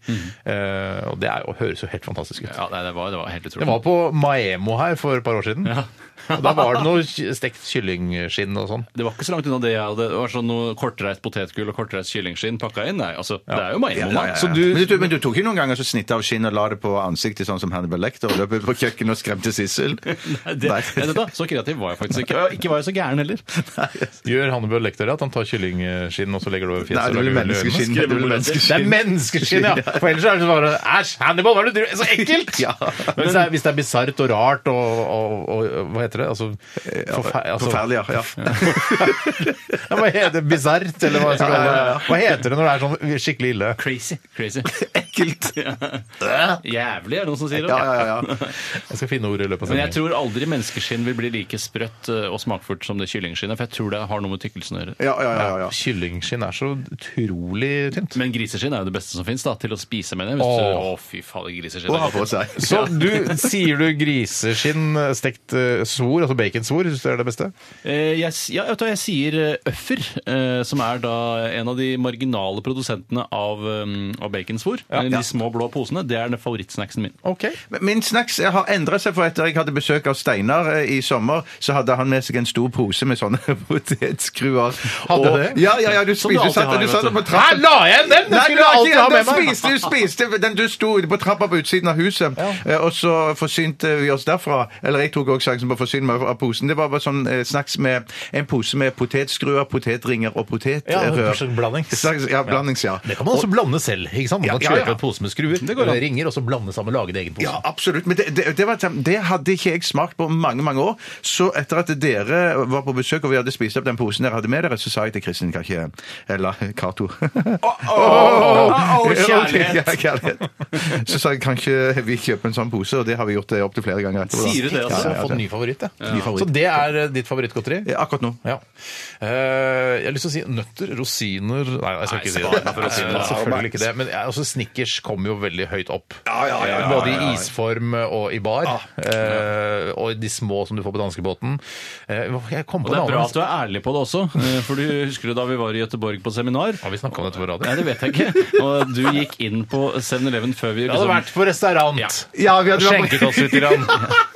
[SPEAKER 2] Eh, og det er, jo- høres jo helt fantastisk ut.
[SPEAKER 4] Mhm. Ja, nei, det, var, det var helt utrolig.
[SPEAKER 2] Jeg var på Maemo her for et par år siden. og da var det noe ky- stekt kyllingskinn og sånn.
[SPEAKER 4] [laughs] Det var ikke så langt unna det jeg hadde. Det var sånn noe kortreist potetgull og kortreist kyllingskinn pakka inn. Nei, altså, det er jo meg.
[SPEAKER 3] Ja, ja, ja.
[SPEAKER 4] Så du
[SPEAKER 3] men, du, men du tok ikke noen ganger så snittet av skinn og la det på ansiktet, sånn som Hannibal Lecter, og løp ut på kjøkkenet og skremte Sissel?
[SPEAKER 4] [laughs] Nei, det,
[SPEAKER 3] Nei.
[SPEAKER 4] ja, vet du hva, Så kreativ var jeg faktisk ikke.
[SPEAKER 3] [laughs]
[SPEAKER 4] Og Ikke var jeg så gæren heller.
[SPEAKER 2] Gjør Hannibal Lekter det at han tar kyllingskinn og så legger det over fjeset?
[SPEAKER 3] Nei, det
[SPEAKER 2] og
[SPEAKER 3] blir
[SPEAKER 2] lager øl i øynene?
[SPEAKER 3] menneskeskinn. Det blir
[SPEAKER 2] Det er
[SPEAKER 3] menneskeskinn.
[SPEAKER 2] menneskeskinn,
[SPEAKER 3] [laughs]
[SPEAKER 2] ja! For ellers er det bare Æsj, Hannibal, hva er det du driver Så ekkelt!
[SPEAKER 3] Ja.
[SPEAKER 2] Men hvis det er, hvis det er bisart og rart og, og, og Hva heter det? Altså, forfe- altså-
[SPEAKER 3] Forferdelig, ja. ja.
[SPEAKER 2] [laughs] Ja, Hva heter det? Bisart, eller hva jeg skal
[SPEAKER 3] [laughs] Ja, ja, ja,
[SPEAKER 2] kalle det? Hva heter det når det er sånn skikkelig ille?
[SPEAKER 4] Crazy. Crazy.
[SPEAKER 3] [laughs] Ekkelt.
[SPEAKER 4] [laughs] Ja. Jævlig, er det noen som sier det?
[SPEAKER 3] Ja, ja, ja,
[SPEAKER 4] [laughs]
[SPEAKER 3] ja.
[SPEAKER 2] Jeg skal finne ordet i løpet av
[SPEAKER 4] Men jeg
[SPEAKER 2] sendingen.
[SPEAKER 4] tror aldri menneskeskinn vil bli like sprøtt eh, og smakfullt som det kyllingskinnet, for jeg tror det har noe med tykkelsen å gjøre.
[SPEAKER 3] [laughs] ja, ja, ja, ja.
[SPEAKER 2] Kyllingskinn er så utrolig tynt.
[SPEAKER 4] Men griseskinn er jo det beste som fins til å spise med det. Hvis du,
[SPEAKER 2] Åh.
[SPEAKER 4] å, fy fader, griseskinn.
[SPEAKER 3] Og
[SPEAKER 4] er
[SPEAKER 3] ha på
[SPEAKER 4] godt.
[SPEAKER 3] seg.
[SPEAKER 2] Så du sier du griseskinn eh, stekt eh, svor, altså baconsvor, syns du er det beste?
[SPEAKER 4] Eh, jeg, s- ja, vet du hva, jeg sier eh, Øffer, eh, som er da en av de marginale produsentene av, um, av baconsvor. Eh, De små blå posene. Det er den favorittsnacksen min.
[SPEAKER 2] Ok.
[SPEAKER 3] Men Min snacks jeg har endret seg, for etter jeg hadde besøk av Steinar eh, i sommer, så hadde han med seg en stor pose med sånne [laughs] potetskruer.
[SPEAKER 2] Hadde
[SPEAKER 3] Og-
[SPEAKER 2] det? Sånn
[SPEAKER 3] Ja, ja, ja, du
[SPEAKER 4] Som du
[SPEAKER 3] spiste, du
[SPEAKER 4] alltid
[SPEAKER 3] satt,
[SPEAKER 4] har,
[SPEAKER 3] du
[SPEAKER 4] vet
[SPEAKER 3] satt
[SPEAKER 4] du.
[SPEAKER 3] på trappen.
[SPEAKER 2] la jeg den! Den
[SPEAKER 3] Nei, du har ikke- den spiste, du spiste den du eh, sto på trappa på utsiden av huset, eh, og så forsynte vi oss derfra. Eller jeg tok også sjansen på å forsyn meg av posen. Det var bare sånn eh, snacks med en pose med potetskruer, potetringer og
[SPEAKER 2] Ja,
[SPEAKER 3] potetrør.
[SPEAKER 2] en slags blandings.
[SPEAKER 3] Slags- Ja, blandings, ja.
[SPEAKER 2] Det kan man også blande selv. ikke sant? Man
[SPEAKER 3] Ja,
[SPEAKER 2] kan
[SPEAKER 3] ja, ja.
[SPEAKER 2] kjøpe en pose med skruer, det går ringer, og så blande sammen og lage en egen pose.
[SPEAKER 3] Ja, absolutt. Men det, det, det, var, et- det hadde ikke jeg smakt på mange mange år. Så etter at dere var på besøk og vi hadde spist opp den posen dere hadde med dere, så sa jeg til Kristin kan ikke Eller Cato. [laughs]
[SPEAKER 4] Åh, kjærlighet.
[SPEAKER 3] Ja, kjærlighet. Så sa jeg kan ikke vi kjøpe en sånn pose, og det har vi gjort eh, opptil flere ganger. etterpå, da.
[SPEAKER 4] Sier du det,
[SPEAKER 2] Så
[SPEAKER 4] altså?
[SPEAKER 2] jeg har fått en ny favoritt, jeg.
[SPEAKER 3] Ny favoritt.
[SPEAKER 2] Så det er eh, ditt favorittgodteri?
[SPEAKER 3] Ja, Akkurat nå.
[SPEAKER 2] Ja. Eh, jeg har lyst til å si nøtter, rosiner Nei, jeg skal ikke si det.
[SPEAKER 4] spar meg for rosiner.
[SPEAKER 2] Eh, Selvfølgelig ikke det. Men jeg, altså, Snickers kommer jo veldig høyt opp.
[SPEAKER 3] ja, ja, ja,
[SPEAKER 2] Både
[SPEAKER 3] ja, Ah,
[SPEAKER 2] i
[SPEAKER 3] ja.
[SPEAKER 2] isform og i bar. eh, og i de små som du får på danskebåten. Eh, jeg kom
[SPEAKER 4] Og
[SPEAKER 2] på
[SPEAKER 4] det
[SPEAKER 2] en
[SPEAKER 4] er bra at
[SPEAKER 2] annen.
[SPEAKER 4] du er ærlig på det også, eh, for du husker du da vi var i Gøteborg på seminar?
[SPEAKER 2] Har vi snakket om dette på
[SPEAKER 4] Nei,
[SPEAKER 2] radio?
[SPEAKER 4] det vet jeg
[SPEAKER 2] [laughs]
[SPEAKER 4] ikke. Og du gikk inn på 7-Eleven før vi liksom
[SPEAKER 2] Jeg hadde vært på restaurant.
[SPEAKER 3] Ja, vi
[SPEAKER 2] Og skjenket oss litt. Grann. [laughs]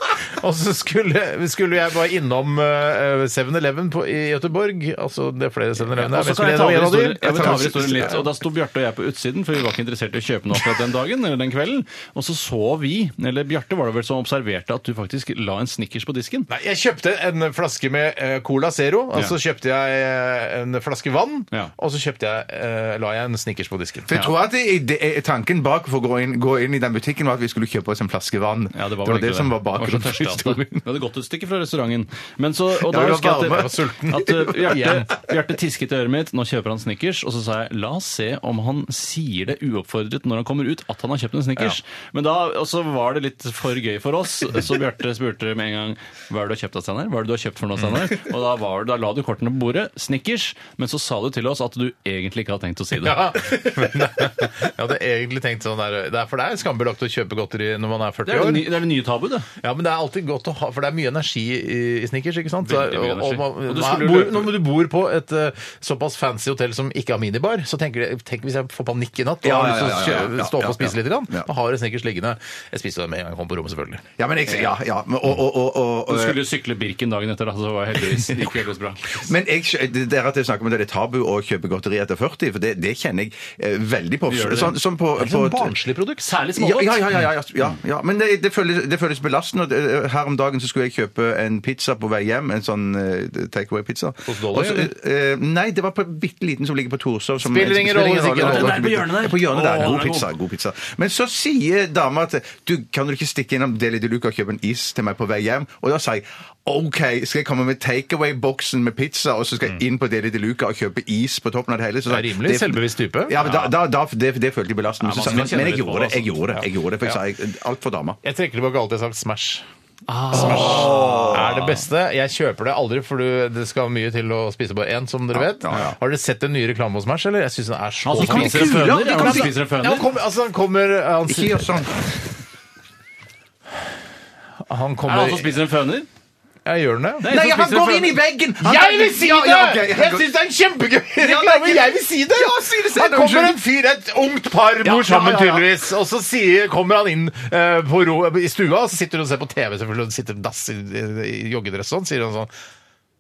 [SPEAKER 2] Og så skulle, skulle jeg bare innom eh, 7-Eleven på- i Gøteborg. Altså, det er flere 7-Eleven der.
[SPEAKER 4] Og så
[SPEAKER 2] men
[SPEAKER 4] kan jeg ta
[SPEAKER 2] skulle
[SPEAKER 4] over
[SPEAKER 2] innom en av de.
[SPEAKER 4] historien- jeg vil ta over
[SPEAKER 3] Jeg tar-
[SPEAKER 4] historien litt. Og da sto Bjarte og jeg på utsiden, for vi var ikke interessert i å kjøpe noe akkurat den dagen eller den kvelden. Og så så vi, eller Bjarte var det vel som observerte at du faktisk la en Snickers på disken.
[SPEAKER 2] Nei, jeg kjøpte en flaske med eh, Cola Zero, og
[SPEAKER 4] Ja.
[SPEAKER 2] så kjøpte jeg eh, en flaske vann,
[SPEAKER 4] Ja.
[SPEAKER 2] og så kjøpte jeg, eh, la jeg en Snickers på disken.
[SPEAKER 3] For jeg tror at det, det, tanken bak for å gå inn, gå inn i den butikken var at vi skulle kjøpe oss en flaske vann.
[SPEAKER 4] Ja, det var,
[SPEAKER 3] det,
[SPEAKER 4] vel egentlig
[SPEAKER 3] som var
[SPEAKER 4] Jeg
[SPEAKER 3] bakgrunnen for
[SPEAKER 4] var så tørste at
[SPEAKER 3] historien.
[SPEAKER 4] det- Vi hadde gått et stykke fra restauranten. Men så,
[SPEAKER 3] Ja,
[SPEAKER 4] og da
[SPEAKER 3] vi var
[SPEAKER 4] husker jeg at,
[SPEAKER 3] varme.
[SPEAKER 2] Jeg var sulten.
[SPEAKER 4] at uh, Bjarte, Bjarte tisket i øret mitt, nå kjøper han Snickers, og så sa jeg la oss se om han sier det uoppfordret når han kommer ut at han har kjøpt en Snickers. Men da, og så var det litt for gøy for oss, så Bjarte spurte med en gang hva er det du har kjøpt av Steinar, hva er det du har kjøpt for noe Steinar? Og da, var, det- da la du kortene på bordet, Snickers, men så sa du til oss at du egentlig ikke hadde tenkt å si det.
[SPEAKER 2] [laughs] Ja, men jeg hadde egentlig tenkt sånn der, det er For det er skambelagt å kjøpe godteri når man er
[SPEAKER 4] Det er
[SPEAKER 2] 40
[SPEAKER 4] det,
[SPEAKER 2] år.
[SPEAKER 4] nye, det er det nye tabu, det.
[SPEAKER 2] Ja, men det er alltid godt å ha, for det er mye energi i, i snickers, ikke sant? Så,
[SPEAKER 4] Veldig mye energi.
[SPEAKER 2] og, og, man,
[SPEAKER 4] Og du
[SPEAKER 2] man,
[SPEAKER 4] skulle jo
[SPEAKER 2] bor,
[SPEAKER 4] løpe-
[SPEAKER 2] når du bor på et eh, såpass fancy hotell som ikke har minibar, så tenker du, tenk hvis jeg får panikk i natt og
[SPEAKER 3] Ja,
[SPEAKER 2] har
[SPEAKER 3] ja,
[SPEAKER 2] lyst til
[SPEAKER 3] ja, ja,
[SPEAKER 2] å
[SPEAKER 3] ja,
[SPEAKER 2] kjø-
[SPEAKER 3] ja,
[SPEAKER 2] stå opp
[SPEAKER 3] ja,
[SPEAKER 2] og spise
[SPEAKER 3] ja.
[SPEAKER 2] litt, grann,
[SPEAKER 3] Ja.
[SPEAKER 2] da har jeg snickers liggende. Jeg spiste det med en gang jeg kom på rommet, selvfølgelig.
[SPEAKER 3] Ja, men jeg, ja, ja. men- Og, og, og, og,
[SPEAKER 4] Du skulle jo sykle Birken dagen etter, da, så det var
[SPEAKER 3] [laughs]
[SPEAKER 4] heldigvis, det gikk heldigvis bra.
[SPEAKER 3] Men jeg, skj- det der at jeg snakker om det, det er tabu å kjøpe godteri etter 40, for det, det kjenner jeg eh, veldig på.
[SPEAKER 4] Gjør du det?
[SPEAKER 3] Sånn, sånn på,
[SPEAKER 2] Det er sånn
[SPEAKER 3] på-
[SPEAKER 2] barnslig produkt.
[SPEAKER 4] Særlig
[SPEAKER 3] ja,
[SPEAKER 4] smågodt.
[SPEAKER 3] ja, ja, ja, ja, ja, ja. Men det, det, føles, det føles belastende. og det- eh, Her om dagen så skulle jeg kjøpe en pizza på vei hjem. En sånn eh, takeaway-pizza.
[SPEAKER 2] Hos Dolly,
[SPEAKER 3] Og så, eh, Nei, det var på en bitte liten som ligger på Torshov. som- eh,
[SPEAKER 2] Spiller ingen rolle hvis ikke-
[SPEAKER 3] rolle.
[SPEAKER 4] Den er på hjørnet der.
[SPEAKER 3] Ja, På hjørnet
[SPEAKER 4] Å,
[SPEAKER 3] der.
[SPEAKER 4] den er
[SPEAKER 3] God
[SPEAKER 4] god.
[SPEAKER 3] pizza. god pizza. Men så sier dama at du, kan du ikke stikke innom Deli de Luca og kjøpe en is til meg på vei hjem? Og da sa jeg OK, skal jeg komme med takeaway-boksen med pizza, og så skal jeg inn på Deli de Luca og kjøpe is på toppen av det hele? Så sa
[SPEAKER 2] Mm. Det er
[SPEAKER 3] jeg,
[SPEAKER 2] rimelig selvbevisst type.
[SPEAKER 3] Ja, men da, da, da, det, det følte jeg belastende.
[SPEAKER 4] Ja, man
[SPEAKER 3] Så sa jeg,
[SPEAKER 4] skal
[SPEAKER 3] men
[SPEAKER 4] kjenne
[SPEAKER 3] men jeg
[SPEAKER 4] litt på
[SPEAKER 3] gjorde det,
[SPEAKER 4] det,
[SPEAKER 3] jeg gjorde det. jeg gjorde det, For jeg sa jeg- alt for dama.
[SPEAKER 2] Jeg trekker tilbake alt jeg har sagt. Smash. Ah. Smash er det beste. Jeg kjøper det aldri, for du, det skal mye til å spise bare én, som dere vet.
[SPEAKER 3] ja, ja.
[SPEAKER 2] Har dere sett den nye reklamen hos Smash, eller? Jeg syns den er så
[SPEAKER 4] Han som
[SPEAKER 2] fin.
[SPEAKER 4] Altså, spiser en
[SPEAKER 3] kuler,
[SPEAKER 4] føner.
[SPEAKER 3] de
[SPEAKER 4] ja,
[SPEAKER 3] kan
[SPEAKER 4] Han
[SPEAKER 3] ikke-
[SPEAKER 4] spiser en
[SPEAKER 2] Ja, han
[SPEAKER 4] føner.
[SPEAKER 2] kommer, altså, han kommer Han,
[SPEAKER 3] Ikke gjør sånn.
[SPEAKER 4] Er
[SPEAKER 2] han
[SPEAKER 4] det han
[SPEAKER 2] kommer
[SPEAKER 4] som spiser en føner?
[SPEAKER 2] Jeg gjør den det?
[SPEAKER 3] Nei,
[SPEAKER 4] som
[SPEAKER 3] han
[SPEAKER 4] spiser
[SPEAKER 3] går
[SPEAKER 4] føner.
[SPEAKER 3] inn i veggen! Han-
[SPEAKER 2] Jeg vil si det!
[SPEAKER 3] Ja, ja, ok, han
[SPEAKER 2] jeg
[SPEAKER 3] går-
[SPEAKER 2] syns det er en kjempegøy
[SPEAKER 3] det er
[SPEAKER 2] reklame!
[SPEAKER 3] ikke-
[SPEAKER 2] Jeg vil si det!
[SPEAKER 3] Ja, si det, si det,
[SPEAKER 2] Her kommer
[SPEAKER 3] unnskyld.
[SPEAKER 2] en fyr, et ungt par
[SPEAKER 3] Ja,
[SPEAKER 2] bor sammen,
[SPEAKER 3] ja, ja, ja.
[SPEAKER 2] tydeligvis. Og så sier, kommer han inn eh, på ro, i stua, og så sitter hun og ser på TV, selvfølgelig, og det sitter en dass i, i, i joggedress og sånn, sier han sånn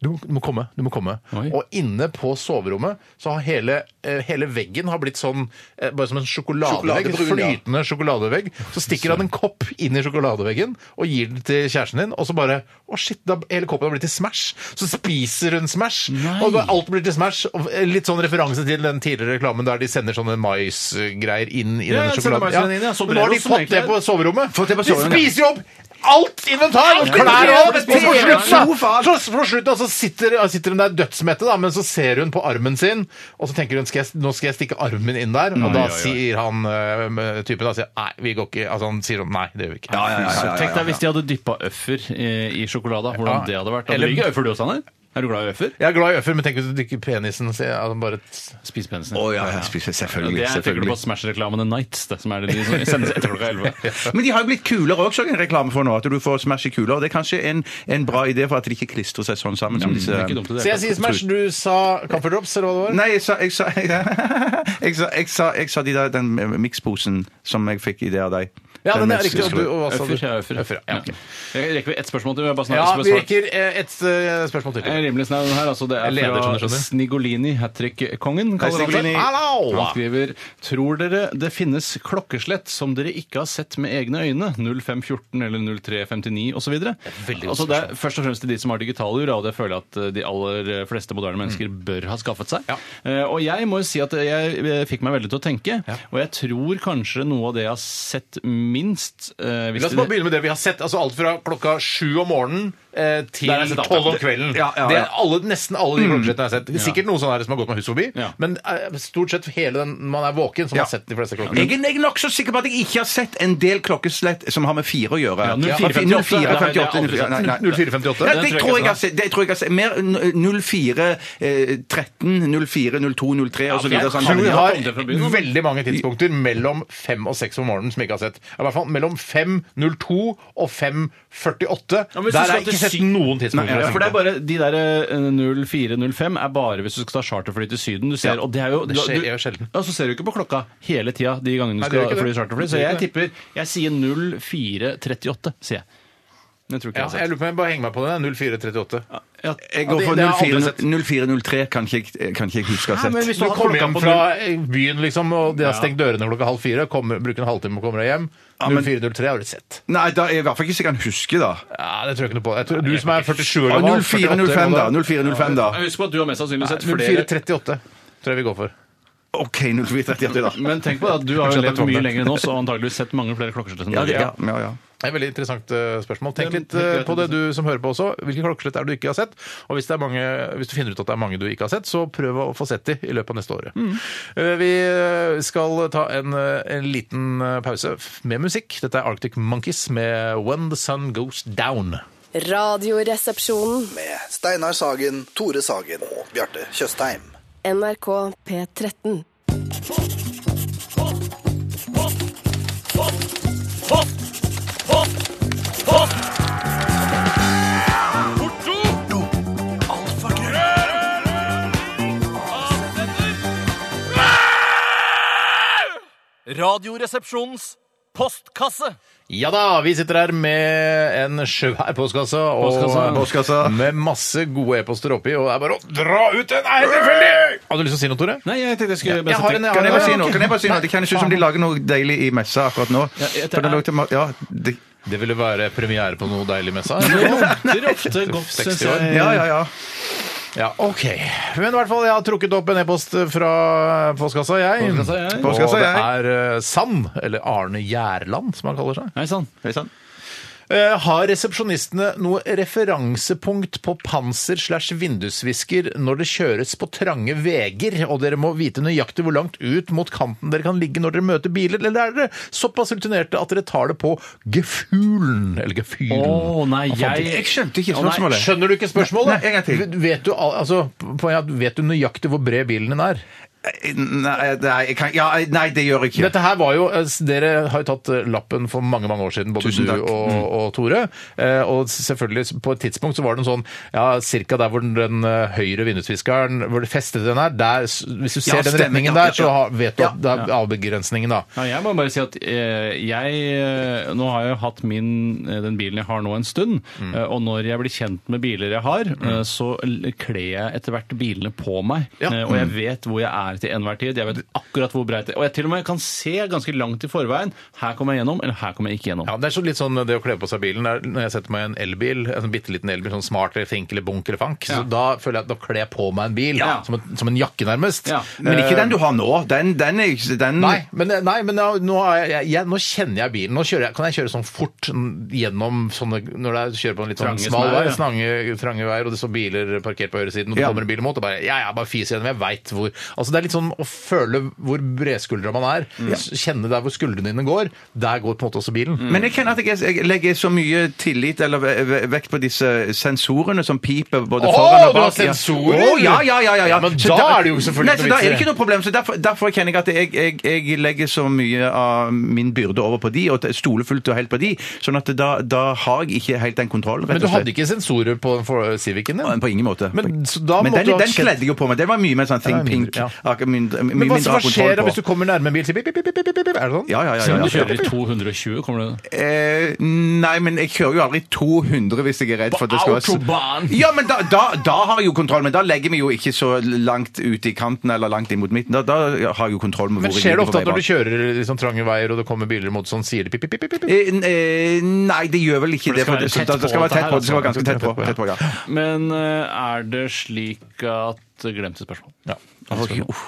[SPEAKER 2] du må- du må komme. du må komme.
[SPEAKER 4] Oi.
[SPEAKER 2] Og inne på soverommet så har hele, eh, hele veggen har blitt sånn eh, Bare som en sjokoladevegg.
[SPEAKER 3] Sjokoladebrun, ja.
[SPEAKER 2] Flytende sjokoladevegg. Så stikker han en kopp inn i sjokoladeveggen og gir den til kjæresten din, og så bare Å, shit, da, hele koppen har blitt til Smash. Så spiser hun Smash,
[SPEAKER 4] Nei.
[SPEAKER 2] og da- alt blir til Smash. Og eh, litt sånn referanse til den tidligere reklamen der de sender sånne maisgreier inn i
[SPEAKER 4] Ja,
[SPEAKER 2] denne
[SPEAKER 4] de sender
[SPEAKER 2] sjokoladen.
[SPEAKER 4] maisgreiene inn, ja. Sombreros
[SPEAKER 2] Men Nå har de
[SPEAKER 4] som
[SPEAKER 2] fått
[SPEAKER 4] egentlig
[SPEAKER 2] det
[SPEAKER 4] er-
[SPEAKER 2] på soverommet.
[SPEAKER 3] Fått det på
[SPEAKER 2] de
[SPEAKER 3] soverommet, ja.
[SPEAKER 2] spiser jo opp alt inventar! Og
[SPEAKER 3] Ja, ja,
[SPEAKER 2] klær
[SPEAKER 3] det
[SPEAKER 2] og alt!
[SPEAKER 3] blir
[SPEAKER 2] Og på
[SPEAKER 3] TV-en,
[SPEAKER 2] slutt så
[SPEAKER 3] ja.
[SPEAKER 2] Faen, Så så på slutten altså, sitter, ja, sitter hun der dødsmette, da, men så ser hun på armen sin, og så tenker hun skal jeg, nå skal jeg stikke armen min inn der. Og da
[SPEAKER 4] oi, oi.
[SPEAKER 2] sier han øh, typen da, sier, nei, vi går ikke, altså han sier sånn, nei, det gjør vi ikke.
[SPEAKER 3] Ja, ja, ja, ja,
[SPEAKER 4] Tenk
[SPEAKER 3] ja,
[SPEAKER 4] deg hvis de hadde dyppa øffer eh, i sjokolade. Hvordan
[SPEAKER 2] Ja.
[SPEAKER 4] det hadde vært. Hadde
[SPEAKER 2] Eller-
[SPEAKER 4] du likt øffer du også, Anner? Er du glad i øffer?
[SPEAKER 2] Jeg er glad i øffer, men tenk hvis du dykker penisen, sier jeg, altså, bare t-
[SPEAKER 4] Spis penisen.
[SPEAKER 3] Å ja, jeg spiser selvfølgelig.
[SPEAKER 4] det er, tenker
[SPEAKER 3] selvfølgelig.
[SPEAKER 4] du på Smash-reklamene Nights, det, som er det de som sendes etter klokka
[SPEAKER 3] [laughs]
[SPEAKER 4] 11.
[SPEAKER 3] Men de har jo blitt kulere også, så jeg en reklame for nå. At du får smash i kuler. og Det er kanskje en, en bra idé for at de ikke klistrer seg sånn sammen som disse
[SPEAKER 4] Det er ikke dumt i det
[SPEAKER 2] Så jeg
[SPEAKER 4] hele tatt.
[SPEAKER 2] sier Smash, du sa Comfort Drops, eller hva det var?
[SPEAKER 3] Nei, jeg sa [laughs] Jeg sa, jeg sa, jeg sa, jeg sa de der, den miksposen som jeg fikk i det av deg.
[SPEAKER 2] Ja, den
[SPEAKER 3] Den
[SPEAKER 2] er riktig. Og
[SPEAKER 3] østerske.
[SPEAKER 2] du, og hva sa du?
[SPEAKER 4] Øffer. ja, Øffer.
[SPEAKER 2] Øffer, ja.
[SPEAKER 4] Ja.
[SPEAKER 2] ok.
[SPEAKER 4] Jeg rekker vi ett spørsmål til? Jeg bare
[SPEAKER 2] Ja,
[SPEAKER 4] snakker
[SPEAKER 2] vi
[SPEAKER 4] ja,
[SPEAKER 2] rekker eh, et eh, spørsmål til.
[SPEAKER 4] En rimelig snau den her. Altså det er
[SPEAKER 2] Jeg leder,
[SPEAKER 4] fra
[SPEAKER 2] skjønner du.
[SPEAKER 4] Snigolini, hat trick-kongen. kaller han seg.
[SPEAKER 3] Snigolini.
[SPEAKER 4] Han
[SPEAKER 2] Hallo!
[SPEAKER 4] skriver Tror dere det finnes klokkeslett som dere ikke har sett med egne øyne? 0514 eller 0359 osv. Altså, det er først og fremst til de som har digitale ur, og det føler jeg at eh, de aller fleste moderne mennesker bør ha skaffet seg.
[SPEAKER 2] Mm. Ja.
[SPEAKER 4] Eh, og jeg må jo si at jeg eh, fikk meg veldig til å tenke, og jeg tror kanskje noe av det jeg har sett minst eh, hvis
[SPEAKER 2] La oss
[SPEAKER 4] det-
[SPEAKER 2] bare begynne med det vi har sett. altså Alt fra klokka sju om morgenen eh, til
[SPEAKER 4] Der har jeg sett alt.
[SPEAKER 2] tolv om kvelden.
[SPEAKER 3] Ja, ja, ja.
[SPEAKER 2] Det er alle, nesten alle de klokkeslettene jeg har sett. Det er Sikkert noen sånne her som har gått med hus forbi,
[SPEAKER 4] Ja.
[SPEAKER 2] men eh, stort sett hele den man er våken, som
[SPEAKER 3] Ja.
[SPEAKER 2] har sett de fleste klokkene.
[SPEAKER 3] Jeg er jeg er nokså sikker på at jeg ikke har sett en del klokkeslett som har med fire å gjøre.
[SPEAKER 4] Ja, 0458.
[SPEAKER 3] Ja, 0458,
[SPEAKER 4] Det har jeg aldri sett.
[SPEAKER 3] nei, nei, nei.
[SPEAKER 2] 0458.
[SPEAKER 3] Ja, det
[SPEAKER 2] Den tror jeg
[SPEAKER 3] tror jeg
[SPEAKER 2] ikke
[SPEAKER 3] jeg har sett. Det tror jeg jeg har sett. Mer n- eh, 0413, 040203 og så videre.
[SPEAKER 2] Jeg
[SPEAKER 3] sånn.
[SPEAKER 2] tror vi
[SPEAKER 3] Ja.
[SPEAKER 4] kom det fra
[SPEAKER 2] har
[SPEAKER 4] byen, da.
[SPEAKER 2] veldig mange tidspunkter mellom fem og seks om morgenen som jeg ikke har sett. I hvert fall mellom 5.02 og 5.48.
[SPEAKER 4] Ja, men hvis du skal
[SPEAKER 2] Der har jeg
[SPEAKER 4] til
[SPEAKER 2] ikke sett
[SPEAKER 4] sy-
[SPEAKER 2] noen tidspunkter.
[SPEAKER 4] Ja,
[SPEAKER 2] jeg
[SPEAKER 4] for det
[SPEAKER 2] tenkte.
[SPEAKER 4] er bare De der eh, 0405 er bare hvis du skal ta charterfly til Syden. Du ser, og det er jo,
[SPEAKER 2] Det
[SPEAKER 4] du-
[SPEAKER 2] skjer
[SPEAKER 4] du-
[SPEAKER 2] jo sjelden.
[SPEAKER 4] Ja, så ser du ikke på klokka hele tida de gangene du
[SPEAKER 2] Nei, det gjør
[SPEAKER 4] skal
[SPEAKER 2] ikke
[SPEAKER 4] fly
[SPEAKER 2] det.
[SPEAKER 4] charterfly.
[SPEAKER 2] Det
[SPEAKER 4] Så
[SPEAKER 2] gjør
[SPEAKER 4] jeg
[SPEAKER 2] ikke
[SPEAKER 4] tipper Jeg sier 0438, sier jeg. Men jeg tror ikke jeg
[SPEAKER 2] ja, jeg
[SPEAKER 4] har sett.
[SPEAKER 2] lurer på om jeg bare henger meg på den. 0438.
[SPEAKER 4] Ja.
[SPEAKER 3] Jeg går
[SPEAKER 2] Ja,
[SPEAKER 3] for
[SPEAKER 2] det- det har jeg aldri
[SPEAKER 3] 04 0403, kan ikke jeg- kan ikke jeg huske å ha
[SPEAKER 4] men
[SPEAKER 3] sett.
[SPEAKER 4] hvis
[SPEAKER 2] Du
[SPEAKER 4] hadde
[SPEAKER 2] kommer
[SPEAKER 4] klokka
[SPEAKER 2] hjem
[SPEAKER 4] på
[SPEAKER 2] fra
[SPEAKER 4] null-
[SPEAKER 2] byen, liksom, og de har
[SPEAKER 4] Ja.
[SPEAKER 2] stengt dørene klokka halv fire. Kommer, bruker en halvtime på å komme deg hjem.
[SPEAKER 3] men-
[SPEAKER 2] 0403 har du sett.
[SPEAKER 3] Nei, da er jeg i hvert fall ikke så jeg kan huske, da.
[SPEAKER 2] Ja, det tror jeg ikke noe på. Jeg tror, du som er 47 år
[SPEAKER 3] Ja,
[SPEAKER 2] gammel
[SPEAKER 3] 0405, da. 0405, da.
[SPEAKER 4] Jeg husker på at du har mest sannsynlig sett flere
[SPEAKER 2] 0438 tror jeg vi går for.
[SPEAKER 3] OK, 0438, da.
[SPEAKER 4] Men tenk på det at du har
[SPEAKER 2] Kanskje
[SPEAKER 4] jo
[SPEAKER 2] jeg
[SPEAKER 4] levd
[SPEAKER 2] tar
[SPEAKER 4] mye
[SPEAKER 2] det.
[SPEAKER 4] lenger enn oss og antageligvis sett mange flere klokkeslett enn
[SPEAKER 3] Ja, det,
[SPEAKER 4] deg.
[SPEAKER 3] ja, ja, ja.
[SPEAKER 2] Det er et veldig interessant eh, spørsmål.
[SPEAKER 4] Det
[SPEAKER 2] Tenk
[SPEAKER 4] er
[SPEAKER 2] litt eh,
[SPEAKER 4] helt
[SPEAKER 2] på det du som hører på også. Hvilke klokkeslett er det du ikke har sett? Og hvis, det er mange, hvis du finner ut at det er mange du ikke har sett, så prøv å få sett de i løpet av neste året. Eh, Vi eh, skal ta en, eh, en liten eh, pause f- med musikk. Dette er Arctic Monkeys med When the Sun Goes Down.
[SPEAKER 8] Radioresepsjonen.
[SPEAKER 9] Med Steinar Sagen, Tore Sagen og Bjarte Tjøstheim.
[SPEAKER 8] NRK P13.
[SPEAKER 7] Radioresepsjonens postkasse.
[SPEAKER 2] Ja da, vi sitter her med en svær postkasse, og
[SPEAKER 4] Postkasse.
[SPEAKER 3] Postkasse.
[SPEAKER 2] med masse gode e-poster oppi, og det er bare å dra ut den! Nei, selvfølgelig! Har du lyst til å si noe, Tore?
[SPEAKER 4] Nei, jeg tenkte jeg skulle
[SPEAKER 2] Jeg har en- jeg har
[SPEAKER 3] Kan jeg
[SPEAKER 2] en-
[SPEAKER 3] bare si noe? Kan jeg bare si noe? Det kjennes ut som de lager noe deilig i messa akkurat nå.
[SPEAKER 4] Ja, jeg-
[SPEAKER 3] For det lå til ma- ja, det,
[SPEAKER 2] Det ville være premiere på noe deilig messa.
[SPEAKER 4] Det lukter ofte
[SPEAKER 2] [laughs]
[SPEAKER 4] godt,
[SPEAKER 2] 60
[SPEAKER 4] syns
[SPEAKER 2] år.
[SPEAKER 4] jeg.
[SPEAKER 3] ja, ja, ja.
[SPEAKER 2] Ja, ok. Men i hvert fall, jeg har trukket opp en e-post fra postkassa, jeg.
[SPEAKER 4] Postkassa, jeg.
[SPEAKER 3] Postkassa, jeg.
[SPEAKER 2] Og det er eh, Sand, eller Arne Gjærland, som han kaller seg.
[SPEAKER 4] Nei sann.
[SPEAKER 3] Er det sant?
[SPEAKER 2] Eh, Har resepsjonistene noe referansepunkt på panser slash vindusvisker når det kjøres på trange veger, og dere må vite nøyaktig hvor langt ut mot kanten dere kan ligge når dere møter biler, eller er dere såpass rutinerte at dere tar det på gefühlen, eller
[SPEAKER 4] Å
[SPEAKER 2] gefühlen?
[SPEAKER 4] nei, jeg
[SPEAKER 3] Jeg skjønte ikke
[SPEAKER 4] Å, nei,
[SPEAKER 3] spørsmålet.
[SPEAKER 2] Skjønner du ikke spørsmålet?
[SPEAKER 3] Nei, en gang til.
[SPEAKER 2] Vet du, al- altså, poenget er at vet du nøyaktig hvor bred bilen din er?
[SPEAKER 3] Nei, nei, jeg kan, ja, nei, det gjør jeg ikke.
[SPEAKER 2] Dette her var jo, eh, Dere har jo tatt eh, lappen for mange mange år siden, både
[SPEAKER 3] Tusen
[SPEAKER 2] du
[SPEAKER 3] takk. Mm.
[SPEAKER 2] og, og Tore. Eh, og selvfølgelig, på et tidspunkt så var det en sånn ja, Cirka der hvor den, den eh, høyre vindusviskeren hvor det festet den er, der, s- hvis du ser
[SPEAKER 3] Ja,
[SPEAKER 2] den
[SPEAKER 3] stemmer,
[SPEAKER 2] retningen
[SPEAKER 3] ja,
[SPEAKER 2] der,
[SPEAKER 3] ja,
[SPEAKER 2] så
[SPEAKER 3] ja.
[SPEAKER 2] har- vet du at det er avbegrensningen, da.
[SPEAKER 4] Ja, jeg må bare si at eh, jeg eh, Nå har jeg hatt min, eh, den bilen jeg har nå en stund,
[SPEAKER 3] Mm.
[SPEAKER 4] eh, og når jeg blir kjent med biler jeg har, eh, så l- kler jeg etter hvert bilene på meg.
[SPEAKER 2] Ja.
[SPEAKER 4] Eh,
[SPEAKER 3] Mm.
[SPEAKER 4] og jeg vet hvor jeg er til enhver tid. Jeg vet akkurat hvor breit det er. Og jeg til og med kan se ganske langt i forveien. Her kommer jeg gjennom, eller her kommer jeg ikke gjennom.
[SPEAKER 2] Ja, Det er så litt sånn det å kle på seg bilen. Det er Når jeg setter meg i en elbil, en sånn bitte liten elbil, sånn smart eller fink eller bunk eller fank,
[SPEAKER 4] Ja.
[SPEAKER 2] så da føler jeg at da kler jeg på meg en bil.
[SPEAKER 4] Ja.
[SPEAKER 2] Som, en, som en jakke, nærmest.
[SPEAKER 4] Ja. Eh,
[SPEAKER 3] Men ikke den du har nå. Den, den er jo ikke den,
[SPEAKER 2] Nei, men, nei, men nå, nå, er jeg, jeg, nå kjenner jeg bilen. Nå kjører jeg, kan jeg kjøre sånn fort gjennom sånne Når jeg kjører på en litt sånn
[SPEAKER 4] Trange
[SPEAKER 2] smal
[SPEAKER 4] smær,
[SPEAKER 2] vei,
[SPEAKER 4] ja.
[SPEAKER 2] trange, trange veier, og det står biler parkert på høyresiden, og det
[SPEAKER 3] Ja.
[SPEAKER 2] kommer en bil imot, og bare Ja, ja, bare fis gjennom. Jeg veit hvor Altså, det er litt sånn å føle hvor bredskuldra man er.
[SPEAKER 4] Mm.
[SPEAKER 2] s- Kjenne der hvor skuldrene dine går. Der går på en måte også bilen.
[SPEAKER 3] Men jeg kjenner at jeg, jeg legger så mye tillit eller ve- ve- vekt på disse sensorene som piper både
[SPEAKER 2] Åh,
[SPEAKER 3] foran og
[SPEAKER 2] du har
[SPEAKER 3] bak. ja.
[SPEAKER 2] sensorer?
[SPEAKER 3] Åh, ja, ja, ja, ja, ja.
[SPEAKER 2] Men
[SPEAKER 3] Så
[SPEAKER 2] da er det jo selvfølgelig
[SPEAKER 3] Nei,
[SPEAKER 2] ikke
[SPEAKER 3] så
[SPEAKER 2] noe
[SPEAKER 3] da er det
[SPEAKER 2] vits i
[SPEAKER 3] ikke noe problem. Så derfor, derfor kjenner jeg at jeg, jeg, jeg legger så mye av min byrde over på de, og t- stoler fullt og helt på de, sånn at da, da har jeg ikke helt den kontrollen,
[SPEAKER 2] Men
[SPEAKER 3] rett
[SPEAKER 2] du
[SPEAKER 3] og slett.
[SPEAKER 2] hadde ikke sensorer på den for- Civicen din?
[SPEAKER 3] På ingen måte.
[SPEAKER 2] Men så da
[SPEAKER 3] Men
[SPEAKER 2] måtte
[SPEAKER 3] den,
[SPEAKER 2] du ha
[SPEAKER 3] den
[SPEAKER 2] kjent-
[SPEAKER 3] kledde jeg jo på meg. Det var mye mer sånn
[SPEAKER 2] Ja, det er mindre,
[SPEAKER 3] think
[SPEAKER 2] ja.
[SPEAKER 3] akkurat mindre, mye
[SPEAKER 2] Men hva,
[SPEAKER 3] mindre
[SPEAKER 2] hva
[SPEAKER 3] har kontroll
[SPEAKER 2] skjer da
[SPEAKER 3] på.
[SPEAKER 2] hvis du kommer nærme en bil? Sier, bip, bip, bip, bip, bip, bip, er det sånn?
[SPEAKER 3] Ja, ja, ja,
[SPEAKER 4] Selv
[SPEAKER 3] ja,
[SPEAKER 4] om
[SPEAKER 3] ja.
[SPEAKER 4] du kjører i 220, kommer det
[SPEAKER 3] Eh, nei, men jeg kjører jo aldri 200 hvis jeg er redd Eh, for at det skal
[SPEAKER 4] autobahn!
[SPEAKER 3] Ja, men da, da, da har jeg jo kontroll, men da legger vi jo ikke så langt ut i kanten eller langt inn mot midten. Da, da har jeg jo kontroll med
[SPEAKER 2] Men
[SPEAKER 3] hvor
[SPEAKER 2] skjer det
[SPEAKER 3] ligger på
[SPEAKER 2] ofte at når du
[SPEAKER 3] veibanen.
[SPEAKER 2] kjører liksom trange veier og det kommer biler mot sånn, sier det pip, pip, pip, pip, pip?
[SPEAKER 3] Eh, n- eh, Nei, det gjør vel ikke
[SPEAKER 4] For
[SPEAKER 3] det.
[SPEAKER 4] det
[SPEAKER 3] For det, så
[SPEAKER 4] skal være tett
[SPEAKER 3] da-
[SPEAKER 4] på
[SPEAKER 3] det skal være
[SPEAKER 4] dette
[SPEAKER 3] tett på.
[SPEAKER 4] her,
[SPEAKER 3] Det skal være
[SPEAKER 4] altså.
[SPEAKER 3] ganske tett på. Tett på ja.
[SPEAKER 4] Men eh, er det slik at Glemte spørsmål.
[SPEAKER 2] Ja.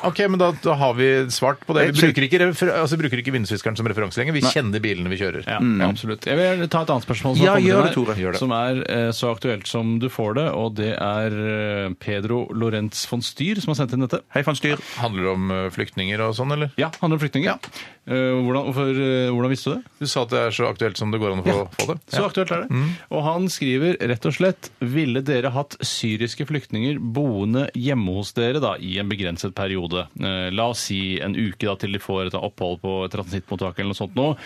[SPEAKER 2] Ok, men da, da har vi svart på det. Vi bruker ikke, refer- altså, vi bruker ikke vindusviskeren som referanse lenger. Vi kjenner bilene vi kjører.
[SPEAKER 4] Ja, absolutt. Jeg vil ta et annet spørsmål som,
[SPEAKER 3] Mm. Ja,
[SPEAKER 4] har kommet
[SPEAKER 3] gjør
[SPEAKER 4] inn
[SPEAKER 3] det, Tore.
[SPEAKER 4] her,
[SPEAKER 3] Gjør det.
[SPEAKER 4] som er eh, så aktuelt som du får det, og det er eh, Pedro Lorentz von Styr som har sendt inn dette.
[SPEAKER 3] Hei, van Styr.
[SPEAKER 2] Handler det om eh, flyktninger og sånn, eller?
[SPEAKER 4] Ja, handler om flyktninger. Eh, hvordan, hvorfor, eh, hvordan visste du det?
[SPEAKER 2] Du sa at det er så aktuelt som det går an å få, få det.
[SPEAKER 4] Så aktuelt er det. Og han skriver rett og slett Ville dere hatt syriske flyktninger boende hjemme hos dere da i en begrenset periode? Eh, La oss si en uke da til de får et opphold på et transittmottak eller noe sånt nå.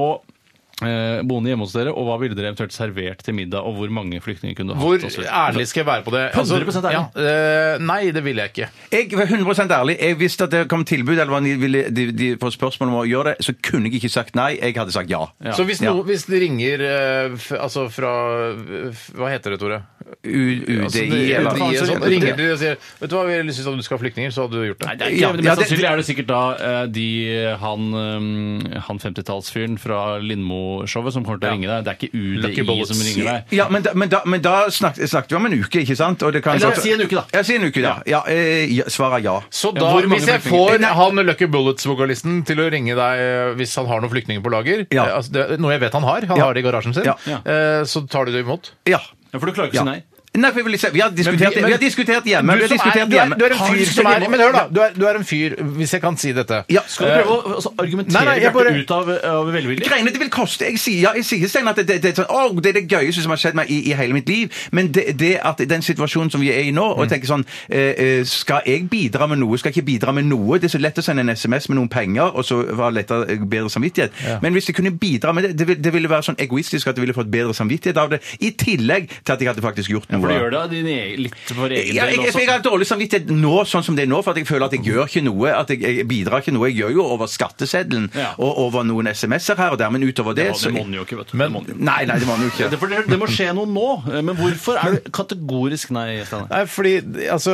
[SPEAKER 4] Og eh, boende hjemme hos dere, og hva ville dere eventuelt servert til middag, og hvor mange flyktninger kunne du
[SPEAKER 2] Hvor
[SPEAKER 4] hatt? og så videre?
[SPEAKER 2] ærlig skal jeg være på det? Altså,
[SPEAKER 4] 100% ærlig.
[SPEAKER 2] Ja, eh, nei, det vil jeg ikke.
[SPEAKER 3] Jeg var 100 ærlig. Jeg visste at det kom tilbud, eller hva de, ville, de, de får spørsmål om å gjøre det, så kunne jeg ikke sagt nei. Jeg hadde sagt ja.
[SPEAKER 2] Så hvis,
[SPEAKER 3] Ja.
[SPEAKER 2] noe- hvis det ringer eh, f, altså fra eh, f, Hva heter det, Tore?
[SPEAKER 3] U-
[SPEAKER 2] Altså,
[SPEAKER 3] UDI
[SPEAKER 2] det-
[SPEAKER 3] eller
[SPEAKER 2] UDI og sånn. Ringer
[SPEAKER 3] Ja.
[SPEAKER 2] de og sier Vet du hva, vi syns du skal ha flyktninger, så hadde du gjort det.
[SPEAKER 4] Nei, det er ikke,
[SPEAKER 3] Ja,
[SPEAKER 4] men
[SPEAKER 3] ja,
[SPEAKER 4] Mest
[SPEAKER 3] det-
[SPEAKER 4] sannsynlig er det sikkert da eh, de, han, eh, han 50-tallsfyren fra Lindmo-showet som kommer til å ringe deg. Det er
[SPEAKER 2] Lucky
[SPEAKER 4] ikke UDI
[SPEAKER 2] Bullets.
[SPEAKER 4] som ringer deg.
[SPEAKER 3] Ja, men da, men da, men da snak, snakket vi om en uke, ikke sant? Og det kan
[SPEAKER 4] Eller, si en uke, da.
[SPEAKER 3] Ja, si en uke, da. Ja, eh, ja, svaret er ja.
[SPEAKER 2] Så
[SPEAKER 4] Ja,
[SPEAKER 2] da,
[SPEAKER 4] hvor mange
[SPEAKER 2] hvis jeg
[SPEAKER 4] flyktninger?
[SPEAKER 2] får han Lucky Bullets-vokalisten til å ringe deg eh, hvis han har noen flyktninger på lager,
[SPEAKER 3] Ja.
[SPEAKER 2] eh, altså, det, er noe jeg vet han har, han
[SPEAKER 3] Ja.
[SPEAKER 2] har det i garasjen sin,
[SPEAKER 3] Ja.
[SPEAKER 2] eh, så tar du det imot.
[SPEAKER 3] Ja.
[SPEAKER 4] Ja, for du klarer ikke å si nei.
[SPEAKER 3] Nei, for jeg vil ikke si- vi har diskutert,
[SPEAKER 2] vi-
[SPEAKER 3] vi,
[SPEAKER 2] men-
[SPEAKER 3] har diskutert hjemme. Vi
[SPEAKER 2] du,
[SPEAKER 3] har
[SPEAKER 2] som er,
[SPEAKER 3] diskutert
[SPEAKER 2] du, er,
[SPEAKER 3] hjemme.
[SPEAKER 2] du er en
[SPEAKER 3] Har vi
[SPEAKER 2] fyr som
[SPEAKER 3] diskutert
[SPEAKER 2] er
[SPEAKER 3] hjemme?
[SPEAKER 2] Men hør, da! Du er, du er en fyr, hvis jeg kan si dette.
[SPEAKER 3] Ja.
[SPEAKER 4] Skal du prøve å altså, argumentere
[SPEAKER 2] Eh, Nei, nei, jeg
[SPEAKER 4] Bjarte,
[SPEAKER 2] bare-
[SPEAKER 4] ut av, eh, av velvilje?
[SPEAKER 3] Greiene det vil koste Jeg sier, ja, jeg sier Stein, at det, det, det, er sånn, «Åh, det er det gøyeste som har skjedd meg i, i hele mitt liv, men det, det at den situasjonen som vi er i nå, og jeg tenker sånn eh, eh, Skal jeg bidra med noe? Skal jeg ikke bidra med noe? Det er så lett å sende en SMS med noen penger, og så ha lettere eh, bedre samvittighet. Men hvis jeg kunne bidra med det, det, vil- det ville være sånn egoistisk at jeg ville fått bedre samvittighet av det, i tillegg til at jeg hadde faktisk gjort noe.
[SPEAKER 4] For du gjør det av din e litt for egen
[SPEAKER 3] Ja, jeg,
[SPEAKER 4] del
[SPEAKER 3] jeg, jeg
[SPEAKER 4] også.
[SPEAKER 3] har dårlig samvittighet nå, sånn som det er nå, for at jeg føler at jeg gjør ikke noe. At jeg, jeg bidrar ikke noe. Jeg gjør jo over skatteseddelen
[SPEAKER 4] Ja.
[SPEAKER 3] og over noen SMS-er her og der, men utover det,
[SPEAKER 4] Ja, det må den jo ikke, vet du.
[SPEAKER 2] Men-
[SPEAKER 4] det må den jo.
[SPEAKER 3] Nei, nei, det må han jo
[SPEAKER 2] [laughs]
[SPEAKER 4] Ja,
[SPEAKER 3] ikke.
[SPEAKER 4] det, for det, det må skje noe nå. Eh, Men hvorfor er du kategorisk nei? Steinar?
[SPEAKER 2] Nei, fordi altså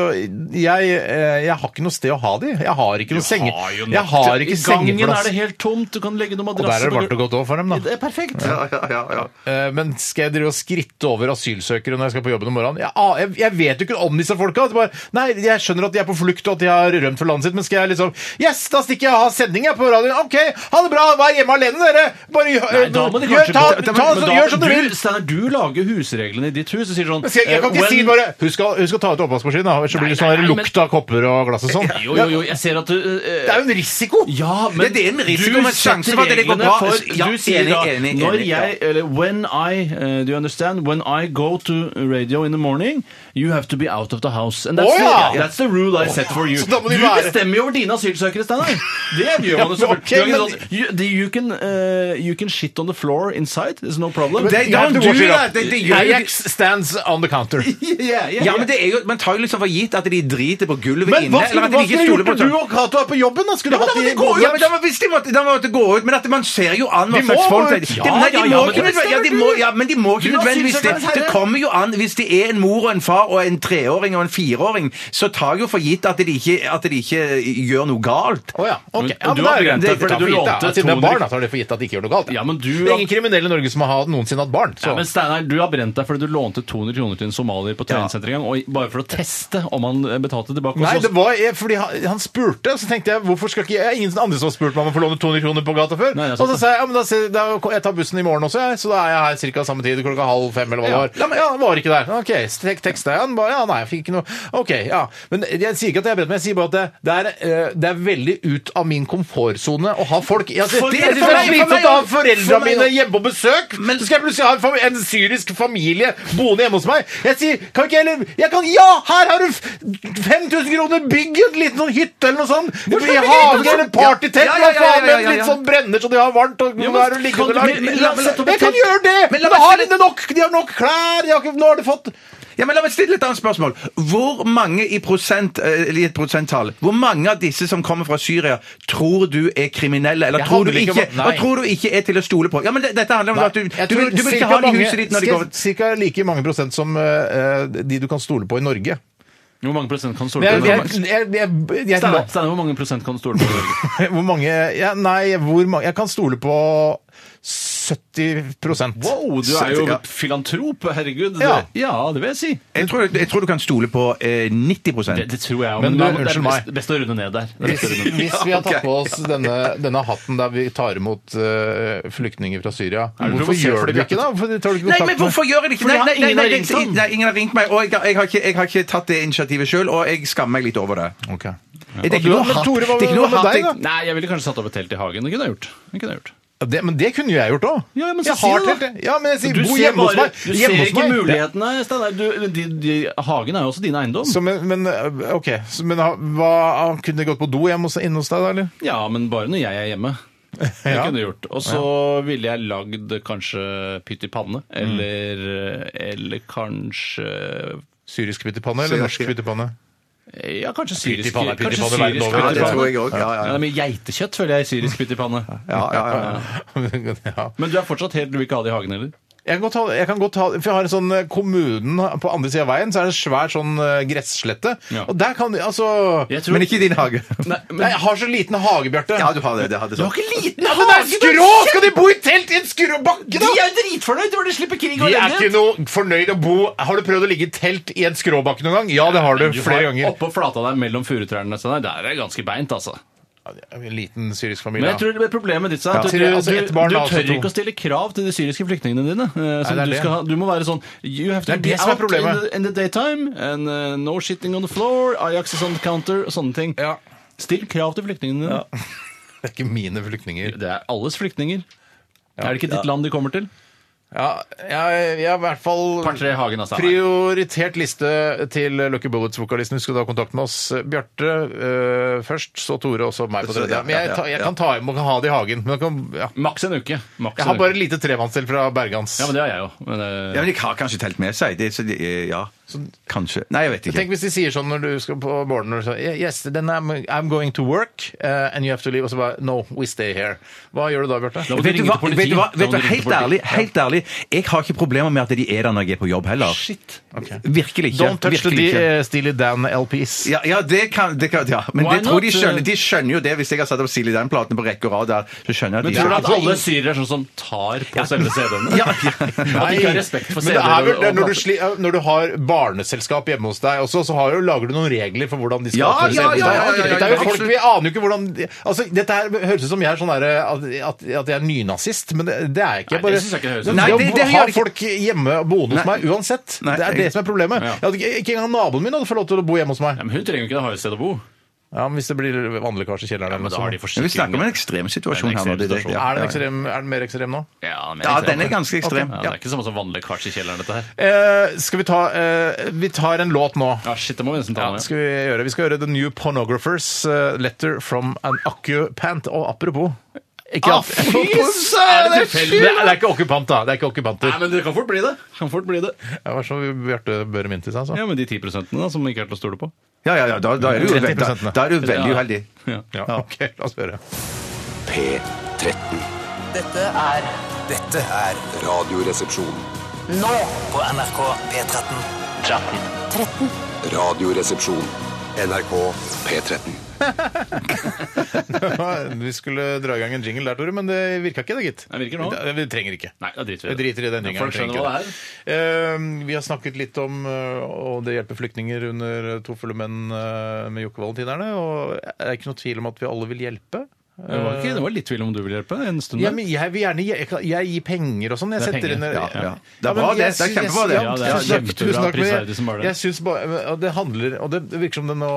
[SPEAKER 2] jeg, eh, jeg har ikke noe sted å ha de. Jeg har ikke noe senge.
[SPEAKER 4] har jo nok-
[SPEAKER 2] Jeg har
[SPEAKER 4] I
[SPEAKER 2] ikke
[SPEAKER 4] gangen er
[SPEAKER 2] sengeplass.
[SPEAKER 4] det helt tomt. Du kan legge noen
[SPEAKER 2] Og der er
[SPEAKER 4] madrasser
[SPEAKER 2] det varmt og godt òg for dem, da.
[SPEAKER 4] Det er perfekt.
[SPEAKER 2] Eh, Men skal jeg drive og skritte over asylsøkere når jeg skal på jobben om morgenen? Jeg, a- jeg, jeg vet jo ikke om disse folka. Det er Bare, nei, jeg skjønner at de er på flukt og at de har rømt fra landet sitt, men skal jeg liksom Yes, da stikker jeg og har sending jeg på radioen. OK, ha det bra, vær hjemme alene, dere. Bare gjør,
[SPEAKER 4] Nei, Eh, da må de
[SPEAKER 2] gjør,
[SPEAKER 4] kanskje
[SPEAKER 2] ta,
[SPEAKER 4] gå-
[SPEAKER 2] ta,
[SPEAKER 4] Men da-
[SPEAKER 2] gjør som du vil.
[SPEAKER 4] Steinar, du lager husreglene i ditt hus. Du sier sånn
[SPEAKER 2] Men skal Jeg, jeg kan
[SPEAKER 4] eh,
[SPEAKER 2] ikke si
[SPEAKER 4] when-
[SPEAKER 2] bare Husk å, husk å ta ut oppvaskmaskinen, da, så
[SPEAKER 4] Nei,
[SPEAKER 2] blir det
[SPEAKER 4] nei,
[SPEAKER 2] sånn
[SPEAKER 4] nei, men-
[SPEAKER 2] lukt av kopper og glass og sånn.
[SPEAKER 4] Jo, jo, jo, jeg ser at du eh,
[SPEAKER 2] Det er jo en risiko.
[SPEAKER 4] Ja, men
[SPEAKER 3] Det- det er en risiko, men sjansen
[SPEAKER 4] setter
[SPEAKER 3] for at det går
[SPEAKER 4] reglene
[SPEAKER 3] bra-
[SPEAKER 4] for-
[SPEAKER 3] Ja,
[SPEAKER 4] du sier
[SPEAKER 3] enig,
[SPEAKER 4] da
[SPEAKER 3] enig, enig,
[SPEAKER 4] Når
[SPEAKER 3] ja.
[SPEAKER 4] jeg eller, When I eh, Do you understand? When I go to radio in the morning, you have to be out of the house. And that's,
[SPEAKER 2] Å, ja!
[SPEAKER 4] the, that's the rule I set for
[SPEAKER 3] [laughs]
[SPEAKER 4] you.
[SPEAKER 2] Så da må de
[SPEAKER 4] du
[SPEAKER 2] være-
[SPEAKER 4] bestemmer jo over dine asylsøkere, Steinar. Det gjør man jo
[SPEAKER 2] Ja, men
[SPEAKER 4] selvfølgelig. Du er
[SPEAKER 2] ok,
[SPEAKER 4] ikke sånn, You, the- you, can, eh, you can shit on the floor inside. There's no problem.
[SPEAKER 3] They
[SPEAKER 2] You have
[SPEAKER 3] don't
[SPEAKER 2] to
[SPEAKER 3] do
[SPEAKER 2] watch it
[SPEAKER 3] that.
[SPEAKER 2] up.
[SPEAKER 3] They- they gjør jo ikke-
[SPEAKER 2] Ajax stands on the counter.
[SPEAKER 4] [laughs] yeah, yeah,
[SPEAKER 3] Ja, men det er jo, Man tar jo liksom for gitt at de driter på gulvet
[SPEAKER 2] Men
[SPEAKER 3] inne.
[SPEAKER 2] hva
[SPEAKER 3] eller
[SPEAKER 2] skulle,
[SPEAKER 3] at de
[SPEAKER 2] hva
[SPEAKER 3] ikke
[SPEAKER 2] skulle
[SPEAKER 3] stoler
[SPEAKER 2] gjort
[SPEAKER 3] på
[SPEAKER 2] når du og Cato er på jobben? da? Skulle du
[SPEAKER 3] Ja,
[SPEAKER 2] hatt
[SPEAKER 3] men
[SPEAKER 2] de
[SPEAKER 3] det går jo, ja, men da må hvis de måtte, da måtte gå ut, men at man ser jo an hva
[SPEAKER 2] De må
[SPEAKER 3] slags folk
[SPEAKER 2] ut.
[SPEAKER 3] det er.
[SPEAKER 2] Ja,
[SPEAKER 3] De- nei, de
[SPEAKER 2] ja,
[SPEAKER 3] må
[SPEAKER 2] ja, men
[SPEAKER 3] ikke
[SPEAKER 2] det
[SPEAKER 3] nødvendigvis- ja, de
[SPEAKER 2] bestemmer
[SPEAKER 3] må-
[SPEAKER 2] du.
[SPEAKER 3] ja, men de må ikke
[SPEAKER 4] Du er
[SPEAKER 3] nødvendigvis det.
[SPEAKER 2] sånn,
[SPEAKER 4] asylsøkerens herre.
[SPEAKER 3] Det kommer jo an Hvis det er en mor og en far og en treåring og en fireåring, så tar jo for gitt at de ikke, at de ikke gjør noe galt.
[SPEAKER 2] Å ja. ok.
[SPEAKER 4] Men-
[SPEAKER 2] Ja,
[SPEAKER 4] du har
[SPEAKER 2] men da er
[SPEAKER 4] begrenset
[SPEAKER 2] det-
[SPEAKER 4] fordi
[SPEAKER 2] det tar
[SPEAKER 4] du
[SPEAKER 2] for gitt, da.
[SPEAKER 4] lånte
[SPEAKER 2] Siden det er barn,
[SPEAKER 4] 200
[SPEAKER 2] da, tar de for gitt at de ikke gjør noe galt.
[SPEAKER 4] Ja, men du-
[SPEAKER 2] det er ingen kriminelle i Norge som har noensinne hatt barn. Så.
[SPEAKER 4] Ja, men Steinar, du har brent deg fordi du lånte 200 kroner til en somalier på treningssenteret en gang, og bare for å teste om han eh, betalte tilbake. og
[SPEAKER 2] Nei,
[SPEAKER 4] så-
[SPEAKER 2] det var jeg, fordi han, han spurte, så tenkte jeg hvorfor skal ikke jeg, er ingen andre som har spurt meg om å få låne 200 kroner på gata før.
[SPEAKER 4] Nei, det er sant,
[SPEAKER 2] og så
[SPEAKER 4] det.
[SPEAKER 2] sa jeg ja, men da, ser- da, jeg tar bussen i morgen også, jeg, så da er jeg her ca. samme tid, klokka halv fem eller hva det
[SPEAKER 4] Ja.
[SPEAKER 2] var. Ja, men ja, han var ikke der. Ok, så tek, teksta jeg han, bare ja, nei, jeg fikk ikke noe. Ok, ja. Men jeg sier ikke at jeg er bedt, men jeg sier bare at det, det, er, eh, det er veldig ut av min komfortsone å ha folk Jeg synes
[SPEAKER 3] For-
[SPEAKER 2] jeg synes det er
[SPEAKER 3] for meg- for meg
[SPEAKER 2] slitsomt å ha
[SPEAKER 3] også.
[SPEAKER 2] foreldra
[SPEAKER 3] For meg
[SPEAKER 2] mine
[SPEAKER 3] også.
[SPEAKER 2] hjemme på besøk,
[SPEAKER 3] Men-
[SPEAKER 2] så skal jeg plutselig ha en, fam- en syrisk familie boende hjemme hos meg. Jeg sier, kan ikke jeg heller Jeg kan, ja, her har du f- 5000 kroner, bygg en liten sånn hytte eller noe sånt! Det blir hage eller partytelt,
[SPEAKER 3] Ja, ja, ja,
[SPEAKER 2] hva
[SPEAKER 3] ja, ja,
[SPEAKER 2] faen, men
[SPEAKER 3] ja, ja.
[SPEAKER 2] litt sånn brenner så de har varmt, og nå er du
[SPEAKER 4] kan du-
[SPEAKER 2] liggeunderlag.
[SPEAKER 4] men- men la- men la-
[SPEAKER 2] Jeg kan gjøre det!
[SPEAKER 3] Men
[SPEAKER 2] Men
[SPEAKER 3] la
[SPEAKER 2] da
[SPEAKER 3] meg
[SPEAKER 2] har
[SPEAKER 3] stille-
[SPEAKER 2] de nok, de har nok klær, de har ikke Nå har de fått
[SPEAKER 3] Ja, men La meg stille et annet spørsmål. Hvor mange i prosent, eh, i et prosenttall, hvor mange av disse som kommer fra Syria, tror du er kriminelle? Eller
[SPEAKER 2] Jeg
[SPEAKER 3] tror du,
[SPEAKER 2] handler ikke
[SPEAKER 3] ikke,
[SPEAKER 2] om- nei.
[SPEAKER 3] og tror du ikke er til å stole på? Ja, men det, Dette handler om at du,
[SPEAKER 2] Jeg
[SPEAKER 3] du,
[SPEAKER 2] tror
[SPEAKER 3] vil- du vil
[SPEAKER 2] cirka
[SPEAKER 3] ikke ha dem i
[SPEAKER 2] mange-
[SPEAKER 3] huset ditt når de
[SPEAKER 2] cirka-
[SPEAKER 3] går
[SPEAKER 2] Cirka like mange prosent som eh, de du kan stole på i Norge.
[SPEAKER 4] Hvor mange prosent kan du stole
[SPEAKER 2] Jeg,
[SPEAKER 4] på? i
[SPEAKER 2] jeg,
[SPEAKER 4] Norge?
[SPEAKER 2] jeg, jeg, jeg,
[SPEAKER 4] Steinar, Steinar, hvor mange prosent kan du stole på? i
[SPEAKER 2] [laughs]
[SPEAKER 4] Norge?
[SPEAKER 2] hvor mange ja, Nei, hvor mange Jeg kan stole på 70
[SPEAKER 4] Wow, du er jo
[SPEAKER 2] Ja.
[SPEAKER 4] filantrop, herregud.
[SPEAKER 2] Ja.
[SPEAKER 4] Det- ja, det vil jeg si.
[SPEAKER 3] Jeg tror, jeg tror du kan stole på eh, 90
[SPEAKER 4] Det, det tror jeg òg.
[SPEAKER 2] Men
[SPEAKER 4] Men, da-
[SPEAKER 2] du,
[SPEAKER 4] det er
[SPEAKER 2] unnskyld
[SPEAKER 4] best,
[SPEAKER 2] meg.
[SPEAKER 4] best å runde ned der. Det er
[SPEAKER 2] Hvis,
[SPEAKER 4] best å runde ned.
[SPEAKER 2] hvis
[SPEAKER 4] [laughs]
[SPEAKER 2] vi har tatt
[SPEAKER 3] ok.
[SPEAKER 2] på oss denne, denne hatten der vi tar imot eh, flyktninger fra Syria,
[SPEAKER 4] Er du
[SPEAKER 2] hvorfor
[SPEAKER 4] provosert
[SPEAKER 2] gjør
[SPEAKER 4] fordi
[SPEAKER 2] dere
[SPEAKER 4] vi
[SPEAKER 2] det ikke da? Hvorfor tar du ikke
[SPEAKER 3] Nei,
[SPEAKER 2] kontakt
[SPEAKER 3] men hvorfor gjør jeg det ikke?
[SPEAKER 4] Fordi
[SPEAKER 3] Nei,
[SPEAKER 4] han-
[SPEAKER 3] nei, nei,
[SPEAKER 4] ingen
[SPEAKER 3] nei,
[SPEAKER 4] har
[SPEAKER 3] jeg-
[SPEAKER 4] ringt han.
[SPEAKER 3] nei, ingen har ringt meg, og jeg, jeg, har ikke, jeg har ikke tatt det initiativet sjøl, og jeg skammer meg litt over det.
[SPEAKER 2] med Ok.
[SPEAKER 3] Det er
[SPEAKER 2] Og
[SPEAKER 3] ikke
[SPEAKER 2] du,
[SPEAKER 3] noe
[SPEAKER 2] men
[SPEAKER 3] hatt.
[SPEAKER 2] Tore, hva
[SPEAKER 3] Det er ikke noe
[SPEAKER 2] med
[SPEAKER 3] hatt, jeg-
[SPEAKER 2] deg, da?
[SPEAKER 4] Nei, jeg ville kanskje satt opp et telt i hagen. Det kunne jeg gjort. Det kunne jeg gjort.
[SPEAKER 2] Det, men det kunne jo jeg gjort òg.
[SPEAKER 4] Ja, men så
[SPEAKER 2] jeg
[SPEAKER 4] si
[SPEAKER 2] har
[SPEAKER 4] det, da.
[SPEAKER 2] telt, jeg. Ja, men jeg sier
[SPEAKER 4] Du
[SPEAKER 2] bo
[SPEAKER 4] ser,
[SPEAKER 2] hjemme hos
[SPEAKER 4] bare,
[SPEAKER 2] meg.
[SPEAKER 4] du
[SPEAKER 2] hjemme
[SPEAKER 4] ser
[SPEAKER 2] hos
[SPEAKER 4] ikke
[SPEAKER 2] meg.
[SPEAKER 4] mulighetene, Steinar. Du- de- de- Hagen er jo også din eiendom.
[SPEAKER 2] Så, men, men øh, OK. Så, men ha- hva, kunne det gått på do hjemme hos, inne hos deg, da, eller?
[SPEAKER 4] Ja, men bare når jeg er hjemme. Det
[SPEAKER 2] Ja.
[SPEAKER 4] kunne jeg gjort. Og så ville jeg lagd kanskje pytt i
[SPEAKER 2] Mm.
[SPEAKER 4] panne, eller, eller kanskje
[SPEAKER 2] Syrisk pyttipanne eller norsk pyttipanne?
[SPEAKER 4] Ja, kanskje
[SPEAKER 2] i
[SPEAKER 4] syrisk
[SPEAKER 2] panne, pytt i
[SPEAKER 4] kanskje
[SPEAKER 2] panne verden
[SPEAKER 4] syrisk
[SPEAKER 2] over.
[SPEAKER 3] Ja,
[SPEAKER 4] pytt i
[SPEAKER 3] det tror
[SPEAKER 4] panne.
[SPEAKER 3] jeg òg. Ja,
[SPEAKER 4] Ja,
[SPEAKER 3] ja,
[SPEAKER 4] det
[SPEAKER 3] ja.
[SPEAKER 4] er mye geiteskjøtt, føler jeg, i syrisk pytt i
[SPEAKER 2] [laughs]
[SPEAKER 4] panne.
[SPEAKER 3] Ja, ja, ja.
[SPEAKER 2] ja.
[SPEAKER 4] Men du er fortsatt helt Du vil ikke ha det i hagen heller?
[SPEAKER 2] Jeg kan godt ha, jeg kan godt ha For jeg har en sånn eh, kommunen på andre siden av veien, så er det en svær sånn eh, gresslette.
[SPEAKER 4] Ja.
[SPEAKER 2] Og der kan Altså
[SPEAKER 4] Jeg tror-
[SPEAKER 3] Men ikke i din hage.
[SPEAKER 4] Nei, men,
[SPEAKER 2] Nei, jeg har så liten hage, Bjarte.
[SPEAKER 3] Ja, du har det. det, har det sånn.
[SPEAKER 4] ikke liten
[SPEAKER 2] Ja, men det er skrå! Skal de bo i telt i en skråbakke, da?
[SPEAKER 4] jo dritfornøyd hvor de slipper krig
[SPEAKER 2] De er ikke noe fornøyd å bo Har du prøvd å ligge i telt i en skråbakke noen gang? Ja, det har du.
[SPEAKER 4] Du har
[SPEAKER 2] Flere ganger.
[SPEAKER 4] Oppå flata der mellom furutrærne. Sånn der, der er det ganske beint, altså.
[SPEAKER 2] Ja, det er En liten syrisk
[SPEAKER 4] Men
[SPEAKER 2] familie.
[SPEAKER 4] jeg tror det blir problemet ditt er at
[SPEAKER 2] Ja.
[SPEAKER 4] du,
[SPEAKER 2] Tre- altså,
[SPEAKER 4] du,
[SPEAKER 2] ett barn,
[SPEAKER 4] du
[SPEAKER 2] da, altså
[SPEAKER 4] tør
[SPEAKER 2] to.
[SPEAKER 4] ikke å stille krav til de syriske flyktningene dine. eh, som
[SPEAKER 2] det er
[SPEAKER 4] du,
[SPEAKER 2] det.
[SPEAKER 4] skal ha, du må være sånn You have to
[SPEAKER 2] Det er
[SPEAKER 4] be
[SPEAKER 2] det som er
[SPEAKER 4] out in
[SPEAKER 2] problemet.
[SPEAKER 4] the, in the daytime. And eh, no shitting on the floor. Ajax is on the counter. Og sånne ting.
[SPEAKER 2] Ja.
[SPEAKER 4] Still krav til flyktningene dine.
[SPEAKER 2] Det er ikke mine flyktninger.
[SPEAKER 4] Det er alles flyktninger. Er det ikke ditt land de kommer til?
[SPEAKER 2] Ja, jeg, jeg har i hvert fall
[SPEAKER 4] Par-tre i hagen, altså.
[SPEAKER 2] prioritert liste til Lucky Bullets-vokalisten. Husk å ta kontakt med oss. Bjarte eh, først, så Tore, og så meg på
[SPEAKER 3] Så-
[SPEAKER 2] tredje.
[SPEAKER 3] ja,
[SPEAKER 2] Men jeg,
[SPEAKER 3] ja,
[SPEAKER 2] ta, jeg
[SPEAKER 3] ja.
[SPEAKER 2] kan ta imot og ha det i hagen. Men jeg, kan, ja.
[SPEAKER 4] Maks en uke. Maks
[SPEAKER 2] jeg
[SPEAKER 4] en
[SPEAKER 2] har bare
[SPEAKER 4] uke.
[SPEAKER 2] et lite trevannstell fra Bergans.
[SPEAKER 4] Ja, men det har jeg jo. Men, eh,
[SPEAKER 3] Ja, men de har kanskje telt med seg. Det, så de, ja. Kanskje. Nei, jeg vet ikke.
[SPEAKER 2] Tenk hvis de sier sånn når du skal på morgenen og sier Yes, then I'm, I'm going to work eh, and you have to leave. Og så bare No, we stay here. Hva gjør du da, Bjarte?
[SPEAKER 4] må du
[SPEAKER 3] Vet du
[SPEAKER 4] ringe
[SPEAKER 3] hva,
[SPEAKER 4] til politiet.
[SPEAKER 3] vet du hva,
[SPEAKER 4] Da
[SPEAKER 3] vet
[SPEAKER 4] må
[SPEAKER 3] du,
[SPEAKER 4] du ringe
[SPEAKER 3] helt,
[SPEAKER 4] til politiet.
[SPEAKER 3] ærlig, helt ærlig, jeg har ikke problemer med at de er der når jeg er på jobb heller.
[SPEAKER 4] Shit.
[SPEAKER 3] Virkelig ikke.
[SPEAKER 2] Don't touch the
[SPEAKER 3] Virkelig ikke.
[SPEAKER 2] eh, Steely Dan LPs.
[SPEAKER 3] Ja, ja, det kan, det kan ja. Men
[SPEAKER 4] Why
[SPEAKER 3] det tror de
[SPEAKER 4] not? uh?
[SPEAKER 3] skjønner, de skjønner jo det. Hvis jeg har satt opp Silje Den-platene på rekke og rad der, så skjønner jeg at de
[SPEAKER 4] Men tror du at
[SPEAKER 3] Ja.
[SPEAKER 4] alle syrere er sånn som tar på
[SPEAKER 2] [laughs]
[SPEAKER 4] selve CD-ene? [laughs] At de ikke har respekt for
[SPEAKER 2] Men
[SPEAKER 4] CD-er?
[SPEAKER 2] det er vel,
[SPEAKER 4] og-
[SPEAKER 2] det er når,
[SPEAKER 4] og-
[SPEAKER 2] du sli, når du har barneselskap hjemme hos deg også, så har jo, lager du noen regler for hvordan de skal
[SPEAKER 3] Ja,
[SPEAKER 2] oppføre seg
[SPEAKER 3] ja,
[SPEAKER 2] hjemme hos
[SPEAKER 3] ja,
[SPEAKER 2] deg.
[SPEAKER 3] ja, ja, ja,
[SPEAKER 2] Dette er jo
[SPEAKER 3] ja,
[SPEAKER 2] folk,
[SPEAKER 3] absolutt.
[SPEAKER 2] Vi aner jo ikke hvordan de- altså, Dette her høres ut som jeg er sånn der, at, at at jeg er nynazist, men det, det er jeg ikke.
[SPEAKER 4] Nei, det synes jeg ikke det høres ut som.
[SPEAKER 3] Nei, det- det
[SPEAKER 2] å
[SPEAKER 3] gjør
[SPEAKER 2] ha
[SPEAKER 3] det ikke.
[SPEAKER 2] folk hjemme og boende hos
[SPEAKER 3] Nei.
[SPEAKER 2] meg uansett,
[SPEAKER 3] Nei,
[SPEAKER 2] det er
[SPEAKER 3] jeg-
[SPEAKER 2] det som er problemet.
[SPEAKER 4] Ja.
[SPEAKER 2] Jeg hadde, ikke- ikke engang naboen min hadde fått lov til å bo hjemme hos meg.
[SPEAKER 4] Ja, men hun trenger jo ikke det, har jo et sted å bo.
[SPEAKER 2] Ja, men Hvis det blir vannlekkasje i kjelleren
[SPEAKER 4] Men da har de
[SPEAKER 2] eller noe sånt.
[SPEAKER 3] Men
[SPEAKER 4] forsikring.
[SPEAKER 3] Vi snakker om en ekstrem situasjon
[SPEAKER 4] Det er en
[SPEAKER 3] her. nå, det-
[SPEAKER 4] ekstrem situasjon.
[SPEAKER 3] ja,
[SPEAKER 2] Er den,
[SPEAKER 3] ja, ja.
[SPEAKER 2] ekstrem, er den mer ekstrem nå?
[SPEAKER 4] Ja, men
[SPEAKER 3] Ja,
[SPEAKER 4] jeg ser
[SPEAKER 3] den er
[SPEAKER 4] det.
[SPEAKER 3] ganske ekstrem.
[SPEAKER 4] Ja, det
[SPEAKER 3] Ja.
[SPEAKER 4] er ikke samme som vanlig lekkasje i kjelleren, dette her.
[SPEAKER 2] Eh, skal vi ta eh, Vi tar en låt nå.
[SPEAKER 4] Ja, shit, det må vi nesten ta
[SPEAKER 2] Ja, det
[SPEAKER 4] med.
[SPEAKER 2] skal vi gjøre. Vi skal høre The New Pornographers eh, Letter from an Occupant. Og apropos ikke
[SPEAKER 4] Ah,
[SPEAKER 2] at-
[SPEAKER 4] fy
[SPEAKER 2] Er det
[SPEAKER 4] søren,
[SPEAKER 2] tilfeldig?
[SPEAKER 4] fy!
[SPEAKER 2] Det er- det er ikke okkupant, da. Det er ikke okkupanter.
[SPEAKER 4] Nei, men det kan fort bli det. Kan fort bli det.
[SPEAKER 2] Det var som Bjarte Børre Mintis, altså.
[SPEAKER 4] Ja, men de 10 da, som ikke er til å stole på.
[SPEAKER 3] Ja, ja, ja, da, da er du jo
[SPEAKER 2] 30%
[SPEAKER 3] da, da er du veldig
[SPEAKER 4] Ja.
[SPEAKER 3] uheldig.
[SPEAKER 4] Ja.
[SPEAKER 2] Ja, ok, la oss høre.
[SPEAKER 6] P13.
[SPEAKER 7] Dette er
[SPEAKER 5] Dette er Radioresepsjon.
[SPEAKER 7] nå på NRK P13.
[SPEAKER 5] Radioresepsjon.
[SPEAKER 6] NRK P13.
[SPEAKER 2] [laughs] Vi skulle dra i gang en jingle der, Tore, men det virka ikke, det, gitt.
[SPEAKER 4] Det virker nå.
[SPEAKER 2] Det- Vi trenger ikke.
[SPEAKER 4] Nei, da driter vi
[SPEAKER 2] Vi
[SPEAKER 4] i det.
[SPEAKER 2] driter i den jingelen.
[SPEAKER 4] Folk
[SPEAKER 2] vi trenger
[SPEAKER 4] skjønner hva
[SPEAKER 2] ikke Eh, vi har snakket litt om eh, å det hjelper flyktninger under To fulle menn eh, med Jokke Valentinerne, og det er ikke noe tvil om at vi alle vil hjelpe.
[SPEAKER 4] Det var, ikke, det var litt tvil om du ville hjelpe en stund.
[SPEAKER 2] Ja,
[SPEAKER 4] der.
[SPEAKER 2] men jeg vil gjerne gi, jeg, kan- jeg gir penger og sånn.
[SPEAKER 4] Det
[SPEAKER 2] Jeg
[SPEAKER 4] er
[SPEAKER 2] setter
[SPEAKER 4] penger.
[SPEAKER 2] inn
[SPEAKER 3] Ja, ja. Det
[SPEAKER 2] Ja,
[SPEAKER 3] er
[SPEAKER 2] men
[SPEAKER 3] bra, det.
[SPEAKER 2] jeg
[SPEAKER 3] Det er
[SPEAKER 2] syns-
[SPEAKER 3] kjempebra, det.
[SPEAKER 2] ja,
[SPEAKER 4] Ja, det er
[SPEAKER 2] tusen takk,
[SPEAKER 4] kjempebra,
[SPEAKER 2] tusen takk, men jeg-
[SPEAKER 4] prisverdig som bare det.
[SPEAKER 2] Jeg syns bare og Det handler Og det virker som det nå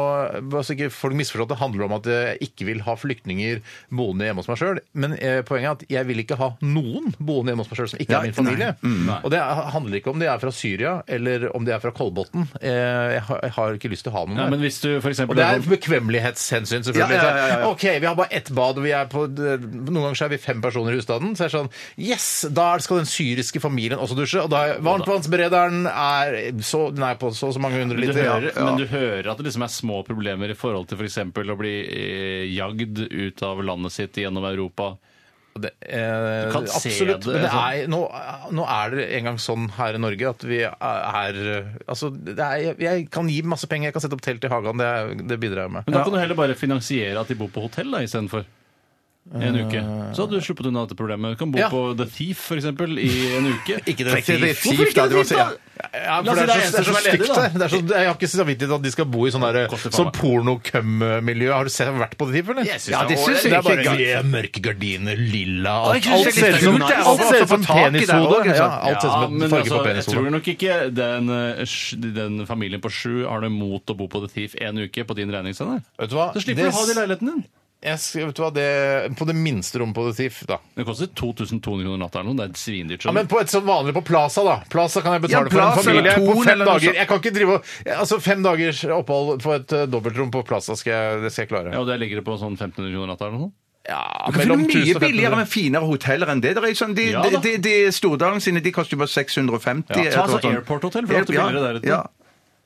[SPEAKER 2] altså ikke Folk misforstår at det handler om at jeg ikke vil ha flyktninger boende hjemme hos meg sjøl, men eh, poenget er at jeg vil ikke ha noen boende hjemme hos meg sjøl som ikke
[SPEAKER 3] Ja,
[SPEAKER 2] er min
[SPEAKER 3] nei.
[SPEAKER 2] familie. Og det er- handler ikke om de er fra Syria eller om de er fra Kolbotn. Eh, Jeg har, jeg har ikke lyst til å ha noen
[SPEAKER 4] Ja,
[SPEAKER 2] der.
[SPEAKER 4] men hvis du for eksempel
[SPEAKER 2] Og det er bekvemmelighetshensyn, selvfølgelig.
[SPEAKER 3] Ja, ja, ja, ja, ja.
[SPEAKER 2] Så, OK, vi har bare ett bad det vi er på Noen ganger så er vi fem personer i husstanden. Så er det sånn Yes! Da skal den syriske familien også dusje. Og da er varmtvannsberederen er så, den er på så og så mange hundre
[SPEAKER 4] Men du,
[SPEAKER 2] liter.
[SPEAKER 4] hører,
[SPEAKER 2] Ja.
[SPEAKER 4] men du hører at det liksom er små problemer i forhold til f.eks. å bli eh, jagd ut av landet sitt gjennom Europa.
[SPEAKER 2] Det, eh,
[SPEAKER 4] Du kan se
[SPEAKER 2] absolutt,
[SPEAKER 4] det,
[SPEAKER 2] Men det
[SPEAKER 4] sånn.
[SPEAKER 2] er, nå, nå er det engang sånn her i Norge at vi er Altså, det er, jeg, jeg kan gi masse penger, jeg kan sette opp telt i hagen, det, er- det bidrar jeg med.
[SPEAKER 4] Men da kan du heller bare finansiere at de bor på hotell da, istedenfor. I
[SPEAKER 2] Eh.
[SPEAKER 4] en uke. Så hadde du sluppet unna dette problemet. Du kan bo
[SPEAKER 2] Ja.
[SPEAKER 4] på The Thief for eksempel, i en uke.
[SPEAKER 2] [laughs] Ikke
[SPEAKER 3] Trekk til det fint, da. Det var så- ja.
[SPEAKER 2] Ja,
[SPEAKER 4] La
[SPEAKER 2] for
[SPEAKER 4] oss
[SPEAKER 2] det
[SPEAKER 4] si det er
[SPEAKER 2] er, så, det er så
[SPEAKER 4] eneste som er ledig,
[SPEAKER 2] stygt
[SPEAKER 4] da.
[SPEAKER 2] der. Det er så, jeg har ikke samvittighet at de skal bo i sånn der-
[SPEAKER 4] Koster faen
[SPEAKER 2] sånn
[SPEAKER 4] meg.
[SPEAKER 2] porno-cum-miljø. Har du sett, vært på det, Tiff, eller?
[SPEAKER 4] Jeg synes
[SPEAKER 3] Ja, det
[SPEAKER 4] var
[SPEAKER 3] syns
[SPEAKER 4] ålreit.
[SPEAKER 3] jeg
[SPEAKER 2] Det er bare
[SPEAKER 3] ikke er
[SPEAKER 2] mye mørke gardiner, lilla
[SPEAKER 3] Å,
[SPEAKER 2] Alt
[SPEAKER 3] jeg synes
[SPEAKER 2] alt
[SPEAKER 3] det er
[SPEAKER 2] ser ut som
[SPEAKER 3] kult, det er
[SPEAKER 2] alt
[SPEAKER 3] også
[SPEAKER 2] ser
[SPEAKER 3] å
[SPEAKER 2] ut som
[SPEAKER 3] få tak i det også,
[SPEAKER 2] penishode.
[SPEAKER 3] ikke
[SPEAKER 2] Ja,
[SPEAKER 3] sant?
[SPEAKER 2] alt ser
[SPEAKER 4] Ja,
[SPEAKER 2] ut som en
[SPEAKER 4] men
[SPEAKER 2] farge
[SPEAKER 4] altså,
[SPEAKER 2] på
[SPEAKER 4] jeg tror
[SPEAKER 2] penishode.
[SPEAKER 4] nok ikke den, eh, sj- den familien på sju har noe imot å bo på The Thief en uke på din regning, Steinar.
[SPEAKER 2] Vet du hva?
[SPEAKER 4] Så slipper du å ha det i leiligheten din.
[SPEAKER 2] Jeg skal- vet du hva, det, på det minste rommet på det TIFF, da.
[SPEAKER 4] Det koster 2200 kroner natta eller noe. Det er svindyrt.
[SPEAKER 2] Ja, men på et som vanlig på Plaza, da. Plaza kan jeg betale
[SPEAKER 3] Ja,
[SPEAKER 2] for
[SPEAKER 3] Plaza
[SPEAKER 2] en familie
[SPEAKER 3] eller
[SPEAKER 2] på
[SPEAKER 3] Thon
[SPEAKER 2] fem
[SPEAKER 3] eller noe
[SPEAKER 2] dager.
[SPEAKER 3] sånt.
[SPEAKER 2] Jeg kan ikke drive og Altså, fem dagers opphold på et eh, dobbeltrom på Plaza skal jeg, det skal jeg klare.
[SPEAKER 4] Ja, og der ligger det på sånn 1500 kroner natta eller noe.
[SPEAKER 2] Ja,
[SPEAKER 3] Du kan finne mye
[SPEAKER 2] 1000 og
[SPEAKER 3] billigere,
[SPEAKER 2] 1500.
[SPEAKER 3] men finere hoteller enn det. det er sånn, de,
[SPEAKER 4] Ja,
[SPEAKER 3] de,
[SPEAKER 4] da.
[SPEAKER 3] de, de Stordalen sine de koster jo bare 650.
[SPEAKER 4] Ja, ta
[SPEAKER 3] eller noe
[SPEAKER 4] altså
[SPEAKER 3] sånt.
[SPEAKER 4] Airport Hotel, for det er alltid
[SPEAKER 3] Ja,
[SPEAKER 4] billigere der ute.
[SPEAKER 3] Ja.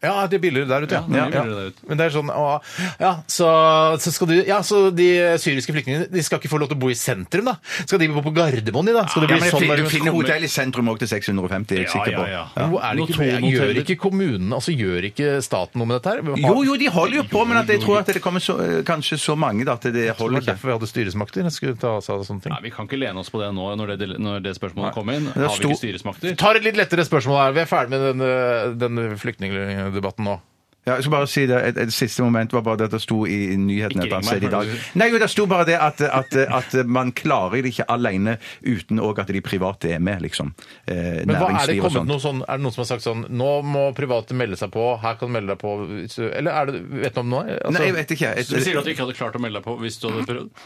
[SPEAKER 2] Ja, det er billigere der ute, ja.
[SPEAKER 4] Ja, det er mye
[SPEAKER 2] ja,
[SPEAKER 4] billigere der ute.
[SPEAKER 2] Men det er sånn å, Ja, så, så skal du Ja, så de syriske flyktningene de skal ikke få lov til å bo i sentrum, da? Skal de bo på Gardermoen, de, da? Skal det
[SPEAKER 3] Ja, men
[SPEAKER 2] bli
[SPEAKER 3] det
[SPEAKER 2] sånn
[SPEAKER 3] fin-
[SPEAKER 2] der-
[SPEAKER 3] du finner hotell i sentrum òg til 650, er jeg sikker på.
[SPEAKER 2] Men hvor Er det
[SPEAKER 4] Noen
[SPEAKER 2] ikke,
[SPEAKER 4] to
[SPEAKER 2] gjør
[SPEAKER 4] hoteller.
[SPEAKER 2] ikke kommunen, altså gjør ikke staten noe med dette her?
[SPEAKER 3] Jo, jo, de holder jo på, men at jeg tror at det kommer så, eh, kanskje så mange da, at det
[SPEAKER 2] Det
[SPEAKER 3] holder
[SPEAKER 2] var
[SPEAKER 3] ikke.
[SPEAKER 2] derfor vi hadde styresmakter. Jeg skulle ta oss av sånne ting.
[SPEAKER 4] Nei, Vi kan ikke lene oss på det nå når det, når det spørsmålet kom inn.
[SPEAKER 3] er
[SPEAKER 4] Har vi
[SPEAKER 3] stor-
[SPEAKER 4] ikke styresmakter?
[SPEAKER 2] tar et litt lettere spørsmål her. Vi er ferdig med denne, denne flyktningdebatten nå.
[SPEAKER 3] Ja, jeg skal bare si det, et, et siste moment var bare det at det sto i nyheten et annet
[SPEAKER 4] Ikke ring meg,
[SPEAKER 3] sted i dag.
[SPEAKER 4] kan du
[SPEAKER 3] Nei, jo, det sto bare det at, at, at man klarer det ikke alene uten òg at de private er med, liksom. Eh,
[SPEAKER 2] Men hva er det
[SPEAKER 3] næringsliv og
[SPEAKER 2] kommet
[SPEAKER 3] sånt.
[SPEAKER 2] noe sånn, er det noen som har sagt sånn Nå må private melde seg på, her kan du melde deg på hvis du- Eller er det, vet du om noe? Altså,
[SPEAKER 3] Nei, jeg vet ikke.
[SPEAKER 4] Så du
[SPEAKER 3] Jeg,
[SPEAKER 4] sier at du ikke hadde klart å melde deg på hvis du hadde prøvd?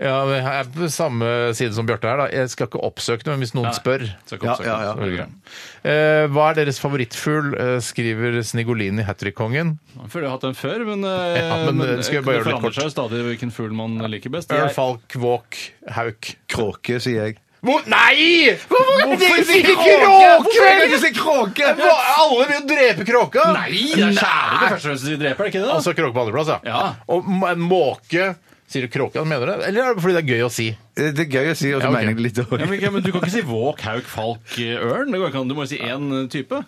[SPEAKER 2] Ja, men jeg er på samme side som Bjarte her, da. Jeg skal ikke oppsøke noe, men hvis noen
[SPEAKER 4] Nei.
[SPEAKER 2] spør
[SPEAKER 4] Så kom, så kom.
[SPEAKER 3] Ja, ja,
[SPEAKER 4] Så var det greit.
[SPEAKER 2] Eh, Hva er deres favorittfugl? Eh, skriver Snigolini Hattrikongen.
[SPEAKER 4] Jeg føler jeg har hatt den før, men,
[SPEAKER 2] [laughs]
[SPEAKER 4] eh,
[SPEAKER 2] Ja, men, eh,
[SPEAKER 4] men
[SPEAKER 2] skal vi bare gjøre det litt
[SPEAKER 4] forandrer seg jo stadig hvilken fugl man liker best.
[SPEAKER 2] Ørn,
[SPEAKER 4] Jeg,
[SPEAKER 2] falk, våk, hauk.
[SPEAKER 3] kråke, sier jeg.
[SPEAKER 2] Hvor? Nei! Hvorfor
[SPEAKER 3] sier
[SPEAKER 2] ikke
[SPEAKER 3] kråke? Hvorfor er det
[SPEAKER 2] kråke?
[SPEAKER 3] ikke si kråke?
[SPEAKER 2] Hva, Alle vil jo drepe kråka!
[SPEAKER 4] nei! Det er kjære det første og fremste de dreper, er det ikke det? da?
[SPEAKER 2] Altså kråke på andreplass, ja.
[SPEAKER 4] Ja.
[SPEAKER 2] Og m- en måke Sier du kråke? Mener du det? Eller er det fordi det er gøy å si?
[SPEAKER 3] Eh, Det er gøy å si, og så
[SPEAKER 2] Ja, ok.
[SPEAKER 3] mener jeg det litt
[SPEAKER 4] ja,
[SPEAKER 3] dårlig.
[SPEAKER 4] men, ikke- men Du kan ikke si våk, hauk, falk, eh, ørn. Det går ikke an. Du må jo si én eh, type.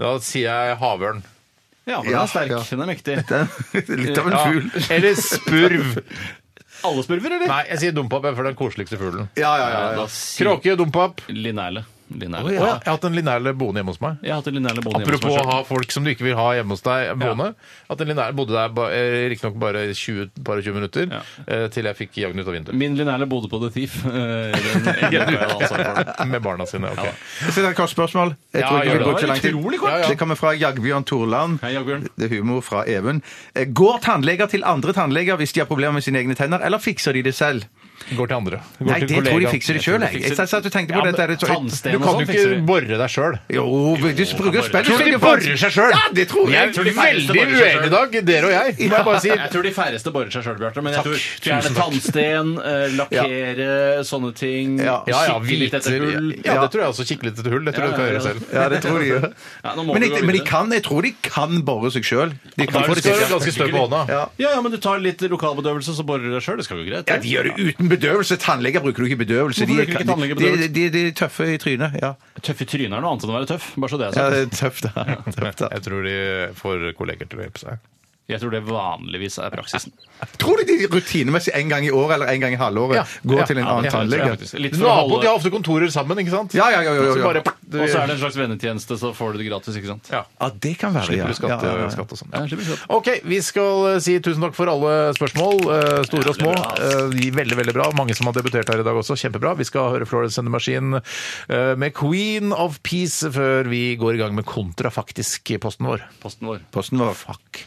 [SPEAKER 2] Da sier jeg havørn.
[SPEAKER 4] Ja, men den
[SPEAKER 3] Ja,
[SPEAKER 4] er sterk.
[SPEAKER 3] ja.
[SPEAKER 4] Den er
[SPEAKER 2] [laughs]
[SPEAKER 4] mektig.
[SPEAKER 3] [laughs] Litt av en
[SPEAKER 2] Ja.
[SPEAKER 3] fugl.
[SPEAKER 2] Eller spurv.
[SPEAKER 4] Alle spurver, eller?
[SPEAKER 2] Nei, jeg sier dompap, for det er den koseligste fuglen.
[SPEAKER 3] Ja, ja, ja. ja.
[SPEAKER 4] Da sier-
[SPEAKER 2] Kråke, dompap.
[SPEAKER 4] Linerle. Linerle.
[SPEAKER 2] Å, ja. Jeg har hatt en linerle boende hjemme hos meg.
[SPEAKER 4] Jeg har hatt en linerle bånd hjemme hos
[SPEAKER 2] Apropos
[SPEAKER 4] meg
[SPEAKER 2] å
[SPEAKER 4] selv.
[SPEAKER 2] ha folk som du ikke vil ha hjemme hos deg boende. At en linerle bodde der ba- eh, riktignok bare 20, bare 20 minutter,
[SPEAKER 4] Ja.
[SPEAKER 2] eh, til jeg fikk jagd den ut av vinduet.
[SPEAKER 4] Min linerle bodde på The Thief. eh, Den ene
[SPEAKER 2] [laughs]
[SPEAKER 4] uka jeg hadde ansvar altså, for den.
[SPEAKER 2] Med barna sine. ok.
[SPEAKER 3] Så det er et kort spørsmål. Jeg
[SPEAKER 2] Ja,
[SPEAKER 3] tror ikke
[SPEAKER 2] gjør
[SPEAKER 3] vi
[SPEAKER 2] det.
[SPEAKER 3] bruker lang tid.
[SPEAKER 4] Utrolig kort.
[SPEAKER 2] Ja, ja.
[SPEAKER 3] Det kommer fra Jagbjørn Torland.
[SPEAKER 4] Hei, Jagbjørn.
[SPEAKER 3] Det er humor fra Even. Eh, Går tannleger til andre tannleger hvis de har problemer med sine egne tenner, eller fikser de det selv?
[SPEAKER 2] Går til andre. Går
[SPEAKER 3] Nei,
[SPEAKER 2] til
[SPEAKER 3] det tror de
[SPEAKER 2] kollegaen.
[SPEAKER 3] fikser det sjøl, jeg. Jeg satt og tenkte på
[SPEAKER 4] Ja,
[SPEAKER 3] dette.
[SPEAKER 4] men
[SPEAKER 3] her, jeg tror-
[SPEAKER 4] tannsten
[SPEAKER 2] Du
[SPEAKER 4] og
[SPEAKER 2] kan
[SPEAKER 4] sånn
[SPEAKER 2] jo
[SPEAKER 4] fikser de.
[SPEAKER 2] ikke bore deg sjøl.
[SPEAKER 3] Jo, du bruker
[SPEAKER 2] Tror du de
[SPEAKER 3] spillfilm
[SPEAKER 2] borer seg sjøl?
[SPEAKER 3] Ja, det tror jeg.
[SPEAKER 2] Jeg
[SPEAKER 4] tror de
[SPEAKER 2] er
[SPEAKER 4] færreste
[SPEAKER 2] veldig
[SPEAKER 4] borer seg
[SPEAKER 2] uenige i dag, dere og jeg. Må jeg bare si.
[SPEAKER 4] Jeg tror de færreste borer seg sjøl, Bjarte. Men jeg
[SPEAKER 2] Takk.
[SPEAKER 4] tror fjerne
[SPEAKER 2] Tusen takk.
[SPEAKER 4] tannsten, eh, lakkere sånne ting,
[SPEAKER 3] Ja.
[SPEAKER 2] Ja, ja,
[SPEAKER 4] kikke litt etter
[SPEAKER 2] hviter.
[SPEAKER 4] hull
[SPEAKER 2] Ja, det tror jeg også. Kikke litt etter hull. Det tror jeg du kan
[SPEAKER 4] Ja, ja,
[SPEAKER 2] gjøre
[SPEAKER 4] ja.
[SPEAKER 2] selv.
[SPEAKER 3] Ja, det tror de gjør.
[SPEAKER 4] Ja, nå må
[SPEAKER 3] Men,
[SPEAKER 4] vi
[SPEAKER 3] jeg, men
[SPEAKER 4] gå
[SPEAKER 3] de
[SPEAKER 4] videre.
[SPEAKER 3] kan, jeg tror de kan bore seg sjøl. De
[SPEAKER 2] Da
[SPEAKER 3] kan få
[SPEAKER 2] er
[SPEAKER 3] det
[SPEAKER 2] du skal du
[SPEAKER 3] til.
[SPEAKER 2] ganske støv på hånda.
[SPEAKER 3] Ja.
[SPEAKER 4] Ja, ja, men du tar litt lokalbedøvelse, så borer du deg sjøl. Det skal jo gå greit.
[SPEAKER 3] Ja, de gjør det uten bedøvelse. Tannleger bruker du ikke bedøvelse.
[SPEAKER 4] Hvorfor
[SPEAKER 3] De er,
[SPEAKER 4] bruker ikke
[SPEAKER 3] de,
[SPEAKER 4] tannleger
[SPEAKER 3] de,
[SPEAKER 4] bedøvelse?
[SPEAKER 3] de, de er tøffe i trynet. Ja,
[SPEAKER 4] Tøff i trynet er noe annet enn å være tøff. Bare så det er
[SPEAKER 3] ja
[SPEAKER 4] sagt.
[SPEAKER 3] det er tøft, da. [laughs] Tøft, da.
[SPEAKER 2] Jeg tror de får kolleger til å hjelpe seg.
[SPEAKER 4] Jeg tror det vanligvis er praksisen.
[SPEAKER 3] Tror du de rutinemessig en gang i året eller en gang i halvåret
[SPEAKER 2] Ja.
[SPEAKER 3] går
[SPEAKER 2] Ja.
[SPEAKER 3] til en
[SPEAKER 2] Ja,
[SPEAKER 3] annen
[SPEAKER 2] det tror jeg
[SPEAKER 3] tannlege?
[SPEAKER 4] faktisk. Litt for å
[SPEAKER 2] Naboen,
[SPEAKER 4] holde
[SPEAKER 2] de har ofte kontorer sammen, ikke sant?
[SPEAKER 3] Ja, ja, ja. ja,
[SPEAKER 2] Så
[SPEAKER 3] ja.
[SPEAKER 2] bare-
[SPEAKER 4] Og så er det en slags vennetjeneste, så får du det gratis, ikke sant.
[SPEAKER 2] Ja.
[SPEAKER 3] Ja, det kan være, ja.
[SPEAKER 2] Slipper du skatt,
[SPEAKER 3] ja, ja, ja.
[SPEAKER 2] skatt og sånn.
[SPEAKER 4] Ja, slipper du skatt.
[SPEAKER 2] Ok, vi skal eh, si tusen takk for alle spørsmål, eh, store og små. Eh, de er Veldig, veldig bra. Mange som har debutert her i dag også. Kjempebra. Vi skal høre Florence and the Machine eh, med Queen of Peace før vi går i gang med kontra faktisk i posten vår.
[SPEAKER 4] Posten vår.
[SPEAKER 3] Posten var fuck.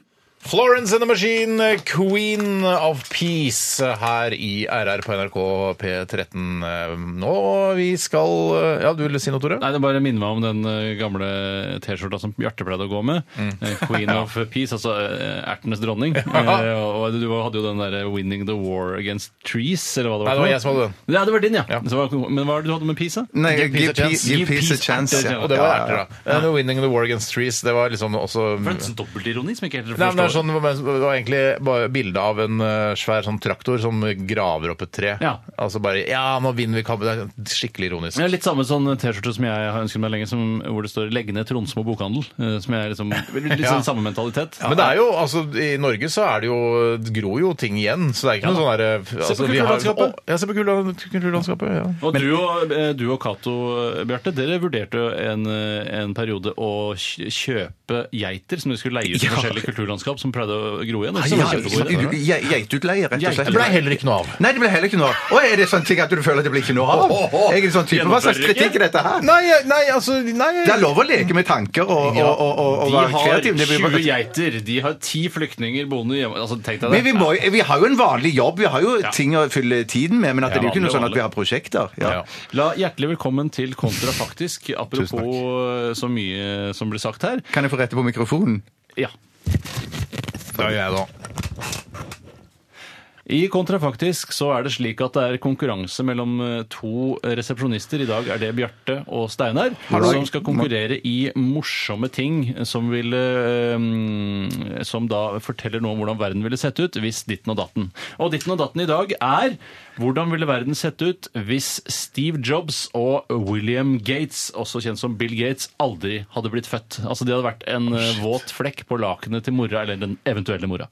[SPEAKER 2] Florence and the Machine, Queen of Peace, her i RR på NRK P13. Nå vi skal Ja, du ville si noe, Tore?
[SPEAKER 4] Nei, det bare minner meg om den eh, gamle T-skjorta som Bjarte pleide å gå med.
[SPEAKER 2] Mm.
[SPEAKER 4] Eh,
[SPEAKER 2] [laughs]
[SPEAKER 4] Queen of Peace, altså eh, ertenes dronning. Eh, og du var- hadde jo den derre 'Winning the War Against Trees', eller hva det var.
[SPEAKER 2] Nei, det var jeg som hadde den.
[SPEAKER 4] Ja, det var din, ja.
[SPEAKER 2] Ja. Mm.
[SPEAKER 4] Så var, men hva var det du hadde med peace, da?
[SPEAKER 3] Nei,
[SPEAKER 2] Give
[SPEAKER 3] give,
[SPEAKER 2] peace a
[SPEAKER 3] peace,
[SPEAKER 2] chance.
[SPEAKER 3] give
[SPEAKER 4] Give
[SPEAKER 3] peace a
[SPEAKER 4] peace
[SPEAKER 3] chance.
[SPEAKER 4] a
[SPEAKER 3] ja.
[SPEAKER 4] chance.
[SPEAKER 2] Og det
[SPEAKER 3] Ja,
[SPEAKER 2] var
[SPEAKER 3] ja,
[SPEAKER 2] erter,
[SPEAKER 3] ja.
[SPEAKER 2] da. Eh, The Winning the War Against Trees, det var liksom også
[SPEAKER 4] For en sånn dobbeltironi som jeg ikke helt
[SPEAKER 2] Nei, men det, er
[SPEAKER 4] forstår.
[SPEAKER 2] sånn, det var egentlig bare bilde av en eh, svær sånn traktor som graver opp et tre.
[SPEAKER 4] Ja.
[SPEAKER 2] Altså bare Ja, nå vinner vi kampen! Det er skikkelig ironisk.
[SPEAKER 4] Ja, litt samme sånn T-skjorte som jeg har ønsket meg lenge, som, hvor det står 'Legg ned Tronsmo bokhandel'. eh, Som jeg
[SPEAKER 2] [laughs]
[SPEAKER 4] liksom, Litt
[SPEAKER 2] Ja.
[SPEAKER 4] sånn samme mentalitet.
[SPEAKER 2] Men det er jo, altså, i Norge så er det jo, det gror jo ting igjen. Så det er ikke
[SPEAKER 4] Ja,
[SPEAKER 2] noe sånn derre
[SPEAKER 4] Se på
[SPEAKER 2] vi har-
[SPEAKER 4] kulturlandskapet.
[SPEAKER 2] Å, Ja, se på kulturland- kulturlandskapet. Ja.
[SPEAKER 4] Og du og, eh, du og Cato, eh, Bjarte, dere vurderte jo en, eh, en periode å kj- kjøpe geiter som dere skulle leie ut i
[SPEAKER 3] Ja.
[SPEAKER 4] forskjellige kulturlandskap som pleide å gro igjen. Det sånn synes
[SPEAKER 3] Ja,
[SPEAKER 4] jeg var kjempegod idé.
[SPEAKER 3] du- ge- Geitutleie, rett og slett.
[SPEAKER 2] Det ble heller ikke noe av.
[SPEAKER 3] Nei, det ble heller ikke noe av. Å, Er det sånn ting at du føler at det blir ikke noe av? Jeg er en sånn type, Hva slags kritikk er dette her?
[SPEAKER 2] Nei, nei, altså nei.
[SPEAKER 3] Det er lov å leke med tanker og, og, og, og, og
[SPEAKER 4] de
[SPEAKER 3] være
[SPEAKER 4] har
[SPEAKER 3] kreativ. Det blir
[SPEAKER 4] 20
[SPEAKER 3] bare-
[SPEAKER 4] geiter, de har 10 flyktninger boende hjemme. Altså, tenk deg det.
[SPEAKER 3] Men vi, må, vi har jo en vanlig jobb, vi har jo ting å fylle tiden med, men at
[SPEAKER 4] Ja,
[SPEAKER 3] det er jo ikke noe
[SPEAKER 4] vanlig,
[SPEAKER 3] sånn at vi
[SPEAKER 4] vanlig.
[SPEAKER 3] har prosjekter.
[SPEAKER 2] Ja.
[SPEAKER 3] Ja.
[SPEAKER 4] La hjertelig velkommen til Kontrafaktisk, apropos eh, så mye som ble sagt her.
[SPEAKER 3] Kan jeg få rette på mikrofonen?
[SPEAKER 4] Ja.
[SPEAKER 2] Det er jeg da.
[SPEAKER 4] I Kontrafaktisk så er det slik at det er konkurranse mellom eh, to resepsjonister. I dag er det Bjarte og Steinar, som skal konkurrere i morsomme ting som, ville, eh, som da forteller noe om hvordan verden ville sett ut hvis ditten og datten. Og ditten og datten i dag er hvordan ville verden sett ut hvis Steve Jobs og William Gates, også kjent som Bill Gates, aldri hadde blitt født? Altså de hadde vært en eh, våt flekk på lakenet til mora, eller den eventuelle mora.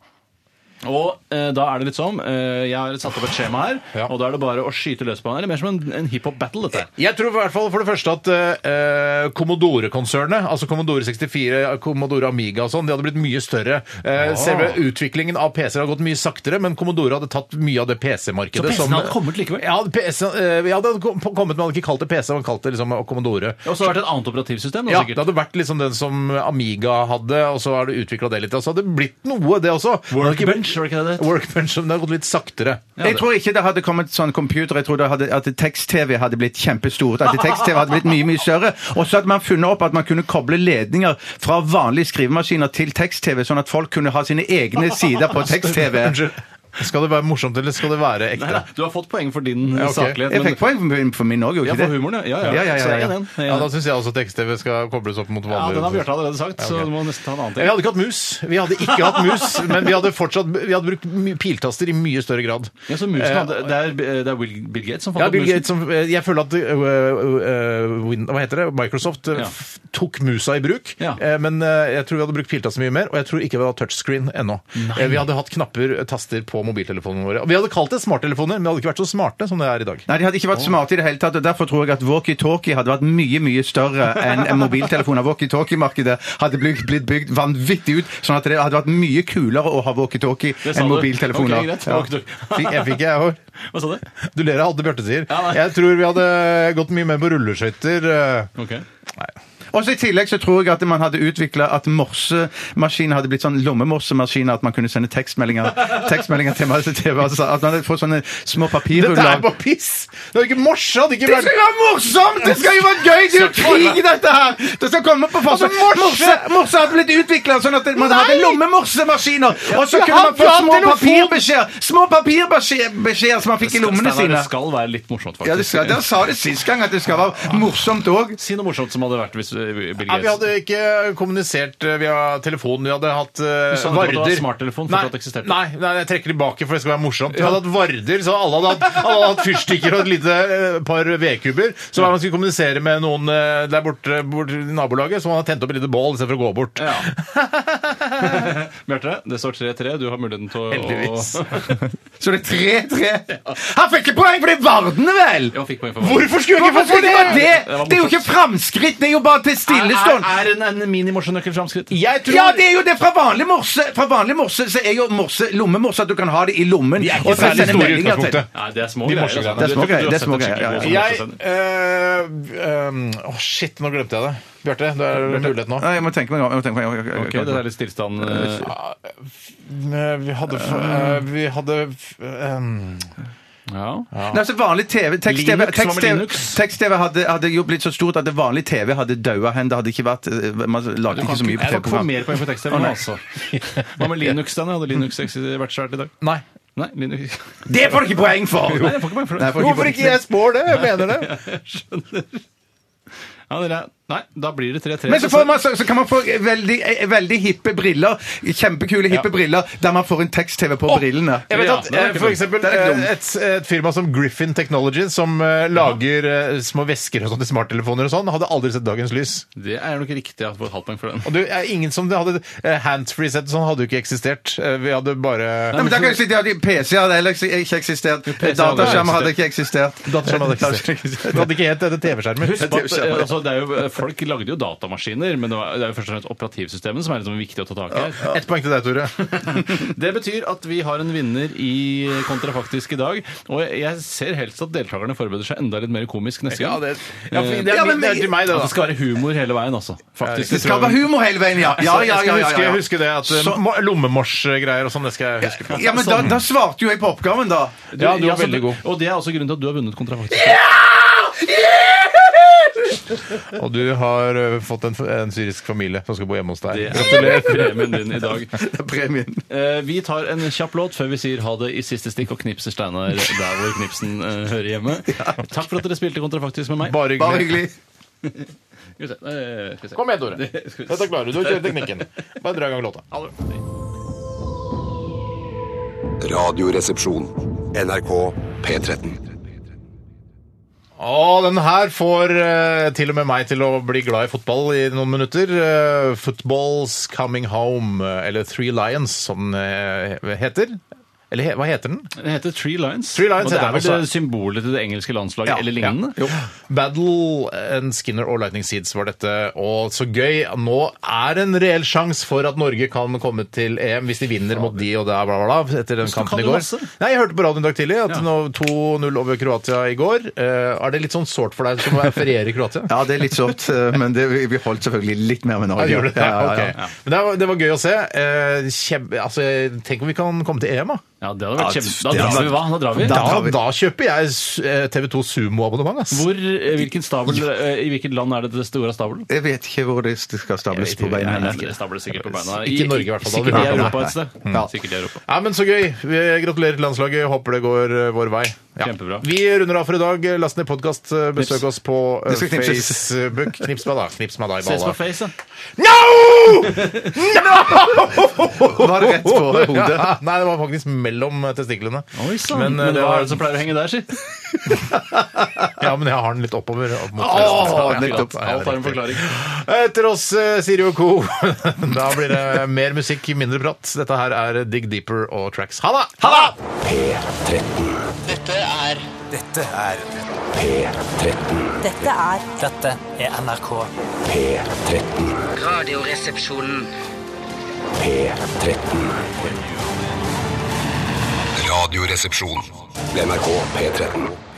[SPEAKER 4] Og eh, da er det litt sånn eh, Jeg har satt opp et skjema her,
[SPEAKER 2] Ja.
[SPEAKER 4] og da er det bare å skyte løs på han. Det er mer som en, en hiphop-battle, dette.
[SPEAKER 2] Jeg tror i hvert fall for det første at eh, Commodore-konsernet, altså Commodore 64, Commodore Amiga og sånn, de hadde blitt mye større. Eh, Selve utviklingen av PC-er har gått mye saktere, men Commodore hadde tatt mye av det PC-markedet.
[SPEAKER 4] Så PC-en
[SPEAKER 2] som-
[SPEAKER 4] hadde kommet likevel?
[SPEAKER 2] Ja, PC, eh, ja, det hadde kom- kommet, men hadde ikke kalt det PC, man kalte det liksom Commodore.
[SPEAKER 4] Og så har det vært et annet operativsystem, da
[SPEAKER 2] Ja, det
[SPEAKER 4] sikkert.
[SPEAKER 2] hadde vært liksom den som Amiga hadde, og så har det utvikla det litt. Og så hadde det blitt noe, det også. Men det hadde ikke
[SPEAKER 4] Workbench, var det ikke det det het?
[SPEAKER 2] Workbench, men det har gått litt saktere.
[SPEAKER 4] Ja, det-
[SPEAKER 3] jeg tror ikke det hadde kommet sånn computer. Jeg tror det hadde, at tekst-TV hadde blitt kjempestort. At tekst-TV hadde blitt mye, mye større. Og så hadde man funnet opp at man kunne koble ledninger fra vanlige skrivemaskiner til tekst-TV, sånn at folk kunne ha sine egne sider
[SPEAKER 4] [laughs]
[SPEAKER 3] på tekst-TV.
[SPEAKER 2] Unnskyld. Skal det være morsomt, eller skal det være ekte?
[SPEAKER 4] Nei, nei, du har fått poeng for din
[SPEAKER 2] Ja, ok.
[SPEAKER 4] saklighet.
[SPEAKER 3] Jeg
[SPEAKER 4] men-
[SPEAKER 3] fikk poeng for- for min òg,
[SPEAKER 4] ja,
[SPEAKER 3] gjorde
[SPEAKER 4] for
[SPEAKER 3] ikke det?
[SPEAKER 4] humoren, ja. Ja,
[SPEAKER 3] Ja, ja, ja,
[SPEAKER 4] Så det er
[SPEAKER 3] ja.
[SPEAKER 4] en, en.
[SPEAKER 2] Ja, da syns jeg også tekst-TV skal kobles opp mot
[SPEAKER 4] ja,
[SPEAKER 2] vanlig
[SPEAKER 4] den har Bjarte allerede sagt,
[SPEAKER 2] Ja, ok.
[SPEAKER 4] så du må nesten ta en annen
[SPEAKER 2] Vi
[SPEAKER 4] ting.
[SPEAKER 2] hadde ikke hatt mus. Vi hadde ikke [laughs] hatt mus, men vi hadde fortsatt vi hadde brukt my- piltaster i mye større grad.
[SPEAKER 4] Ja, så musen, hadde, det, er, det er Will, Bill Gates som fant
[SPEAKER 2] Eh, Ja,
[SPEAKER 4] opp
[SPEAKER 2] Bill
[SPEAKER 4] musen.
[SPEAKER 2] Gates som Jeg føler at øh, øh, Win- hva heter det? Microsoft øh,
[SPEAKER 4] Ja.
[SPEAKER 2] f- tok musa i bruk,
[SPEAKER 4] Ja.
[SPEAKER 2] eh, men øh, jeg tror vi hadde brukt piltaster mye mer, og jeg tror ikke vi hadde hatt touchscreen ennå. Eh, Vi hadde hatt knapper, øh, taster, på mobiltelefonene våre. Vi hadde kalt det smarttelefoner, men det hadde ikke vært så smarte som det er i dag.
[SPEAKER 3] Nei, De hadde ikke vært smarte i det hele tatt, og derfor tror jeg at walkietalkie hadde vært mye mye større enn en mobiltelefon. Og Walkietalkie-markedet hadde blitt, blitt bygd vanvittig ut, sånn at det hadde vært mye kulere å ha walkietalkie
[SPEAKER 4] Det sa
[SPEAKER 3] enn
[SPEAKER 4] du.
[SPEAKER 3] mobiltelefoner.
[SPEAKER 4] Ok, greit.
[SPEAKER 3] Ja.
[SPEAKER 4] Walkie-talkie.
[SPEAKER 2] Fikk, jeg fikk jeg hår.
[SPEAKER 4] Hva sa du?
[SPEAKER 2] Du ler av alt det Bjarte sier.
[SPEAKER 4] Ja, nei.
[SPEAKER 2] Jeg tror vi hadde gått mye mer på rulleskøyter. øh,
[SPEAKER 4] Ok.
[SPEAKER 3] Og så I tillegg så tror jeg at man hadde utvikla at morsemaskinen hadde blitt sånn lommemorsemaskiner, at man kunne sende tekstmeldinger, tekstmeldinger til masse TV. Altså, at man hadde fått sånne små
[SPEAKER 2] Dette er
[SPEAKER 3] papirruller.
[SPEAKER 2] bare piss! Det er ikke morse, det hadde ikke
[SPEAKER 3] Det skal jo være morsomt! Det skal jo være gøy! Det er jo krig i dette her! Det skal komme på forsvar.
[SPEAKER 2] Altså, morse-
[SPEAKER 3] Morse, morse hadde blitt utvikla sånn at man hadde
[SPEAKER 2] Nei!
[SPEAKER 3] lommemorsemaskiner! Og så
[SPEAKER 2] Jeg
[SPEAKER 3] kunne man
[SPEAKER 2] hadde
[SPEAKER 3] få
[SPEAKER 2] hatt
[SPEAKER 3] små
[SPEAKER 2] telefon!
[SPEAKER 3] papirbeskjeder Små papirbeskjeder som man fikk i lommene
[SPEAKER 4] Steinar,
[SPEAKER 3] sine.
[SPEAKER 4] Det skal være litt morsomt, faktisk.
[SPEAKER 3] Ja, det skal, Der sa det sist gang at det skal være morsomt òg.
[SPEAKER 4] Si noe morsomt som hadde vært hvis eh, Bill
[SPEAKER 2] Ja, vi
[SPEAKER 4] Gates
[SPEAKER 2] hadde ikke kommunisert eh, via telefon. Vi hadde hatt eh,
[SPEAKER 4] Du sa nettopp at
[SPEAKER 2] varder.
[SPEAKER 4] det var smarttelefon, for
[SPEAKER 2] nei,
[SPEAKER 4] at det eksisterte.
[SPEAKER 2] nei, nei, jeg trekker tilbake, for det skal være morsomt. Vi hadde hatt varder, så alle hadde hatt, alle hadde hatt fyrstikker og et lite eh, par vedkubber. Så man skulle kommunisere med noen eh, der borte borte i nabolaget, så man hadde tent opp et lite bål istedenfor å gå bort.
[SPEAKER 4] Ja. Bjarte, det står 3-3. Du har muligheten til å
[SPEAKER 2] Heldigvis.
[SPEAKER 3] Så det er 3-3. Han fikk ikke poeng for det er Vardene, vel!
[SPEAKER 4] Jeg fikk poeng for meg.
[SPEAKER 2] Hvorfor skulle jeg ikke
[SPEAKER 3] Hvorfor
[SPEAKER 2] få
[SPEAKER 3] skulle det være det?
[SPEAKER 4] Det var
[SPEAKER 3] Det er jo ikke framskritt, det er jo bare til stillestånd.
[SPEAKER 4] Er, er en, en mini-morsjonøkkel framskritt?
[SPEAKER 2] Jeg tror
[SPEAKER 3] Ja, det er jo det! Fra vanlig morse Fra vanlig morse så er jo morse lommemorse at du kan ha det i lommen.
[SPEAKER 2] De er ikke
[SPEAKER 3] og så
[SPEAKER 2] særlig
[SPEAKER 3] sende
[SPEAKER 2] store i
[SPEAKER 3] meldinger til-
[SPEAKER 2] utgangspunktet.
[SPEAKER 4] Nei, det er små
[SPEAKER 2] De
[SPEAKER 4] greier.
[SPEAKER 2] morsegreiene.
[SPEAKER 4] altså.
[SPEAKER 3] Det er små
[SPEAKER 4] Du- du har
[SPEAKER 3] greier, det er
[SPEAKER 4] sett
[SPEAKER 3] små
[SPEAKER 4] et
[SPEAKER 3] greier, ja, ja.
[SPEAKER 4] skikkelig
[SPEAKER 2] Jeg
[SPEAKER 4] morsescene.
[SPEAKER 2] øh, øh, Åh, shit, nå glemte jeg det. Bjarte, det er mulighet nå.
[SPEAKER 3] Nei, jeg må tenke meg om. Jeg må tenke meg om. Jeg- jeg- jeg-
[SPEAKER 4] Ok, det der er litt stillstand eh,
[SPEAKER 2] Eh, Vi hadde f- eh, Vi hadde f- ehm,
[SPEAKER 4] Ja.
[SPEAKER 3] Nei, altså vanlig TV Tekst-TV
[SPEAKER 4] Linux, hva med
[SPEAKER 3] tekst-TV
[SPEAKER 4] Linux?
[SPEAKER 3] tekst-TV hadde, hadde jo blitt så stort at det vanlig TV hadde daua hen. Det hadde ikke vært eh, Man lagde ikke så mye på
[SPEAKER 4] Jeg kan ikke få
[SPEAKER 3] TV-program.
[SPEAKER 4] mer poeng for tekst-TV nå, altså. [laughs] Hva med Linux? da? Hadde Linux eksist- vært svært i dag?
[SPEAKER 2] Nei.
[SPEAKER 4] Nei, Linux [laughs]
[SPEAKER 3] Det får du ikke poeng for!
[SPEAKER 4] Nei, jeg får ikke poeng for
[SPEAKER 3] Nei, jeg får
[SPEAKER 4] det.
[SPEAKER 2] Hvorfor ikke jeg spår det? Jeg mener det.
[SPEAKER 4] Ja, dere er- Nei, da blir det 3-3.
[SPEAKER 3] Men så, får man, så, så kan man få veldig, eh, veldig hippe briller. Kjempekule, hippe briller der man får en tekst-TV på brillene.
[SPEAKER 2] Jeg vet
[SPEAKER 4] Ja,
[SPEAKER 2] at
[SPEAKER 4] den er
[SPEAKER 2] eh,
[SPEAKER 4] ikke dum.
[SPEAKER 2] for eksempel,
[SPEAKER 3] Den er ikke dum.
[SPEAKER 2] eh, et, et firma som Griffin Technology, som eh, lager eh, små vesker og sånt til smarttelefoner og sånn, hadde aldri sett dagens lys.
[SPEAKER 4] Det er nok riktig at jeg får et halvt poeng [laughs] for den.
[SPEAKER 2] Og det er ingen som hadde eh, Handsfree-sett og sånn hadde jo ikke eksistert. Eh, Vi hadde bare
[SPEAKER 3] Nei, men da kan jeg si det at PC hadde heller ikke eksistert. Dataskjerm hadde ikke eksistert.
[SPEAKER 2] Dataskjerm hadde eksistert. Det hadde ikke hett dette TV-skjermer.
[SPEAKER 4] Husk at, eh, altså, det er jo, folk lagde jo datamaskiner, men det, var, det er jo først og fremst operativsystemet som er liksom viktig å ta tak i. her.
[SPEAKER 2] Ett altså. poeng til deg, Tore.
[SPEAKER 4] [laughs] Det betyr at vi har en vinner i Kontrafaktisk i dag. Og jeg ser helst at deltakerne forbereder seg enda litt mer komisk neste gang.
[SPEAKER 2] ja, for det er
[SPEAKER 3] Ja, men
[SPEAKER 2] min- det er
[SPEAKER 3] vi-
[SPEAKER 2] til meg,
[SPEAKER 4] At
[SPEAKER 2] det, da.
[SPEAKER 4] det skal være humor hele veien, altså. Faktisk.
[SPEAKER 3] Det skal være humor hele veien, ja. Ja, ja, ja, ja,
[SPEAKER 2] jeg skal
[SPEAKER 3] ja,
[SPEAKER 2] huske,
[SPEAKER 3] ja.
[SPEAKER 2] huske det at eh,
[SPEAKER 3] Så-
[SPEAKER 2] mo- lommemors-greier og sånn, det skal jeg huske på.
[SPEAKER 3] Ja, men da, da svarte jo jeg på oppgaven, da.
[SPEAKER 2] Ja, du var
[SPEAKER 4] så-
[SPEAKER 2] veldig god.
[SPEAKER 4] Og det er også grunnen til at du har vunnet Kontrafaktisk.
[SPEAKER 2] Og du har eh, fått en, en syrisk familie som skal bo hjemme hos deg.
[SPEAKER 4] Det er premien din i dag.
[SPEAKER 3] Det er [laughs] premien.
[SPEAKER 4] Eh, vi tar en kjapp låt før vi sier ha det i siste stikk og knipser Steinar der hvor knipsen eh, hører hjemme. Takk for at dere spilte Kontrafaktisk med meg.
[SPEAKER 2] Bare hyggelig.
[SPEAKER 3] Bare hyggelig.
[SPEAKER 4] Skal vi se, eh, skal vi se.
[SPEAKER 2] Kom igjen, Tore.
[SPEAKER 4] Det- skal vi se.
[SPEAKER 2] Dette klarer du. Du har kjørt teknikken. Bare dra i gang
[SPEAKER 4] [laughs]
[SPEAKER 2] låta.
[SPEAKER 4] Ha det.
[SPEAKER 10] Radioresepsjon.
[SPEAKER 6] NRK P13.
[SPEAKER 2] Å, den her får eh, til og med meg til å bli glad i fotball i noen minutter. Eh, Football's Coming Home, eh, eller Three Lions, som den eh, heter. Eller he hva heter den?
[SPEAKER 4] Den heter Three Lions.
[SPEAKER 2] Three Lions
[SPEAKER 4] og det
[SPEAKER 2] heter
[SPEAKER 4] er vel
[SPEAKER 2] den
[SPEAKER 4] det
[SPEAKER 2] også.
[SPEAKER 4] symbolet til det engelske landslaget eller lignende?
[SPEAKER 2] Ja. Battle and Skinner og Lightning Seeds var dette, og så gøy. Nå er det en reell sjanse for at Norge kan komme til EM hvis de vinner mot de og der, bla, bla, bla, etter den
[SPEAKER 4] Hvordan kan
[SPEAKER 2] kampen i
[SPEAKER 4] du
[SPEAKER 2] går.
[SPEAKER 4] masse?
[SPEAKER 2] Nei, jeg hørte på radioen i dag tidlig at
[SPEAKER 4] Ja.
[SPEAKER 2] nå 2-0 over Kroatia i går. Eh, er det litt sånn sårt for deg som å feriere i Kroatia?
[SPEAKER 3] Ja, det er litt sårt, eh, men det, vi vi holdt selvfølgelig litt mer med Norge.
[SPEAKER 2] Ja, gjorde det?
[SPEAKER 3] Ja, ja, ja.
[SPEAKER 2] Ok. Men det var, det var gøy å se. Eh, kjem- altså, tenk om vi kan komme til EM, da.
[SPEAKER 4] Ja, det hadde vært
[SPEAKER 3] Ja,
[SPEAKER 4] kjempe...
[SPEAKER 3] det
[SPEAKER 4] Da drar
[SPEAKER 3] hadde-
[SPEAKER 4] vi, hva? Da drar vi.
[SPEAKER 2] Da,
[SPEAKER 3] drar vi.
[SPEAKER 2] da kjøper jeg s- eh, TV2 Sumo-abonnement, ass.
[SPEAKER 4] Hvor, eh, hvilken stabel, eh, I hvilket land er det det store stabelen?
[SPEAKER 3] Jeg vet ikke hvor det skal stables på beina.
[SPEAKER 4] Nei,
[SPEAKER 3] henne.
[SPEAKER 4] det stables sikkert på beina.
[SPEAKER 2] Ikke i Norge i hvert fall, da hadde vi
[SPEAKER 4] Sikkert i
[SPEAKER 2] hørt om
[SPEAKER 4] Europa
[SPEAKER 3] det.
[SPEAKER 4] et sted.
[SPEAKER 3] Ja.
[SPEAKER 4] Sikkert i Europa.
[SPEAKER 2] Ja, men Så gøy. Vi- Gratulerer til landslaget. Håper det går eh, vår vei. Ja.
[SPEAKER 4] Kjempebra.
[SPEAKER 2] Vi runder av for i dag. Last ned podkast. Besøk
[SPEAKER 4] Knips.
[SPEAKER 2] oss på eh,
[SPEAKER 3] Det skal knipses.
[SPEAKER 2] Facebook. Knips meg, da. Knips meg da i
[SPEAKER 4] Ses på
[SPEAKER 2] balla.
[SPEAKER 4] Face, da.
[SPEAKER 2] No!
[SPEAKER 3] Var det rett på hodet?
[SPEAKER 2] [laughs] Ja, nei, det var faktisk mellom testiklene.
[SPEAKER 3] sånn.
[SPEAKER 4] Oi sann.
[SPEAKER 2] Men,
[SPEAKER 4] Men,
[SPEAKER 2] eh, det
[SPEAKER 4] hva
[SPEAKER 2] var-
[SPEAKER 4] er det som pleier å henge der, si?
[SPEAKER 2] [laughs] Ja, men jeg har den litt oppover. Opp mot
[SPEAKER 3] Åh,
[SPEAKER 2] festen.
[SPEAKER 3] nettopp.
[SPEAKER 2] Ja,
[SPEAKER 4] Alt har en
[SPEAKER 2] riktig.
[SPEAKER 4] forklaring.
[SPEAKER 2] Etter oss eh, Siri og Co. [laughs] Da blir det mer musikk, mindre prat. Dette her er Dig Deeper og Tracks. Ha det! Ha det!
[SPEAKER 11] Dette er
[SPEAKER 12] Dette er
[SPEAKER 6] P13.
[SPEAKER 13] Dette er
[SPEAKER 12] Dette er NRK.
[SPEAKER 6] P13.
[SPEAKER 11] Radioresepsjonen.
[SPEAKER 6] P13. Radioresepsjon. NRK P13.